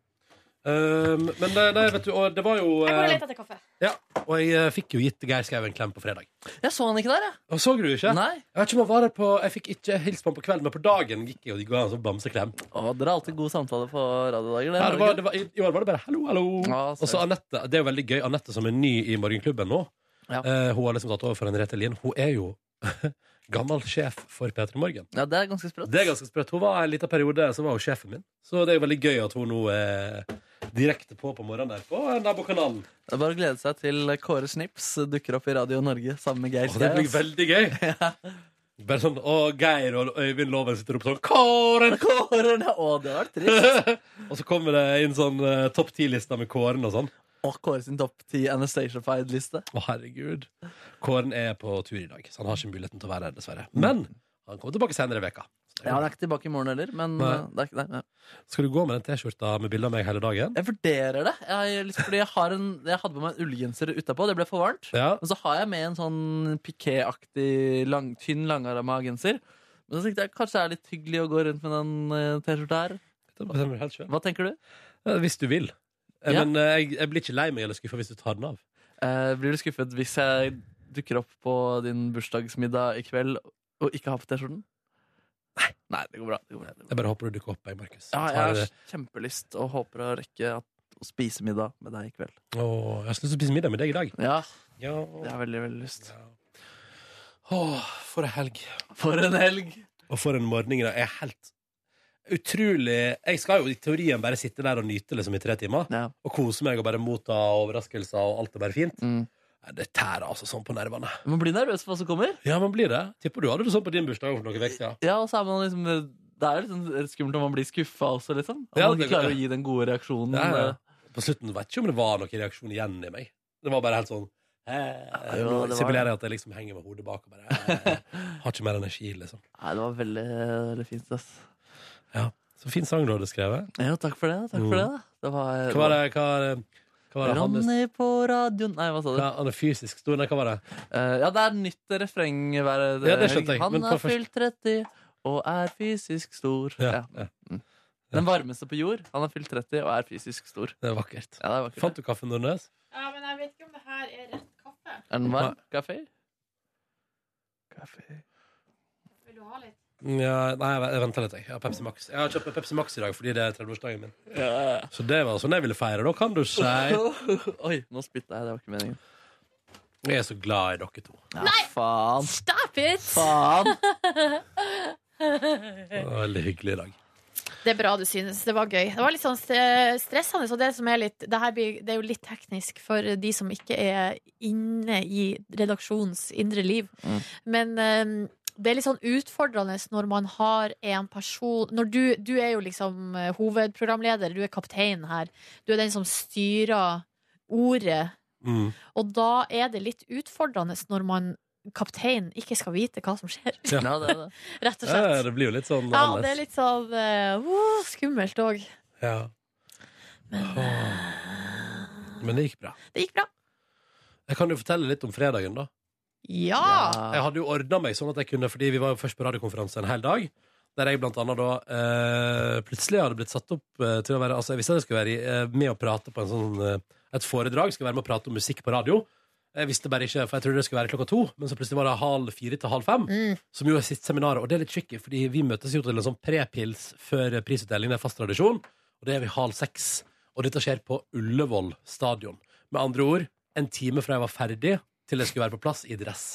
[SPEAKER 2] Um, men nei, nei, vet du, og det var jo
[SPEAKER 3] Jeg går og
[SPEAKER 2] eh,
[SPEAKER 3] leter etter kaffe.
[SPEAKER 2] Ja, og jeg eh, fikk jo gitt Geir Skau en klem på fredag.
[SPEAKER 4] Jeg så han ikke der, jeg.
[SPEAKER 2] Og så du ikke?
[SPEAKER 4] Nei.
[SPEAKER 2] Jeg vet ikke om han var der på Jeg fikk ikke hilst på han på kvelden, men på dagen gikk jeg og gikk en sånn bamseklem.
[SPEAKER 4] Å, dere har alltid god samtale på radiodager.
[SPEAKER 2] Ja, det var, det var, I i år var det bare 'hallo, hallo'.
[SPEAKER 4] Ja,
[SPEAKER 2] og så Anette, Det er jo veldig gøy. Anette som er ny i Morgenklubben nå, eh, hun har liksom tatt over for Henriette Lien. Hun er jo gammel sjef for P3 Morgen.
[SPEAKER 4] Ja, det er ganske sprøtt.
[SPEAKER 2] Det er ganske sprøtt. Hun var en liten periode så var hun sjefen min. Så det er jo veldig gøy at hun nå er direkte på på morgenen der på nabokanalen.
[SPEAKER 4] Det er bare å glede seg til Kåre Snips dukker opp i Radio Norge sammen med Geir
[SPEAKER 2] Og det
[SPEAKER 4] Skei,
[SPEAKER 2] blir
[SPEAKER 4] ass.
[SPEAKER 2] veldig gøy. Bare sånn, å, Geir og Øyvind Loven sitter oppe sånn Kåren!
[SPEAKER 4] Kåren, ja, å, det var trist.
[SPEAKER 2] og så kommer det inn sånn eh, topp ti-lista med Kåren og sånn.
[SPEAKER 4] Og Kåre sin topp ti Anastacia-fied-liste.
[SPEAKER 2] Å, herregud. Kåren er på tur i dag, så han har ikke muligheten til å være her, dessverre.
[SPEAKER 4] Mm.
[SPEAKER 2] Men han kommer tilbake senere i veka.
[SPEAKER 4] Ja, han er ikke tilbake i morgen heller, men
[SPEAKER 2] Nei.
[SPEAKER 4] uh, det er ikke, nei, nei.
[SPEAKER 2] Skal du gå med den T-skjorta med bilde av meg hele dagen?
[SPEAKER 4] Jeg vurderer det. Jeg, har lyst- fordi jeg, har en, jeg hadde på meg en ullgenser utapå, det ble for varmt.
[SPEAKER 2] Ja.
[SPEAKER 4] Men så har jeg med en sånn pikéaktig, lang, tynn, langarma genser. Men så tenkte jeg kanskje det er litt hyggelig å gå rundt med den eh, T-skjorta her.
[SPEAKER 2] bestemmer du helt selv.
[SPEAKER 4] Hva tenker du?
[SPEAKER 2] Hvis du vil. Eh,
[SPEAKER 4] Ja.
[SPEAKER 2] Men eh, jeg, jeg blir ikke lei meg eller skuffa hvis du tar den av.
[SPEAKER 4] Eh, blir du skuffet hvis jeg dukker opp på din bursdagsmiddag i kveld og ikke har på T-skjorten? Nei, nei, det går bra. Det går bra.
[SPEAKER 2] Jeg bare håper du dukker opp, jeg, Markus.
[SPEAKER 4] Ja,
[SPEAKER 2] Tar
[SPEAKER 4] jeg
[SPEAKER 2] det-
[SPEAKER 4] har kjempelyst og håper å rekke at, å spise middag med deg i kveld.
[SPEAKER 2] Åh, jeg har så lyst til å spise middag med deg i dag.
[SPEAKER 4] Ja,
[SPEAKER 2] Ja.
[SPEAKER 4] det har veldig, veldig lyst.
[SPEAKER 2] Åh, for en helg.
[SPEAKER 4] For en helg.
[SPEAKER 2] Og for en morgen. Jeg er helt utrolig Jeg skal jo i teorien bare sitte der og nyte liksom, i tre timer. Og kose meg og bare motta overraskelser, og alt er bare fint.
[SPEAKER 4] Mm.
[SPEAKER 2] Nei, Det tærer altså sånn på nervene.
[SPEAKER 4] Man blir nervøs for hva som kommer.
[SPEAKER 2] Ja, man blir det. Tipper du hadde det sånn på din bursdag for noen uker siden.
[SPEAKER 4] Ja, og så er man liksom Det er jo litt sånn skummelt om man blir skuffa også, liksom. Om
[SPEAKER 2] Ja,
[SPEAKER 4] man
[SPEAKER 2] det-
[SPEAKER 4] ikke klarer å gi den gode reaksjonen.
[SPEAKER 2] Ja, ja.
[SPEAKER 4] eh.
[SPEAKER 2] På slutten vet jeg ikke om det var noen reaksjon igjen i meg. Det var bare helt sånn eh,
[SPEAKER 4] jo,
[SPEAKER 2] Nå
[SPEAKER 4] det var-
[SPEAKER 2] simulerer jeg at jeg liksom henger med hodet bak og bare eh, Har ikke mer energi, liksom.
[SPEAKER 4] Nei, det var veldig, veldig fint, ass.
[SPEAKER 2] Så fin sang du hadde skrevet.
[SPEAKER 4] Ja, takk for det. Takk
[SPEAKER 2] Mm.
[SPEAKER 4] for det, da. Det var,
[SPEAKER 2] Hva var det, hva, hva var det hans
[SPEAKER 4] Ronny på radioen Nei, hva sa du?
[SPEAKER 2] hva, Han er fysisk stor, nei, hva var det?
[SPEAKER 4] Eh, ja, det er nytt refreng hver
[SPEAKER 2] Ja, det skjønte jeg,
[SPEAKER 4] Han
[SPEAKER 2] men på
[SPEAKER 4] har
[SPEAKER 2] først-
[SPEAKER 4] fylt 30 og er fysisk stor.
[SPEAKER 2] Ja,
[SPEAKER 4] Ja. Mm. Den varmeste på jord. Han har fylt 30 og er fysisk stor.
[SPEAKER 2] Det er vakkert.
[SPEAKER 4] Ja, det er vakkert.
[SPEAKER 2] Fant du kaffen, Nordnes?
[SPEAKER 3] Ja, men jeg vet ikke om det her er rett kaffe.
[SPEAKER 4] Er den varm? Kaffe?
[SPEAKER 3] Vil du ha litt?
[SPEAKER 2] Ja, nei, jeg jeg venter litt. Jeg. jeg har Pepsi Max Jeg har kjøpt meg Pepsi Max i dag fordi det er 30-årsdagen min. Så det var sånn jeg ville feire, da, kan du si.
[SPEAKER 4] Oi, nå spytta jeg. Det var ikke meningen.
[SPEAKER 2] Jeg er så glad i dere to.
[SPEAKER 4] Ja, faen.
[SPEAKER 3] Stop it!
[SPEAKER 4] Faen.
[SPEAKER 2] Det var veldig hyggelig i dag.
[SPEAKER 3] Det er bra du synes. Det var gøy. Det var litt sånn eh, stressende. Så det, som er litt, det, her blir, det er jo litt teknisk for de som ikke er inne i redaksjonens indre liv.
[SPEAKER 2] Mm.
[SPEAKER 3] Men eh, det er litt sånn utfordrende når man har en person Når du, du er jo liksom eh, hovedprogramleder, du er kaptein her. Du er den som styrer ordet.
[SPEAKER 2] Mm.
[SPEAKER 3] Og da er det litt utfordrende når man kaptein ikke skal vite hva som skjer.
[SPEAKER 2] Ja. Ja, det er det.
[SPEAKER 3] Rett og slett.
[SPEAKER 2] Ja, det blir jo litt sånn
[SPEAKER 3] Ja,
[SPEAKER 2] annerledes.
[SPEAKER 3] det er litt sånn eh, uh, skummelt òg.
[SPEAKER 2] Ja. Åh. Men det gikk bra.
[SPEAKER 3] Det gikk bra.
[SPEAKER 2] Jeg kan jo fortelle litt om fredagen, da.
[SPEAKER 3] Ja!
[SPEAKER 2] Jeg hadde jo ordna meg sånn at jeg kunne, fordi vi var jo først på radiokonferanse en hel dag. Der jeg blant annet da eh, plutselig hadde blitt satt opp eh, til å være Altså, jeg visste at jeg skulle være i, eh, med å prate på en sånn eh, et foredrag. Skulle være med å prate om musikk på radio. Jeg visste bare ikke, for jeg trodde det skulle være klokka to, men så plutselig var det halv fire til halv fem. Som jo er sitt seminar. Og det er litt tricky, fordi vi møtes jo til en sånn prepils før prisutdeling. Det er fast tradisjon. Og det er vi halv seks. Og dette skjer på Ullevål stadion. Med andre ord, en time fra jeg var ferdig, til jeg skulle være på plass i dress.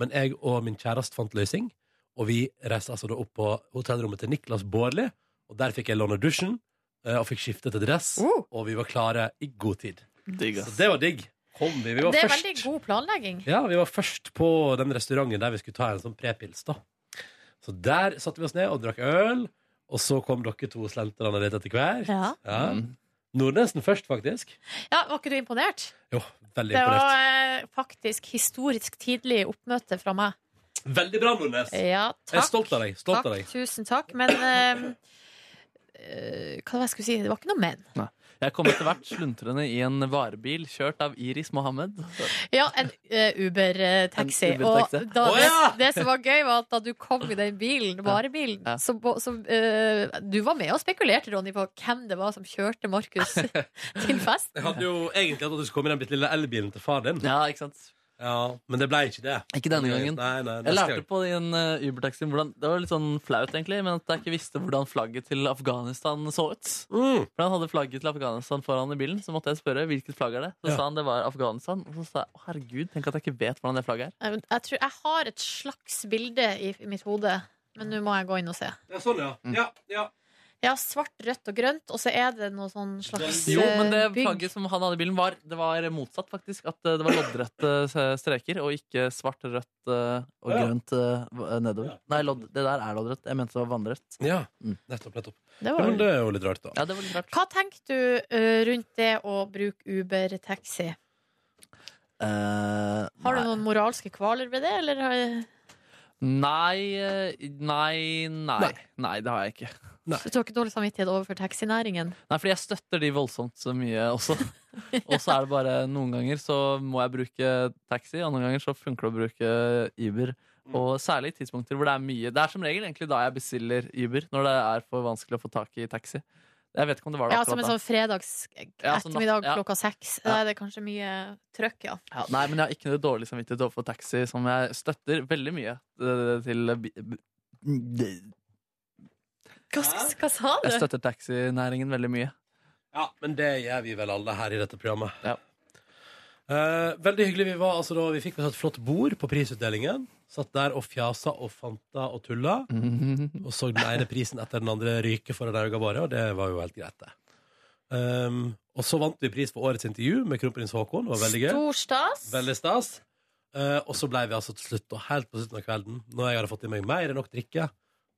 [SPEAKER 2] Men jeg og min kjæreste fant løsning, og vi reiste altså da opp på hotellrommet til Niklas Bårdli. Og der fikk jeg låne
[SPEAKER 3] Oh.
[SPEAKER 2] dusjen, eh, og fikk skiftet til dress, og vi var klare i god tid.
[SPEAKER 4] Digg,
[SPEAKER 2] Så
[SPEAKER 4] ass.
[SPEAKER 2] det var digg. kom vi. Vi var
[SPEAKER 3] Det er
[SPEAKER 2] først.
[SPEAKER 3] veldig god planlegging.
[SPEAKER 2] Ja, vi var først på den restauranten der vi skulle ta en sånn prepils, da. Så der satte vi oss ned og drakk øl, og så kom dere to slenterne litt etter hvert.
[SPEAKER 3] Ja.
[SPEAKER 4] Mm.
[SPEAKER 2] Nordnesen først, faktisk.
[SPEAKER 3] Ja, Var ikke du imponert?
[SPEAKER 2] Jo, veldig
[SPEAKER 3] Det var
[SPEAKER 2] imponert.
[SPEAKER 3] eh, faktisk historisk tidlig oppmøte fra meg.
[SPEAKER 2] Veldig bra, Nordnes.
[SPEAKER 3] Ja,
[SPEAKER 2] Jeg
[SPEAKER 3] Eh, takk.
[SPEAKER 2] er stolt av deg. Stolt av
[SPEAKER 3] Takk,
[SPEAKER 2] deg.
[SPEAKER 3] tusen takk. Men eh, eh, hva var det jeg skulle si? Det var ikke noe men.
[SPEAKER 4] Nei. Jeg kom etter hvert sluntrende i en varebil kjørt av Iris Mohammed.
[SPEAKER 3] Ja, en eh, Uber-taxi.
[SPEAKER 4] En
[SPEAKER 3] og
[SPEAKER 4] Uber-taxi.
[SPEAKER 3] da,
[SPEAKER 4] Å, ja!
[SPEAKER 3] det, det som var gøy, var at da du kom i den bilen, varebilen,
[SPEAKER 4] Ja.
[SPEAKER 3] så, bo- så eh, Du var med og spekulerte, Ronny, på hvem det var som kjørte Markus til fest.
[SPEAKER 2] Jeg hadde jo egentlig hatt at du skulle komme i den bitte lille elbilen til far din.
[SPEAKER 4] Ja, ikke sant?
[SPEAKER 2] Ja, men det ble ikke det.
[SPEAKER 4] Ikke denne gangen.
[SPEAKER 2] Nei, nei,
[SPEAKER 4] jeg
[SPEAKER 2] neste
[SPEAKER 4] lærte
[SPEAKER 2] gang.
[SPEAKER 4] på den uh, Uber-taxien hvordan Det var litt sånn flaut, egentlig, men at jeg ikke visste hvordan flagget til Afghanistan så ut.
[SPEAKER 2] Mm.
[SPEAKER 4] For han hadde flagget til Afghanistan foran i bilen, så måtte jeg spørre hvilket flagg er det Så
[SPEAKER 3] Ja.
[SPEAKER 4] sa han det var Afghanistan, og så sa jeg å herregud, tenk at jeg ikke vet hvordan det flagget er.
[SPEAKER 3] Eh, men Jeg tror jeg har et slags bilde i mitt hode, men nå må jeg gå inn og se.
[SPEAKER 2] Ja, sånn, ja. Ja, ja.
[SPEAKER 3] Ja, svart, rødt og grønt, og så er det noe sånn slags
[SPEAKER 4] Jo, men det
[SPEAKER 3] eh, bygg.
[SPEAKER 4] flagget som han hadde i bilen, var, det var motsatt, faktisk. At eh, det var loddrette eh, streker, og ikke svart, rødt eh, og
[SPEAKER 2] Ja.
[SPEAKER 4] grønt eh, v- nedover. Nei, lodd, det der er loddrett. Jeg mente det var vannrett.
[SPEAKER 2] Ja, nettopp, nettopp.
[SPEAKER 3] Det
[SPEAKER 2] Ja,
[SPEAKER 3] var
[SPEAKER 2] men det er jo litt rart, da.
[SPEAKER 4] Ja, det var litt rart.
[SPEAKER 3] Hva tenker du eh, rundt det å bruke Uber-taxi?
[SPEAKER 4] Eh,
[SPEAKER 3] Har du noen moralske kvaler ved det, eller? har-
[SPEAKER 4] Nei, eh, nei, nei. Nei, det har jeg ikke.
[SPEAKER 3] Så du har ikke dårlig samvittighet overfor taxinæringen?
[SPEAKER 4] Nei, fordi jeg støtter de voldsomt så mye også. Og så er det bare noen ganger så må jeg bruke taxi, andre ganger så funker det å bruke Uber.
[SPEAKER 3] Mm.
[SPEAKER 4] Og særlig i tidspunkter hvor det er mye. Det er som regel egentlig da jeg bestiller Uber, når det er for vanskelig å få tak i taxi. Jeg vet ikke om det var det
[SPEAKER 3] Ja, som en sånn fredags
[SPEAKER 4] Ja, sånn natt-
[SPEAKER 3] ettermiddag
[SPEAKER 4] ja.
[SPEAKER 3] klokka seks.
[SPEAKER 4] Ja.
[SPEAKER 3] Da er det kanskje mye trøkk, ja.
[SPEAKER 4] Ja, nei, men jeg har ikke noe dårlig samvittighet overfor taxi, som jeg støtter veldig mye eh, til bi- bi-
[SPEAKER 3] Hva, s- hva sa du?
[SPEAKER 4] Jeg støtter taxinæringen veldig mye.
[SPEAKER 2] Ja, men det gjør vi vel alle her i dette programmet. Eh, veldig hyggelig vi var. Altså, da, vi fikk oss et flott bord på prisutdelingen. Satt der og fjasa og fanta og tulla. Og så den ene prisen etter den andre ryke foran øynene våre, og det var jo helt greit, det. Ehm, og så vant vi pris for årets intervju med kronprins Haakon. Det var veldig gøy.
[SPEAKER 3] Stor stas.
[SPEAKER 2] Veldig stas. Eh, og så ble vi altså til slutt, og helt på slutten av kvelden, når jeg hadde fått i meg mer enn nok drikke,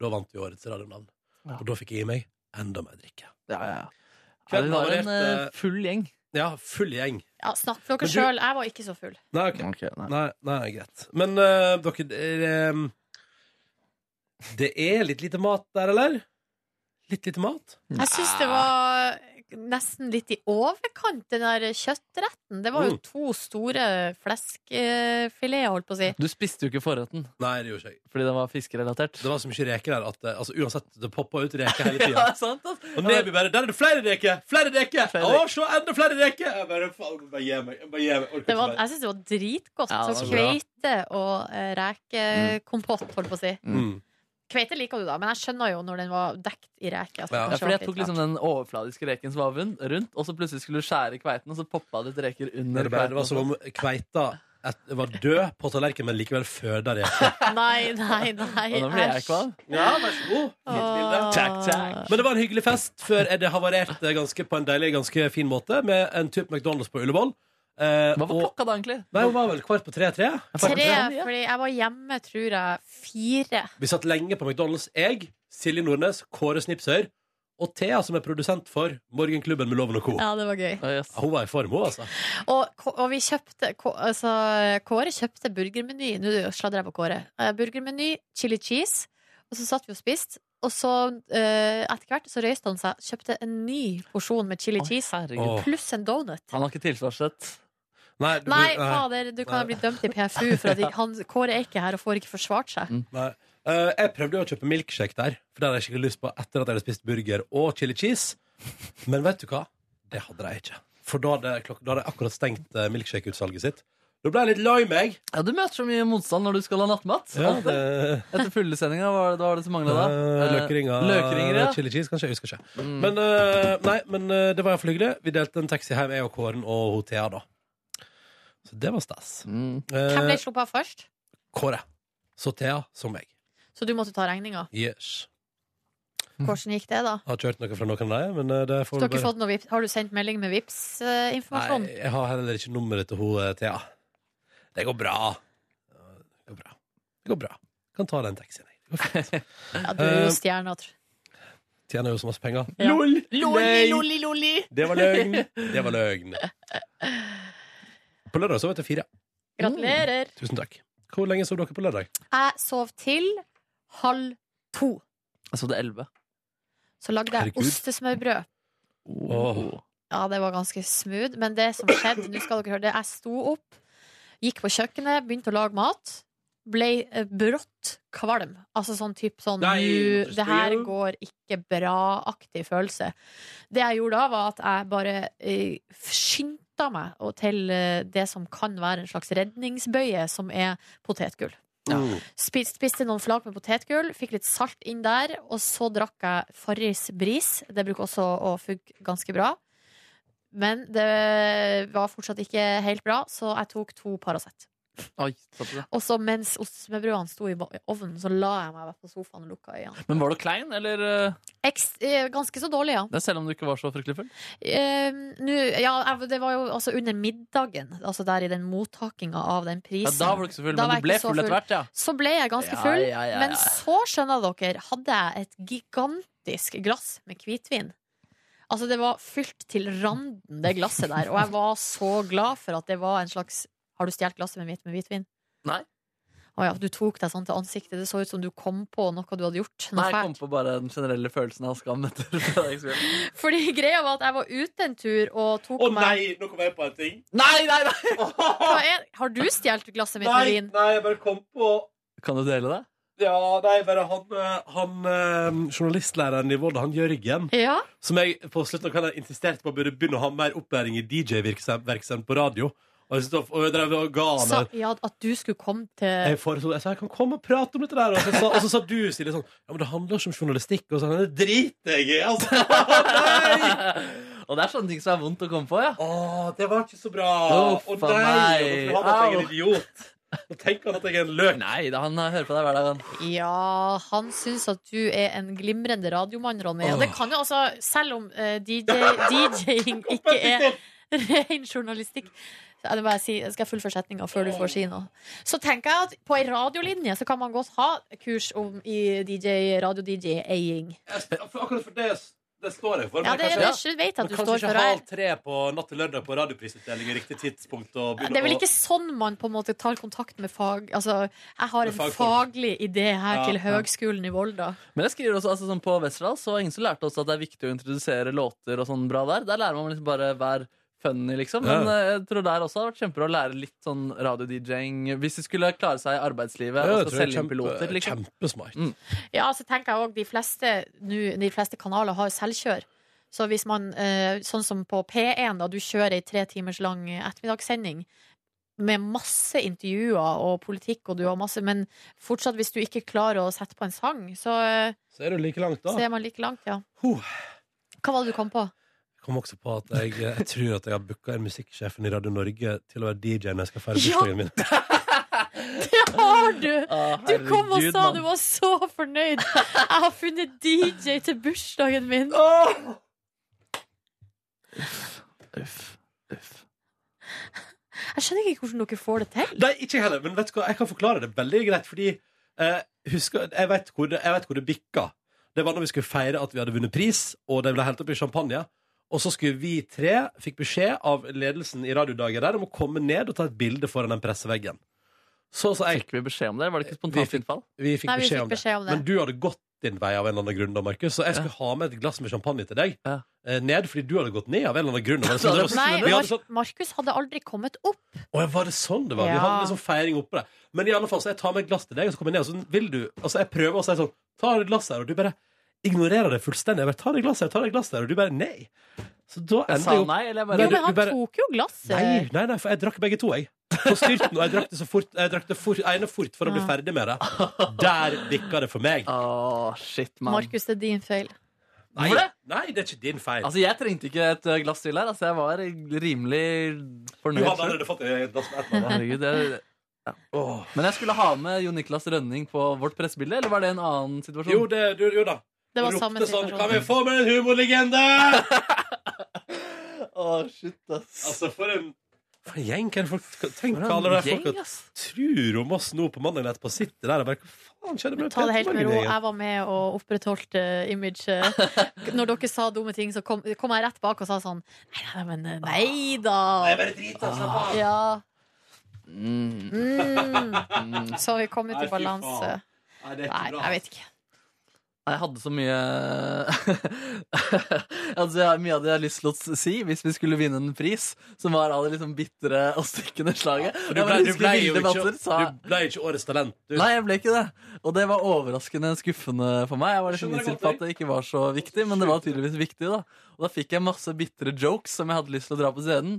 [SPEAKER 2] da vant vi årets radionavn.
[SPEAKER 4] Ja.
[SPEAKER 2] Og da fikk jeg i meg enda mer drikke.
[SPEAKER 4] Ja, ja, Ja,
[SPEAKER 2] Kvelden
[SPEAKER 4] vi var en
[SPEAKER 2] varierte-
[SPEAKER 4] eh, full gjeng.
[SPEAKER 2] Ja, full gjeng.
[SPEAKER 3] Ja, snakk for dere
[SPEAKER 2] Men du-
[SPEAKER 3] sjøl. Jeg var ikke så full.
[SPEAKER 2] Nei, ok. nei. Nei, greit. Men eh, dere er, em, Det er litt lite mat der, eller? Litt lite mat?
[SPEAKER 3] Jeg syns det var nesten litt i overkant, den der kjøttretten. Det var jo
[SPEAKER 4] Mm.
[SPEAKER 3] to store fleskifileter, holdt på å si.
[SPEAKER 4] Du spiste jo ikke forretten.
[SPEAKER 2] Nei, det gjorde jeg ikke.
[SPEAKER 4] Fordi den var fiskerelatert.
[SPEAKER 2] Det var så mye reker der at eh, altså, uansett, det poppa ut reker hele
[SPEAKER 4] Ja,
[SPEAKER 2] tida.
[SPEAKER 4] det er sant, ass.
[SPEAKER 2] og Neby bare 'Der er det flere reker! altså. Flere reker! Å, se, enda flere reker!' Jeg bare, faen, bare gi meg. Bare gi meg. Orker
[SPEAKER 3] Det
[SPEAKER 2] ikke
[SPEAKER 3] var,
[SPEAKER 2] mer.
[SPEAKER 3] jeg syns det var dritgodt.
[SPEAKER 2] Ja, det
[SPEAKER 3] så
[SPEAKER 2] var bra.
[SPEAKER 3] kveite og eh,
[SPEAKER 4] Mm.
[SPEAKER 3] rekekompott, holdt på å si.
[SPEAKER 2] Mm.
[SPEAKER 3] Kveite liker du, da, men jeg skjønner jo når den var dekt i reke. at det
[SPEAKER 4] Ja,
[SPEAKER 3] kanskje
[SPEAKER 4] fordi
[SPEAKER 3] var
[SPEAKER 4] jeg tok
[SPEAKER 3] litt
[SPEAKER 4] liksom den overfladiske reken som var vund- rundt, og så plutselig skulle du skjære i kveiten, og så poppa det ut reker
[SPEAKER 2] Nei,
[SPEAKER 4] under
[SPEAKER 2] det, bare, det var som om kveita et, var død på tallerkenen, men likevel føda reker.
[SPEAKER 4] liksom-
[SPEAKER 3] rart. Nei, nei, nei.
[SPEAKER 2] Og da blir jeg
[SPEAKER 3] æsj.
[SPEAKER 2] kvalm. Ja, vær så god.
[SPEAKER 3] Åh.
[SPEAKER 2] Men det var en hyggelig fest før det havarerte ganske, på en deilig, ganske fin måte med en tur på McDonald's på Ullevål. Eh,
[SPEAKER 4] Hva var
[SPEAKER 2] og-
[SPEAKER 4] klokka da, egentlig?
[SPEAKER 2] Nei, Hun var vel kvart på tre-tre.
[SPEAKER 3] Tre, fordi jeg var hjemme, tror jeg, fire.
[SPEAKER 2] Vi satt lenge på McDonald's. Jeg, Silje Nordnes, Kåre Snipsøyr og Thea, som er produsent for Morgenklubben med Loven og co.
[SPEAKER 3] Ja, det var gøy.
[SPEAKER 2] Ja, Hun var i form, hun, altså.
[SPEAKER 3] Og, og vi kjøpte K- altså, Kåre kjøpte burgermeny. Nå sladrer jeg på Kåre. Eh, Burgermeny, chili cheese. Og så satt vi og spiste. Og så eh, etter hvert så røyste han seg, kjøpte en ny porsjon med chili cheese
[SPEAKER 4] herregud.
[SPEAKER 3] pluss en donut.
[SPEAKER 4] Han har ikke tilsvarsrett.
[SPEAKER 2] Nei,
[SPEAKER 3] Nei, fader, du kan bli dømt i PFU for at ikke- han, Kåre er ikke her og får ikke forsvart seg.
[SPEAKER 2] Nei. Eh, jeg prøvde jo å kjøpe milkshake der, for det hadde jeg skikkelig lyst på etter at jeg hadde spist burger og chili cheese. Men vet du hva? Det hadde jeg ikke. For da hadde, klok- da hadde jeg akkurat stengt eh, milkshake-utsalget sitt. Da ble jeg litt lei meg.
[SPEAKER 4] Ja, Du møter så mye motstand når du skal ha nattmat.
[SPEAKER 2] Ja,
[SPEAKER 4] Alltid.
[SPEAKER 2] det-
[SPEAKER 4] Etter fuglesendinga, hva var det- hva var det som mangla da?
[SPEAKER 2] Eh,
[SPEAKER 4] Eh,
[SPEAKER 2] Løkringer, eh,
[SPEAKER 4] Løkringer, ja. Mm.
[SPEAKER 2] chili cheese, kanskje. Jeg husker ikke. Men, eh, nei, men eh, det var iallfall hyggelig. Vi delte en taxi hjem, jeg og Kåren og hun Thea, da. Så det var stas.
[SPEAKER 4] Mm.
[SPEAKER 2] Eh,
[SPEAKER 3] Hvem ble sluppet av først?
[SPEAKER 2] Kåre. Så Thea, så meg.
[SPEAKER 3] Så du måtte ta regninga.
[SPEAKER 2] Yes.
[SPEAKER 3] Hvordan gikk det, da?
[SPEAKER 2] Har ikke hørt noe fra noen av dem, men eh, det får
[SPEAKER 3] Har,
[SPEAKER 2] vi
[SPEAKER 3] dere
[SPEAKER 2] bare-
[SPEAKER 3] fått noe vips? har du sendt melding med eh, Vipps-informasjon?
[SPEAKER 2] Nei, jeg har heller ikke nummeret til hun, eh, Thea. Det går bra. Det går bra. Det går bra. Kan ta den taxien, jeg. Det går fint.
[SPEAKER 3] ja, du er
[SPEAKER 2] Eh,
[SPEAKER 3] jo stjerna, tror jeg.
[SPEAKER 2] Tjener jo så masse penger.
[SPEAKER 3] Ja.
[SPEAKER 2] LOL!
[SPEAKER 3] Lolli,
[SPEAKER 2] Nei!
[SPEAKER 3] lolli, lolli!
[SPEAKER 2] Det var løgn. Det var løgn. På lørdag sov jeg til fire.
[SPEAKER 3] Gratulerer.
[SPEAKER 2] Tusen takk. Hvor lenge sov dere på lørdag?
[SPEAKER 3] Mm. Jeg sov til halv to.
[SPEAKER 4] Jeg sov til elleve.
[SPEAKER 3] Så lagde jeg
[SPEAKER 4] Herregud.
[SPEAKER 3] ostesmørbrød. Ja, det var ganske smooth. Men det som skjedde, nå skal dere høre det. Jeg sto opp, gikk på kjøkkenet, begynte å lage mat. Ble eh, brått kvalm. Altså sånn type sånn
[SPEAKER 10] Nei,
[SPEAKER 3] «Nu, Det her
[SPEAKER 10] interesting.
[SPEAKER 3] går ikke bra-aktig følelse. Det jeg gjorde da, var at jeg bare eh, skyndte meg og til eh, det som kan være en slags redningsbøye, som er potetgull. Spiste, spiste noen flak med potetgull, fikk litt salt inn der, og så drakk jeg Farris bris. Det bruker også å funke ganske bra. Men det var fortsatt ikke helt bra, så jeg tok to Paracet.
[SPEAKER 4] Oi, satt du det?
[SPEAKER 3] Og så mens ostesmørbrødene sto i ovnen, så la jeg meg på sofaen og lukka øynene.
[SPEAKER 4] Men var du klein, eller? eh,
[SPEAKER 3] Ekst, eh, ganske så dårlig, ja.
[SPEAKER 4] Det er selv om du ikke var så fryktelig full?
[SPEAKER 3] Eh, nå, ja, jeg- det var jo altså under middagen, altså der i den mottakinga av den
[SPEAKER 4] Ja,
[SPEAKER 3] prisen.
[SPEAKER 4] da var du ikke så full,
[SPEAKER 3] Da var
[SPEAKER 4] men
[SPEAKER 3] jeg
[SPEAKER 4] du ble
[SPEAKER 3] ikke så
[SPEAKER 4] full etter hvert, ja.
[SPEAKER 3] Så ble jeg ganske
[SPEAKER 4] Ja,
[SPEAKER 3] full,
[SPEAKER 4] ja, ja,
[SPEAKER 3] men
[SPEAKER 4] ja.
[SPEAKER 3] så skjønner dere, hadde jeg et gigantisk glass med hvitvin. Altså, det var fylt til randen, det glasset der, og jeg var så glad for at det var en slags Har du stjålet glasset med mitt med hvitvin?
[SPEAKER 4] Nei.
[SPEAKER 3] Å ja, du tok deg sånn til ansiktet. Det så ut som du kom på noe du hadde gjort. Noe
[SPEAKER 4] Nei, jeg
[SPEAKER 3] fælt.
[SPEAKER 4] kom på bare den generelle følelsen av skam etter fredagskvelden.
[SPEAKER 3] Fordi greia var at jeg var ute en tur og tok
[SPEAKER 2] Å
[SPEAKER 3] meg
[SPEAKER 2] nei, nå kom jeg på en ting.
[SPEAKER 4] Nei, nei, nei!
[SPEAKER 3] Hva er, Har du stjålet glasset mitt med
[SPEAKER 2] Nei,
[SPEAKER 3] vin?
[SPEAKER 2] nei, jeg bare kom på
[SPEAKER 4] Kan du dele det?
[SPEAKER 2] Ja, nei, bare han, eh, han eh, journalistlæreren i Volda, han Jørgen,
[SPEAKER 3] Ja.
[SPEAKER 2] som jeg på slutten av kvelden insisterte på burde begynne å ha mer opplæring i DJ-virksomhet på radio. Og jeg, syntes det var- og jeg drev og ga han
[SPEAKER 3] Sa,
[SPEAKER 2] en-
[SPEAKER 3] ja, at du skulle komme til
[SPEAKER 2] jeg foreslo jeg sa jeg kan komme og prate om dette der, og så sa, og så sa du, Silje, sånn Ja, men det handler ikke om journalistikk, og sånn. Det driter jeg i, altså!
[SPEAKER 4] Og det er sånne ting som er vondt å komme på, ja.
[SPEAKER 2] Å, det var ikke så bra.
[SPEAKER 4] Uff
[SPEAKER 2] Å,
[SPEAKER 4] a
[SPEAKER 2] nei,
[SPEAKER 4] meg.
[SPEAKER 2] hvorfor hadde jeg en
[SPEAKER 4] Au.
[SPEAKER 2] idiot? Nå tenker han at jeg er en løk.
[SPEAKER 4] Nei, da, han hører på deg hver dag, han.
[SPEAKER 3] Ja, han syns at du er en glimrende radiomann, Ronny. Og det kan jo altså, selv om eh, DJ, DJ-ing ikke er ren journalistikk så er det bare å si, Skal jeg fullføre setninga før du får si noe? Så tenker jeg at på ei radiolinje så kan man godt ha kurs om i DJ, radio-DJ-eying.
[SPEAKER 2] Akkurat for det, det står jeg for.
[SPEAKER 3] Ja,
[SPEAKER 2] men
[SPEAKER 3] det, det
[SPEAKER 2] kanskje-
[SPEAKER 3] jeg vet jeg at
[SPEAKER 2] Men
[SPEAKER 3] du
[SPEAKER 2] kanskje
[SPEAKER 3] står
[SPEAKER 2] ikke
[SPEAKER 3] for her.
[SPEAKER 2] halv tre på natt til lørdag på radioprisutdeling er riktig tidspunkt å begynne
[SPEAKER 3] Det er vel
[SPEAKER 2] å-
[SPEAKER 3] ikke sånn man på en måte tar kontakt med fag... Altså, jeg har
[SPEAKER 4] Med
[SPEAKER 3] en
[SPEAKER 4] fagfolk.
[SPEAKER 3] faglig idé her
[SPEAKER 4] Ja,
[SPEAKER 3] til
[SPEAKER 4] ja.
[SPEAKER 3] Høgskolen i Volda.
[SPEAKER 4] Men jeg skriver også, altså, sånn på Westerdals så var det ingen som lærte oss at det er viktig å introdusere låter og sånn bra der. Der lærer man liksom bare hver funny, liksom. Men
[SPEAKER 2] Ja.
[SPEAKER 4] eh, jeg tror der også har vært kjempebra å lære litt sånn radio-DJ-ing. Hvis de skulle klare seg i arbeidslivet
[SPEAKER 2] Ja,
[SPEAKER 4] og
[SPEAKER 2] jeg
[SPEAKER 4] skal
[SPEAKER 2] tror det
[SPEAKER 4] selge
[SPEAKER 2] er
[SPEAKER 4] inn piloter,
[SPEAKER 2] kjempe-
[SPEAKER 4] liksom.
[SPEAKER 2] Kjempesmart.
[SPEAKER 3] Ja, så tenker jeg også de fleste, nu, de fleste kanaler har selvkjør. Så hvis man, eh, sånn som på P1, da du kjører ei tre timers lang ettermiddagssending med masse intervjuer og politikk, og du har masse Men fortsatt, hvis du ikke klarer å sette på en sang, så, eh,
[SPEAKER 2] Så er du like langt, da.
[SPEAKER 3] så er man like langt, ja. Hva var det du kom på?
[SPEAKER 2] Jeg kom også på at jeg, jeg tror at jeg har booka en musikksjefen i Radio Norge til å være DJ når jeg skal feire
[SPEAKER 3] Ja.
[SPEAKER 2] bursdagen min.
[SPEAKER 3] Det har du!
[SPEAKER 4] Å,
[SPEAKER 3] Du kom og
[SPEAKER 2] herregud,
[SPEAKER 3] sa
[SPEAKER 2] mann.
[SPEAKER 3] du var så fornøyd. Jeg har funnet DJ til bursdagen min. Jeg skjønner ikke hvordan dere får det til.
[SPEAKER 2] Nei, ikke jeg heller, men vet du hva, jeg kan forklare det veldig greit, fordi eh, husker, jeg, vet hvor det, jeg vet hvor det bikka. Det var når vi skulle feire at vi hadde vunnet pris, og det ble helt opp i champagne. Og så skulle vi tre, fikk beskjed av ledelsen i radiodagen der om å komme ned og ta et bilde foran den presseveggen. Så sa jeg
[SPEAKER 4] Fikk vi beskjed om det? Var det ikke spontant innfall?
[SPEAKER 2] Vi fikk,
[SPEAKER 3] Nei, vi
[SPEAKER 2] beskjed,
[SPEAKER 3] fikk
[SPEAKER 2] om
[SPEAKER 3] beskjed om det.
[SPEAKER 2] det. Men du hadde gått din vei av en eller annen grunn, da, Markus. Så jeg skulle ha med et glass med champagne til deg eh, ned, fordi du hadde gått ned av en eller annen grunn. Og det var sånn-
[SPEAKER 3] Nei,
[SPEAKER 2] vi hadde
[SPEAKER 3] Mar Markus hadde aldri kommet opp.
[SPEAKER 2] å, ja, var det sånn det var? Vi
[SPEAKER 3] Ja.
[SPEAKER 2] hadde liksom feiring oppå det. Men i alle fall, så jeg tar med et glass til deg, og så kommer jeg ned, og så vil du Altså, jeg prøver å si sånn Ta et glass her, og du bare ignorerer det fullstendig. Jeg bare Ta et glass her, ta et glass her, og du bare nei. Så da
[SPEAKER 4] Jeg
[SPEAKER 2] ender
[SPEAKER 4] sa
[SPEAKER 2] opp-
[SPEAKER 4] nei, eller jeg
[SPEAKER 3] Jo,
[SPEAKER 4] bare
[SPEAKER 3] men han tok jo glasset.
[SPEAKER 2] Nei, nei, nei, for jeg drakk begge to, jeg. På styrten, og jeg drakk det så fort. Jeg drakk det fort, ene fort for å bli
[SPEAKER 3] Ja.
[SPEAKER 2] ferdig med det. Der bikka det for meg.
[SPEAKER 4] Å, shit, mann.
[SPEAKER 3] Markus, det er din feil.
[SPEAKER 2] Nei,
[SPEAKER 4] Hvorfor det?
[SPEAKER 2] nei, det er ikke din feil.
[SPEAKER 4] Altså, jeg trengte ikke et ø, glass til her. Altså, jeg var rimelig
[SPEAKER 2] du hadde
[SPEAKER 4] fornøyd. selv.
[SPEAKER 2] allerede fått et glass med et eller annet.
[SPEAKER 4] Herregud, jeg... ja. Men jeg skulle ha med Jon Niklas Rønning på vårt pressebilde, eller var det en annen situasjon?
[SPEAKER 2] Jo, det, jo, jo da.
[SPEAKER 3] Det var
[SPEAKER 2] Og
[SPEAKER 3] samme
[SPEAKER 2] ropte sånn
[SPEAKER 3] situasjon.
[SPEAKER 2] Kan vi få med en humorlegende?!
[SPEAKER 4] Å, shit, ass.
[SPEAKER 2] Altså, for en For en gjeng. Hva er det folk, tenk hva alle de
[SPEAKER 4] gjeng,
[SPEAKER 2] folka tror om oss nå på mandag etterpå. Sitter der og bare Hva faen skjedde med
[SPEAKER 3] Ta det helt med ro.
[SPEAKER 2] Peter-Morgen-gjengen?»
[SPEAKER 3] Jeg var med og opprettholdt uh, imaget. Når dere sa dumme ting, så kom, kom jeg rett bak og sa sånn Nei, nei, men eh,
[SPEAKER 4] Ah,
[SPEAKER 3] nei da.
[SPEAKER 2] Nei, bare altså. drit, da, slapp av.
[SPEAKER 3] Ja.
[SPEAKER 4] Mm.
[SPEAKER 3] Mm. Så vi kom ut
[SPEAKER 4] Nei,
[SPEAKER 3] i
[SPEAKER 4] fy
[SPEAKER 3] balanse.
[SPEAKER 4] faen. Nei, det er ikke
[SPEAKER 3] Nei,
[SPEAKER 4] bra.
[SPEAKER 3] jeg vet ikke.
[SPEAKER 4] Jeg hadde så mye altså, jeg, Mye av det jeg har lyst til å si hvis vi skulle vinne en pris, som var av det liksom bitre og stykkende slaget.
[SPEAKER 2] For Du
[SPEAKER 4] Jeg
[SPEAKER 2] ble,
[SPEAKER 4] bare
[SPEAKER 2] du,
[SPEAKER 4] husker
[SPEAKER 2] ble jo
[SPEAKER 4] Vilde
[SPEAKER 2] ikke,
[SPEAKER 4] Walter sa-
[SPEAKER 2] du ble jo ikke årets talent. Du.
[SPEAKER 4] Nei, jeg ble ikke det. Og det var overraskende skuffende for meg. Jeg var liksom innstilt på at det ikke var så viktig, men det var tydeligvis viktig. da Og da fikk jeg masse bitre jokes som jeg hadde lyst til å dra på scenen.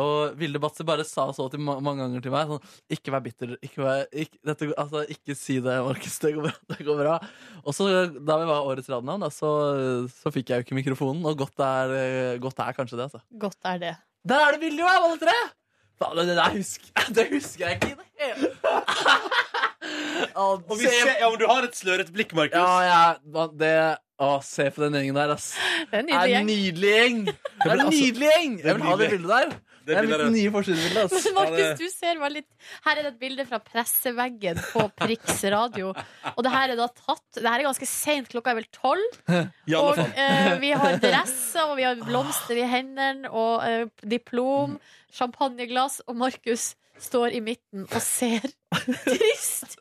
[SPEAKER 4] Og Vilde Batzer bare sa så til ma mange ganger til meg sånn Ikke vær bitter. Ikke, vær, ikke, dette, altså, ikke si det, Markus. Det går bra. Det går bra. Og så da vi var årets radionavn, da, så, så fikk jeg jo ikke mikrofonen. Og godt er, godt er kanskje det, altså.
[SPEAKER 3] Godt er det.
[SPEAKER 4] Der er det bildet jo, jeg valgte det! Faen, det der husker, det husker jeg ikke. i det hele tatt.
[SPEAKER 2] Og vi ser, ja, men du har et slørete blikk, Markus.
[SPEAKER 4] Ja, jeg- man- det, å, se på den gjengen der, ass.
[SPEAKER 3] Det er en nydelig gjeng.
[SPEAKER 4] nydelig gjeng. Det
[SPEAKER 2] blir
[SPEAKER 4] er
[SPEAKER 2] altså- det
[SPEAKER 4] en nydelig gjeng. Jeg vil ha det
[SPEAKER 2] blir-
[SPEAKER 4] bildet der. Det er
[SPEAKER 2] bildet
[SPEAKER 4] mitt
[SPEAKER 2] der.
[SPEAKER 4] nye forsidebilde. ass.
[SPEAKER 3] Men Markus, du ser veldig Her er det et bilde fra presseveggen på Prix radio. Og det her er da tatt Det her er ganske seint, klokka er vel tolv.
[SPEAKER 2] I alle
[SPEAKER 3] Og
[SPEAKER 2] fall.
[SPEAKER 3] eh, vi har dresser, og vi har blomster i hendene, og eh, diplom, champagneglass, og Markus står i midten og ser trist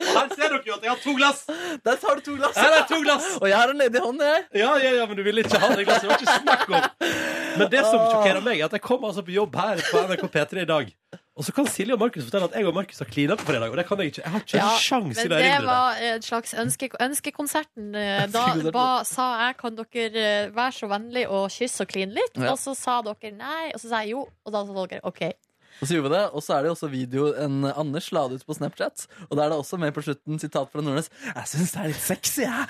[SPEAKER 2] Her ser dere jo at jeg har to glass!
[SPEAKER 4] Der tar du to glass.
[SPEAKER 2] Her er to glass.
[SPEAKER 4] Og jeg har en ledig hånd, jeg.
[SPEAKER 2] Ja, ja, ja, men du ville ikke ha det glasset. Det var ikke snakk om. Men det som sjokkerer meg, er at jeg kom altså på jobb her på NRK P3 i dag. Og så kan Silje og Markus fortelle at jeg og Markus har klina på fredag. Og det kan jeg ikke. Jeg har ikke
[SPEAKER 3] Ja,
[SPEAKER 2] en sjanse
[SPEAKER 3] men
[SPEAKER 2] til å
[SPEAKER 3] det
[SPEAKER 2] erindre det.
[SPEAKER 3] var en slags ønske, ønskekonserten. Eh, Da
[SPEAKER 2] Ønskekonserten.
[SPEAKER 3] ba, sa jeg kan dere eh, være så vennlig og kysse og kline litt,
[SPEAKER 4] Ja.
[SPEAKER 3] og så sa dere nei, og så sa jeg jo, og da sa dere OK.
[SPEAKER 4] Og så gjorde vi det, og så er det jo også video en Anders la det ut på Snapchat. Og da er det også med på slutten sitat fra Nordnes. Jeg syns det er litt sexy, jeg.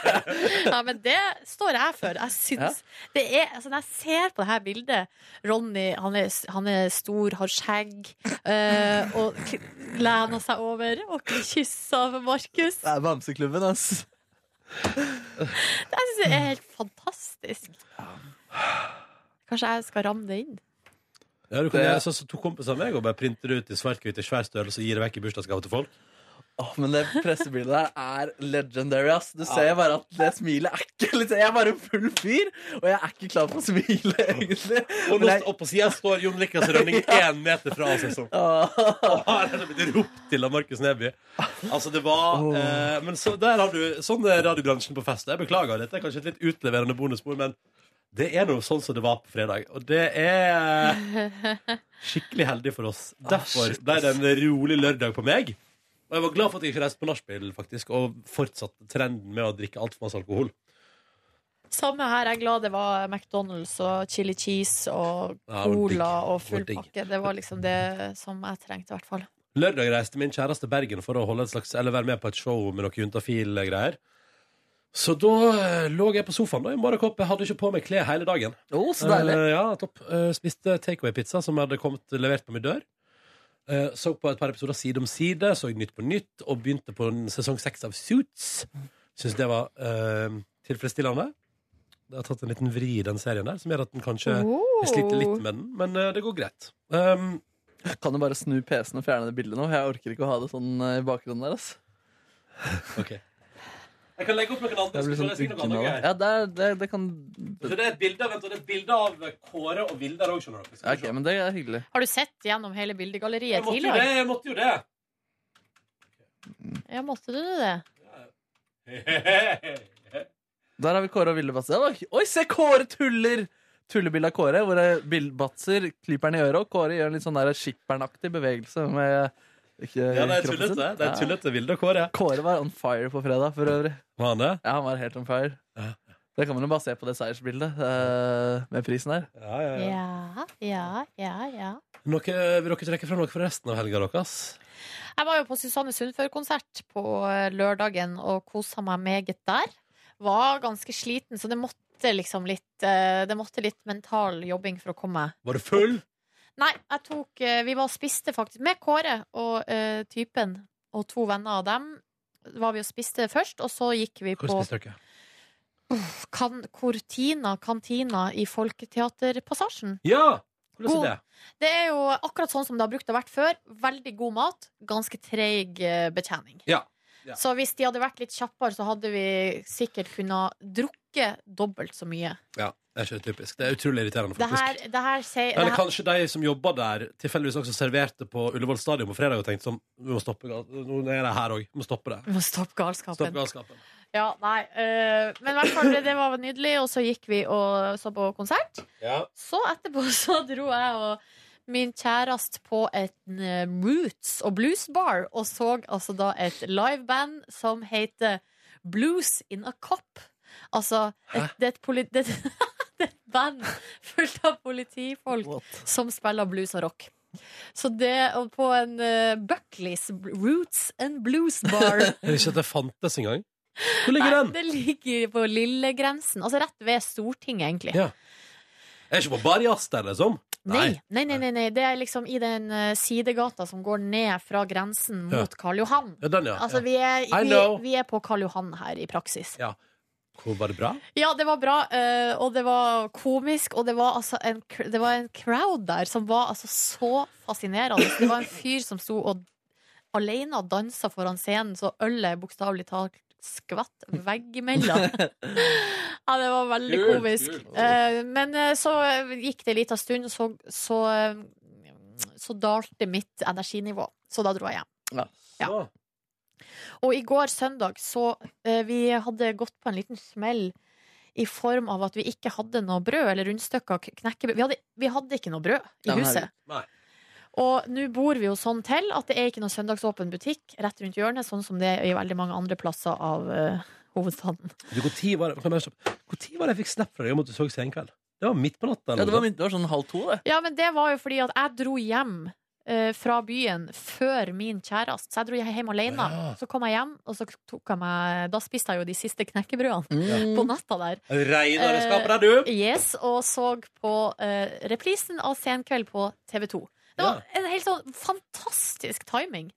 [SPEAKER 3] Ja, men det står jeg for. Jeg syns det er altså, Når jeg ser på det her bildet Ronny, han er, han er stor, har skjegg, eh, og k- lener seg over og kysser Markus.
[SPEAKER 4] Det er Bamseklubben, ass.
[SPEAKER 3] Jeg syns det er helt fantastisk. Kanskje jeg skal ramme det inn.
[SPEAKER 2] Ja, du kan
[SPEAKER 4] Det-
[SPEAKER 2] gjøre sånn som to kompiser av meg og bare printer det ut i svart-hvitt i svær størrelse og gir det vekk i bursdagsgave til folk.
[SPEAKER 4] Åh, men det pressebildet der er legendary, ass. Du
[SPEAKER 2] Ja.
[SPEAKER 4] ser bare at det smilet er ikke liksom, Jeg er bare en full fyr, og jeg er ikke klar for å smile, egentlig.
[SPEAKER 2] Og nå opp på sida står Jon Niklas Rønning én meter fra oss, liksom. Og her er det blitt ropt til av Markus Neby. Altså, det var eh, Men så der har du Sånn er radiobransjen på fest. Jeg beklager, dette er kanskje et litt utleverende bonusbord, men det er nå sånn som det var på fredag. Og det er skikkelig heldig for oss. Derfor ble det en rolig lørdag på meg. Og jeg var glad for at jeg ikke reiste på nachspiel, faktisk, og fortsatte trenden med å drikke altfor masse alkohol.
[SPEAKER 3] Samme her. Jeg er glad det var McDonald's og chili cheese og
[SPEAKER 2] Ja, det var digg.
[SPEAKER 3] cola og full
[SPEAKER 2] Det var digg.
[SPEAKER 3] pakke. Det var liksom det som jeg trengte, i hvert fall.
[SPEAKER 2] Lørdag reiste min kjæreste til Bergen for å holde et slags, eller være med på et show med noen juntafile greier. Så da eh, lå jeg på sofaen da, i morgenkopp. Jeg hadde ikke på meg klær hele dagen.
[SPEAKER 4] Oh, så deilig.
[SPEAKER 2] Eh, ja, topp. Eh, spiste takeaway-pizza som hadde kommet levert på min dør. Eh, så på et par episoder Side om side, så Nytt på nytt, og begynte på en sesong seks av Suits. Syns det var eh, tilfredsstillende. Det har tatt en liten vri i den serien der, som gjør at den kanskje
[SPEAKER 4] Oh.
[SPEAKER 2] jeg sliter litt med den, men eh, det går greit. Um,
[SPEAKER 4] kan du bare snu PC-en og fjerne det bildet nå? Jeg orker ikke å ha det sånn eh, i bakgrunnen der, ass.
[SPEAKER 2] Ok. Jeg kan legge opp noen andre.
[SPEAKER 4] Jeg blir
[SPEAKER 2] så kan
[SPEAKER 4] sånn
[SPEAKER 2] jeg si noe
[SPEAKER 4] uggen
[SPEAKER 2] annet
[SPEAKER 4] av det.
[SPEAKER 2] gøy.
[SPEAKER 4] Ja, det, er- det, det kan
[SPEAKER 2] Så det er et bilde, vent, og det er et bilde av Kåre og Vilde der òg, skjønner dere.
[SPEAKER 4] Ok, men det er hyggelig.
[SPEAKER 3] Har du sett gjennom hele bildegalleriet
[SPEAKER 2] Jeg måtte jo
[SPEAKER 3] tidligere?
[SPEAKER 2] det, jeg måtte jo det.
[SPEAKER 3] Ja, måtte du det?
[SPEAKER 4] Der har vi Kåre og Vilde Batzer. Det var hy- Oi, se, Kåre tuller! Tullebilde av Kåre, hvor eh, Bill Batzer klyper den i øret, og Kåre gjør en litt sånn der skippernaktig bevegelse med ikke,
[SPEAKER 2] Ja, det er
[SPEAKER 4] kroppen sin.
[SPEAKER 2] tullete. Det er
[SPEAKER 4] Ja.
[SPEAKER 2] tullete Vilde og Kåre.
[SPEAKER 4] Kåre var on fire på fredag, for øvrig.
[SPEAKER 2] Var han det?
[SPEAKER 4] Ja, han var helt on fire. Det kan man jo bare se på det seiersbildet eh, med prisen her.
[SPEAKER 3] Ja, ja, ja, ja.
[SPEAKER 2] Noe, vil dere trekke fram noe fra resten av helga deres?
[SPEAKER 3] Jeg var jo på Susanne Sundfør-konsert på eh, lørdagen og kosa meg meget der. Var ganske sliten, så det måtte liksom litt eh, Det måtte litt mental jobbing for å komme meg.
[SPEAKER 2] Var du full?
[SPEAKER 3] Nei, jeg tok eh, Vi var og spiste faktisk med Kåre og eh, typen og to venner av dem. var vi og spiste først, og så gikk vi
[SPEAKER 2] Hvor
[SPEAKER 3] på
[SPEAKER 2] spiste dere?
[SPEAKER 3] Uff, kan, Cortina kantina i Folketeaterpassasjen.
[SPEAKER 2] Ja! Hvordan
[SPEAKER 3] God-
[SPEAKER 2] er det?
[SPEAKER 3] Det er jo akkurat sånn som det har brukt å vært før. Veldig god mat, ganske treig eh, betjening.
[SPEAKER 2] Ja.
[SPEAKER 3] Så hvis de hadde vært litt kjappere, så hadde vi sikkert kunnet drukke dobbelt så mye.
[SPEAKER 2] ja. Det er ikke typisk. Det er utrolig irriterende,
[SPEAKER 3] Det
[SPEAKER 2] faktisk.
[SPEAKER 3] her, det her sier det
[SPEAKER 2] Eller
[SPEAKER 3] her-
[SPEAKER 2] kanskje de som jobba der, tilfeldigvis også serverte på Ullevål stadion på fredag og tenkte sånn Vi må stoppe gal- Nå er det her òg. Vi må stoppe det.
[SPEAKER 3] Vi må stoppe galskapen.
[SPEAKER 2] Stoppe galskapen.
[SPEAKER 3] Ja, nei. eh, men i hvert fall, det var nydelig, og så gikk vi og så på konsert. Så etterpå så dro jeg og min kjæreste på en eh, roots og blues bar, og så altså da et liveband som heter Blues in a Cop. Altså, et, det er et poli... Det, er et- det er et band fullt av politifolk som spiller blues og rock. Så det, og på en eh, Buckleys Roots and Blues Bar
[SPEAKER 2] Jeg visste ikke at det fantes engang. Hvor ligger
[SPEAKER 3] Nei,
[SPEAKER 2] den?
[SPEAKER 3] Det ligger på lillegrensen. Altså rett ved Stortinget, egentlig.
[SPEAKER 2] Ja. Jeg er ikke på Barjazz der, liksom?
[SPEAKER 3] Nei. Nei, nei, nei, nei, det er liksom i den eh, sidegata som går ned fra grensen
[SPEAKER 2] Ja.
[SPEAKER 3] mot Karl Johan.
[SPEAKER 2] Ja, den, ja.
[SPEAKER 3] Altså, vi
[SPEAKER 2] ja.
[SPEAKER 3] er,
[SPEAKER 2] I
[SPEAKER 3] vi,
[SPEAKER 2] know.
[SPEAKER 3] vi er på Karl Johan her i praksis.
[SPEAKER 2] Ja. Hvor var det bra?
[SPEAKER 3] Ja, det var bra, eh, og det var komisk, og det var altså en, cr- det var en crowd der som var altså så fascinerende. Det var en fyr som sto og alene og dansa foran scenen, så ølet bokstavelig talt skvatt veggimellom. Ja, det var veldig
[SPEAKER 10] Kult,
[SPEAKER 3] komisk.
[SPEAKER 10] kult.
[SPEAKER 3] Eh, men eh, så gikk det en liten stund, så, så, eh, så dalte mitt energinivå. Så da dro jeg hjem.
[SPEAKER 2] Ja.
[SPEAKER 3] Og i går søndag så eh, Vi hadde gått på en liten smell i form av at vi ikke hadde noe brød eller rundstykker. k- knekkebrød. Vi hadde, vi hadde ikke noe brød i huset.
[SPEAKER 2] Nei.
[SPEAKER 3] Og nå bor vi jo sånn til at det er ikke noe søndagsåpen butikk rett rundt hjørnet, sånn som det er i veldig mange andre plasser av eh, hovedstaden.
[SPEAKER 2] Du, hvor tid var det kan jeg stoppe? Hvor tid var det jeg fikk snap fra deg om at du så Senkveld? Det var midt på natta.
[SPEAKER 4] Ja, det var midt- det var sånn halv to, det.
[SPEAKER 3] Ja, men det var jo fordi at jeg dro hjem eh, fra byen før min kjæreste. Så jeg dro hjem alene.
[SPEAKER 2] Ja.
[SPEAKER 3] Så kom jeg hjem, og så tok jeg meg Da spiste jeg jo de siste knekkebrødene
[SPEAKER 2] Mm.
[SPEAKER 3] på natta der.
[SPEAKER 2] Reinere
[SPEAKER 3] Eh,
[SPEAKER 2] skaper deg, du!
[SPEAKER 3] Yes, og så på eh, reprisen av Senkveld på TV2. Det var en helt sånn fantastisk timing.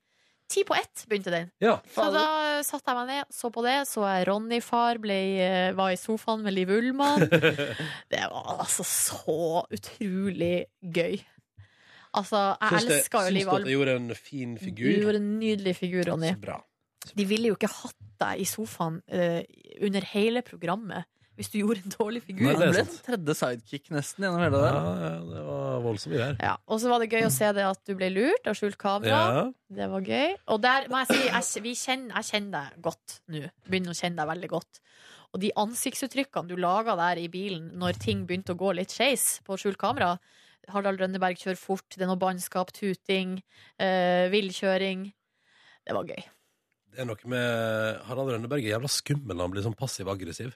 [SPEAKER 3] Ti på ett begynte den.
[SPEAKER 2] Ja.
[SPEAKER 3] Så da satte jeg meg ned, så på det, så jeg Ronny far ble, eh, var i sofaen med Liv Ullmann. Det var altså så utrolig gøy. Altså, jeg
[SPEAKER 2] Syns det-
[SPEAKER 3] elsker jo
[SPEAKER 2] syns
[SPEAKER 3] Liv
[SPEAKER 2] du at jeg
[SPEAKER 3] Alm.
[SPEAKER 2] gjorde en fin
[SPEAKER 3] Du
[SPEAKER 2] figur?
[SPEAKER 3] gjorde en nydelig figur, Ronny.
[SPEAKER 2] Så bra.
[SPEAKER 3] De ville jo ikke hatt deg i sofaen eh, under hele programmet hvis du gjorde en dårlig figur.
[SPEAKER 4] Nei, det ble den tredje sidekick nesten gjennom hele det.
[SPEAKER 2] Ja, det var voldsomme greier.
[SPEAKER 3] Ja, og så var det gøy å se det at du ble lurt av skjult kamera.
[SPEAKER 2] Ja.
[SPEAKER 3] Det var gøy. Og der må jeg si, jeg, vi kjenner, jeg kjenner deg godt nå. Begynner å kjenne deg veldig godt. Og de ansiktsuttrykkene du laga der i bilen når ting begynte å gå litt skeis på skjult kamera Harald Rønneberg kjører fort, det er noe bannskap, tuting, eh, villkjøring. Det var gøy.
[SPEAKER 2] Det er noe med Harald Rønneberg er jævla skummel når han blir sånn passiv-aggressiv.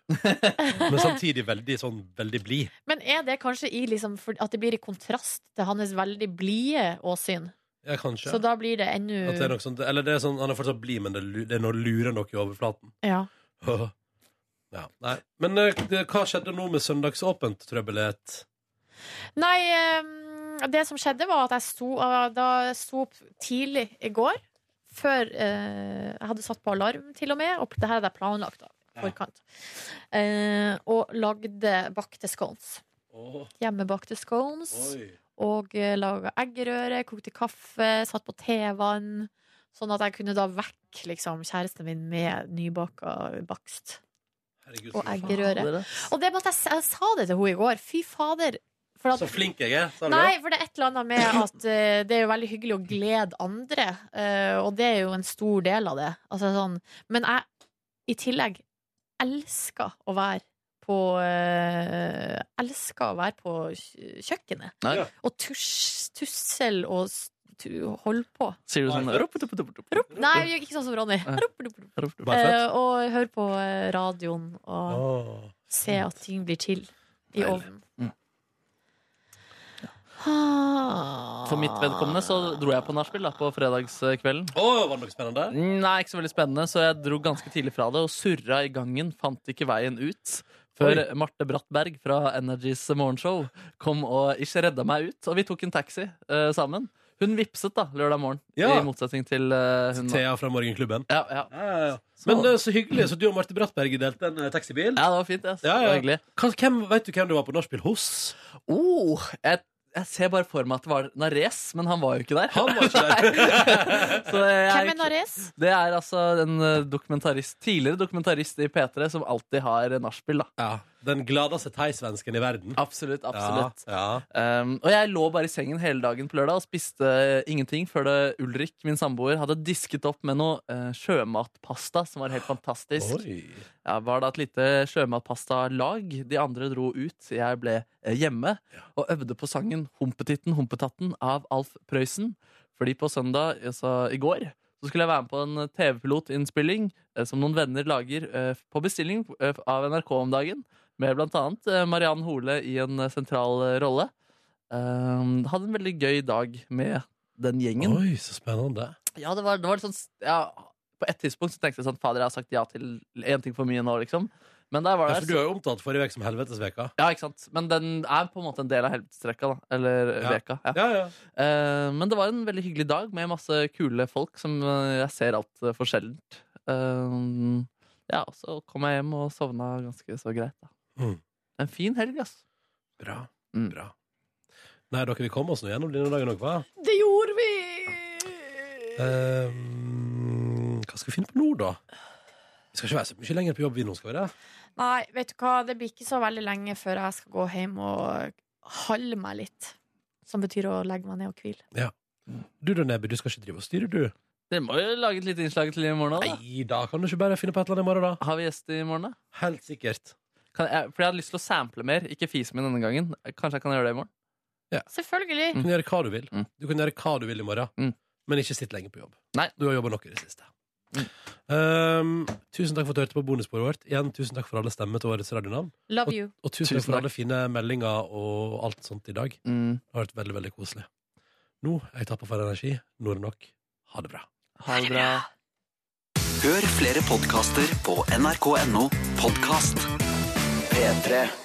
[SPEAKER 2] Men samtidig veldig sånn veldig blid.
[SPEAKER 3] Men er det kanskje i liksom, for- at det blir i kontrast til hans veldig blide åsyn?
[SPEAKER 2] Ja, kanskje.
[SPEAKER 3] Så da blir det ennå
[SPEAKER 2] At det er noe sånt, eller det er sånn, han er fortsatt blid, men det, lu- det er noe lurer noe i overflaten.
[SPEAKER 3] Ja.
[SPEAKER 2] ja, nei. Men eh, det, hva skjedde nå med søndagsåpent trøbbelighet?
[SPEAKER 3] Nei, eh, det som skjedde var at jeg sto, eh, da jeg sto opp tidlig i går, før eh, jeg hadde satt på alarm til og med, og det her hadde jeg planlagt da, i forkant, Eh, og lagde bakte scones. Hjemmebakte scones, og eh, laga eggerøre, kokte kaffe, satt på tevann, sånn at jeg kunne da vekke liksom, kjæresten min med nybaka bakst.
[SPEAKER 2] Herregud,
[SPEAKER 3] Og
[SPEAKER 2] så- Fader,
[SPEAKER 3] eggerøre.
[SPEAKER 2] ass.
[SPEAKER 3] Og det måtte jeg, s- jeg sa det til henne i går. Fy fader. For at-
[SPEAKER 2] Så flink jeg er, sa du
[SPEAKER 3] Nei,
[SPEAKER 2] det?
[SPEAKER 3] for det er et eller annet med at eh, det er jo veldig hyggelig å glede andre, eh, og det er jo en stor del av det. Altså, sånn. Men jeg, i tillegg, elsker å være på uh, Elsker å være på kj- kjøkkenet.
[SPEAKER 4] Nei. Ja.
[SPEAKER 3] Og tusj, tussel og s- tu- holde på.
[SPEAKER 4] Sier du sånn «Rup, rup, rup, rup».
[SPEAKER 3] Rop, nei, jeg gjør ikke sånn som Ronny.
[SPEAKER 4] Nei.
[SPEAKER 3] Rop, rop, rop.
[SPEAKER 4] Rup, rup.
[SPEAKER 3] Eh, og høre på eh, radioen og se at ting blir til i
[SPEAKER 4] Deilig.
[SPEAKER 3] ovnen.
[SPEAKER 4] Mm.
[SPEAKER 3] Ah.
[SPEAKER 4] For mitt vedkommende så dro jeg på nachspiel da, på fredagskvelden.
[SPEAKER 2] var det noe spennende?
[SPEAKER 4] Nei, ikke så veldig spennende, så jeg dro ganske tidlig fra det og surra i gangen. Fant ikke veien ut. Før
[SPEAKER 2] Oi.
[SPEAKER 4] Marte Brattberg fra Energys morgenshow kom og ikke redda meg ut. Og vi tok en taxi eh, sammen. Hun vipset da, lørdag morgen,
[SPEAKER 2] Ja.
[SPEAKER 4] i motsetning til eh, hun
[SPEAKER 2] Thea fra Morgenklubben.
[SPEAKER 4] Ja, ja.
[SPEAKER 2] Men det er så hyggelig, så du og Marte Brattberg delte en eh, taxibil.
[SPEAKER 4] Ja, det var fint.
[SPEAKER 2] Ja,
[SPEAKER 4] Det var hyggelig.
[SPEAKER 2] Hva- Hvem, vet du hvem du var på nachspiel hos?
[SPEAKER 4] Oh, jeg, jeg ser bare for meg at det var Nares, men han var jo ikke der.
[SPEAKER 2] Han var ikke der.
[SPEAKER 4] Så jeg,
[SPEAKER 3] Hvem er Nares?
[SPEAKER 4] Det er altså en eh, dokumentarist, tidligere dokumentarist i P3 som alltid har eh, nachspiel, da.
[SPEAKER 2] Den gladeste thaisvensken i verden.
[SPEAKER 4] Absolutt, absolutt. Um, og jeg lå bare i sengen hele dagen på lørdag og spiste eh, ingenting før det Ulrik, min samboer, hadde disket opp med noe eh, sjømatpasta som var helt fantastisk.
[SPEAKER 2] Oi.
[SPEAKER 4] Ja, var da et lite sjømatpastalag. De andre dro ut. Jeg ble eh, hjemme og øvde på sangen 'Humpetitten, humpetatten' av Alf Prøysen. Fordi på søndag, altså i går, så skulle jeg være med på en TV-pilotinnspilling eh, som noen venner lager eh, på bestilling eh, av NRK om dagen. Med blant annet eh, Mariann Hole i en eh, sentral eh, rolle. Um, hadde en veldig gøy dag med den gjengen.
[SPEAKER 2] Oi, så spennende.
[SPEAKER 4] Ja, det var, det var litt sånn ja, På et tidspunkt så tenkte jeg sånn Fader, jeg har sagt ja til én ting for mye nå, liksom. Men der var
[SPEAKER 2] Ja,
[SPEAKER 4] det
[SPEAKER 2] for du har jo omtalt forrige uke som helvetesveka.
[SPEAKER 4] ja, ikke sant? Men den er på en måte en del av helvetesrekka, da. Eller
[SPEAKER 2] Ja.
[SPEAKER 4] veka. Ja. Eh, men det var en veldig hyggelig dag med masse kule folk som eh, jeg ser altfor sjeldent. Eh, ja, og så kom jeg hjem og sovna ganske så greit, da.
[SPEAKER 2] Mm.
[SPEAKER 4] En fin helg, ass.
[SPEAKER 2] Bra. Bra. Nei, dere, vi kom oss nå gjennom denne dagen òg, hva?
[SPEAKER 3] Det gjorde vi!
[SPEAKER 2] Ehm, hva skal vi finne på nå, da? Vi skal ikke være så mye lenger på jobb vi nå, skal vi det?
[SPEAKER 3] Nei, vet du hva, det blir ikke så veldig lenge før jeg skal gå hjem og halve meg litt. Som betyr å legge meg ned og hvile.
[SPEAKER 2] Ja. Du da, Neby, du skal ikke drive og styre, du?
[SPEAKER 4] Dere må jo lage et lite innslag til i morgen òg, da.
[SPEAKER 2] Nei, da kan du ikke bare finne på et eller annet i morgen, da.
[SPEAKER 4] Har vi gjest i morgen, da?
[SPEAKER 2] Helt sikkert.
[SPEAKER 4] Kan jeg, for jeg hadde lyst til å sample mer, ikke fise min denne gangen. Kanskje jeg kan gjøre det i morgen?
[SPEAKER 2] Ja.
[SPEAKER 3] Selvfølgelig.
[SPEAKER 4] Mm.
[SPEAKER 2] Du kan gjøre hva du vil. Du kan gjøre hva du vil i morgen, men ikke sitt lenge på jobb. Du har jobba nok i det siste. Ehm, tusen takk for at du hørte på bonussporet vårt. Igjen, tusen takk for alle stemmer til årets radionavn.
[SPEAKER 3] Love
[SPEAKER 2] og,
[SPEAKER 3] you.
[SPEAKER 2] og tusen,
[SPEAKER 4] Tusen
[SPEAKER 2] takk for
[SPEAKER 4] takk.
[SPEAKER 2] alle fine meldinger og alt sånt i dag.
[SPEAKER 4] Mm.
[SPEAKER 2] Det har vært veldig, veldig koselig. Nå er jeg tappa for energi. Nå er det nok. Ha det bra.
[SPEAKER 4] Ha det bra.
[SPEAKER 13] Hør flere podkaster på nrk.no podkast. P3.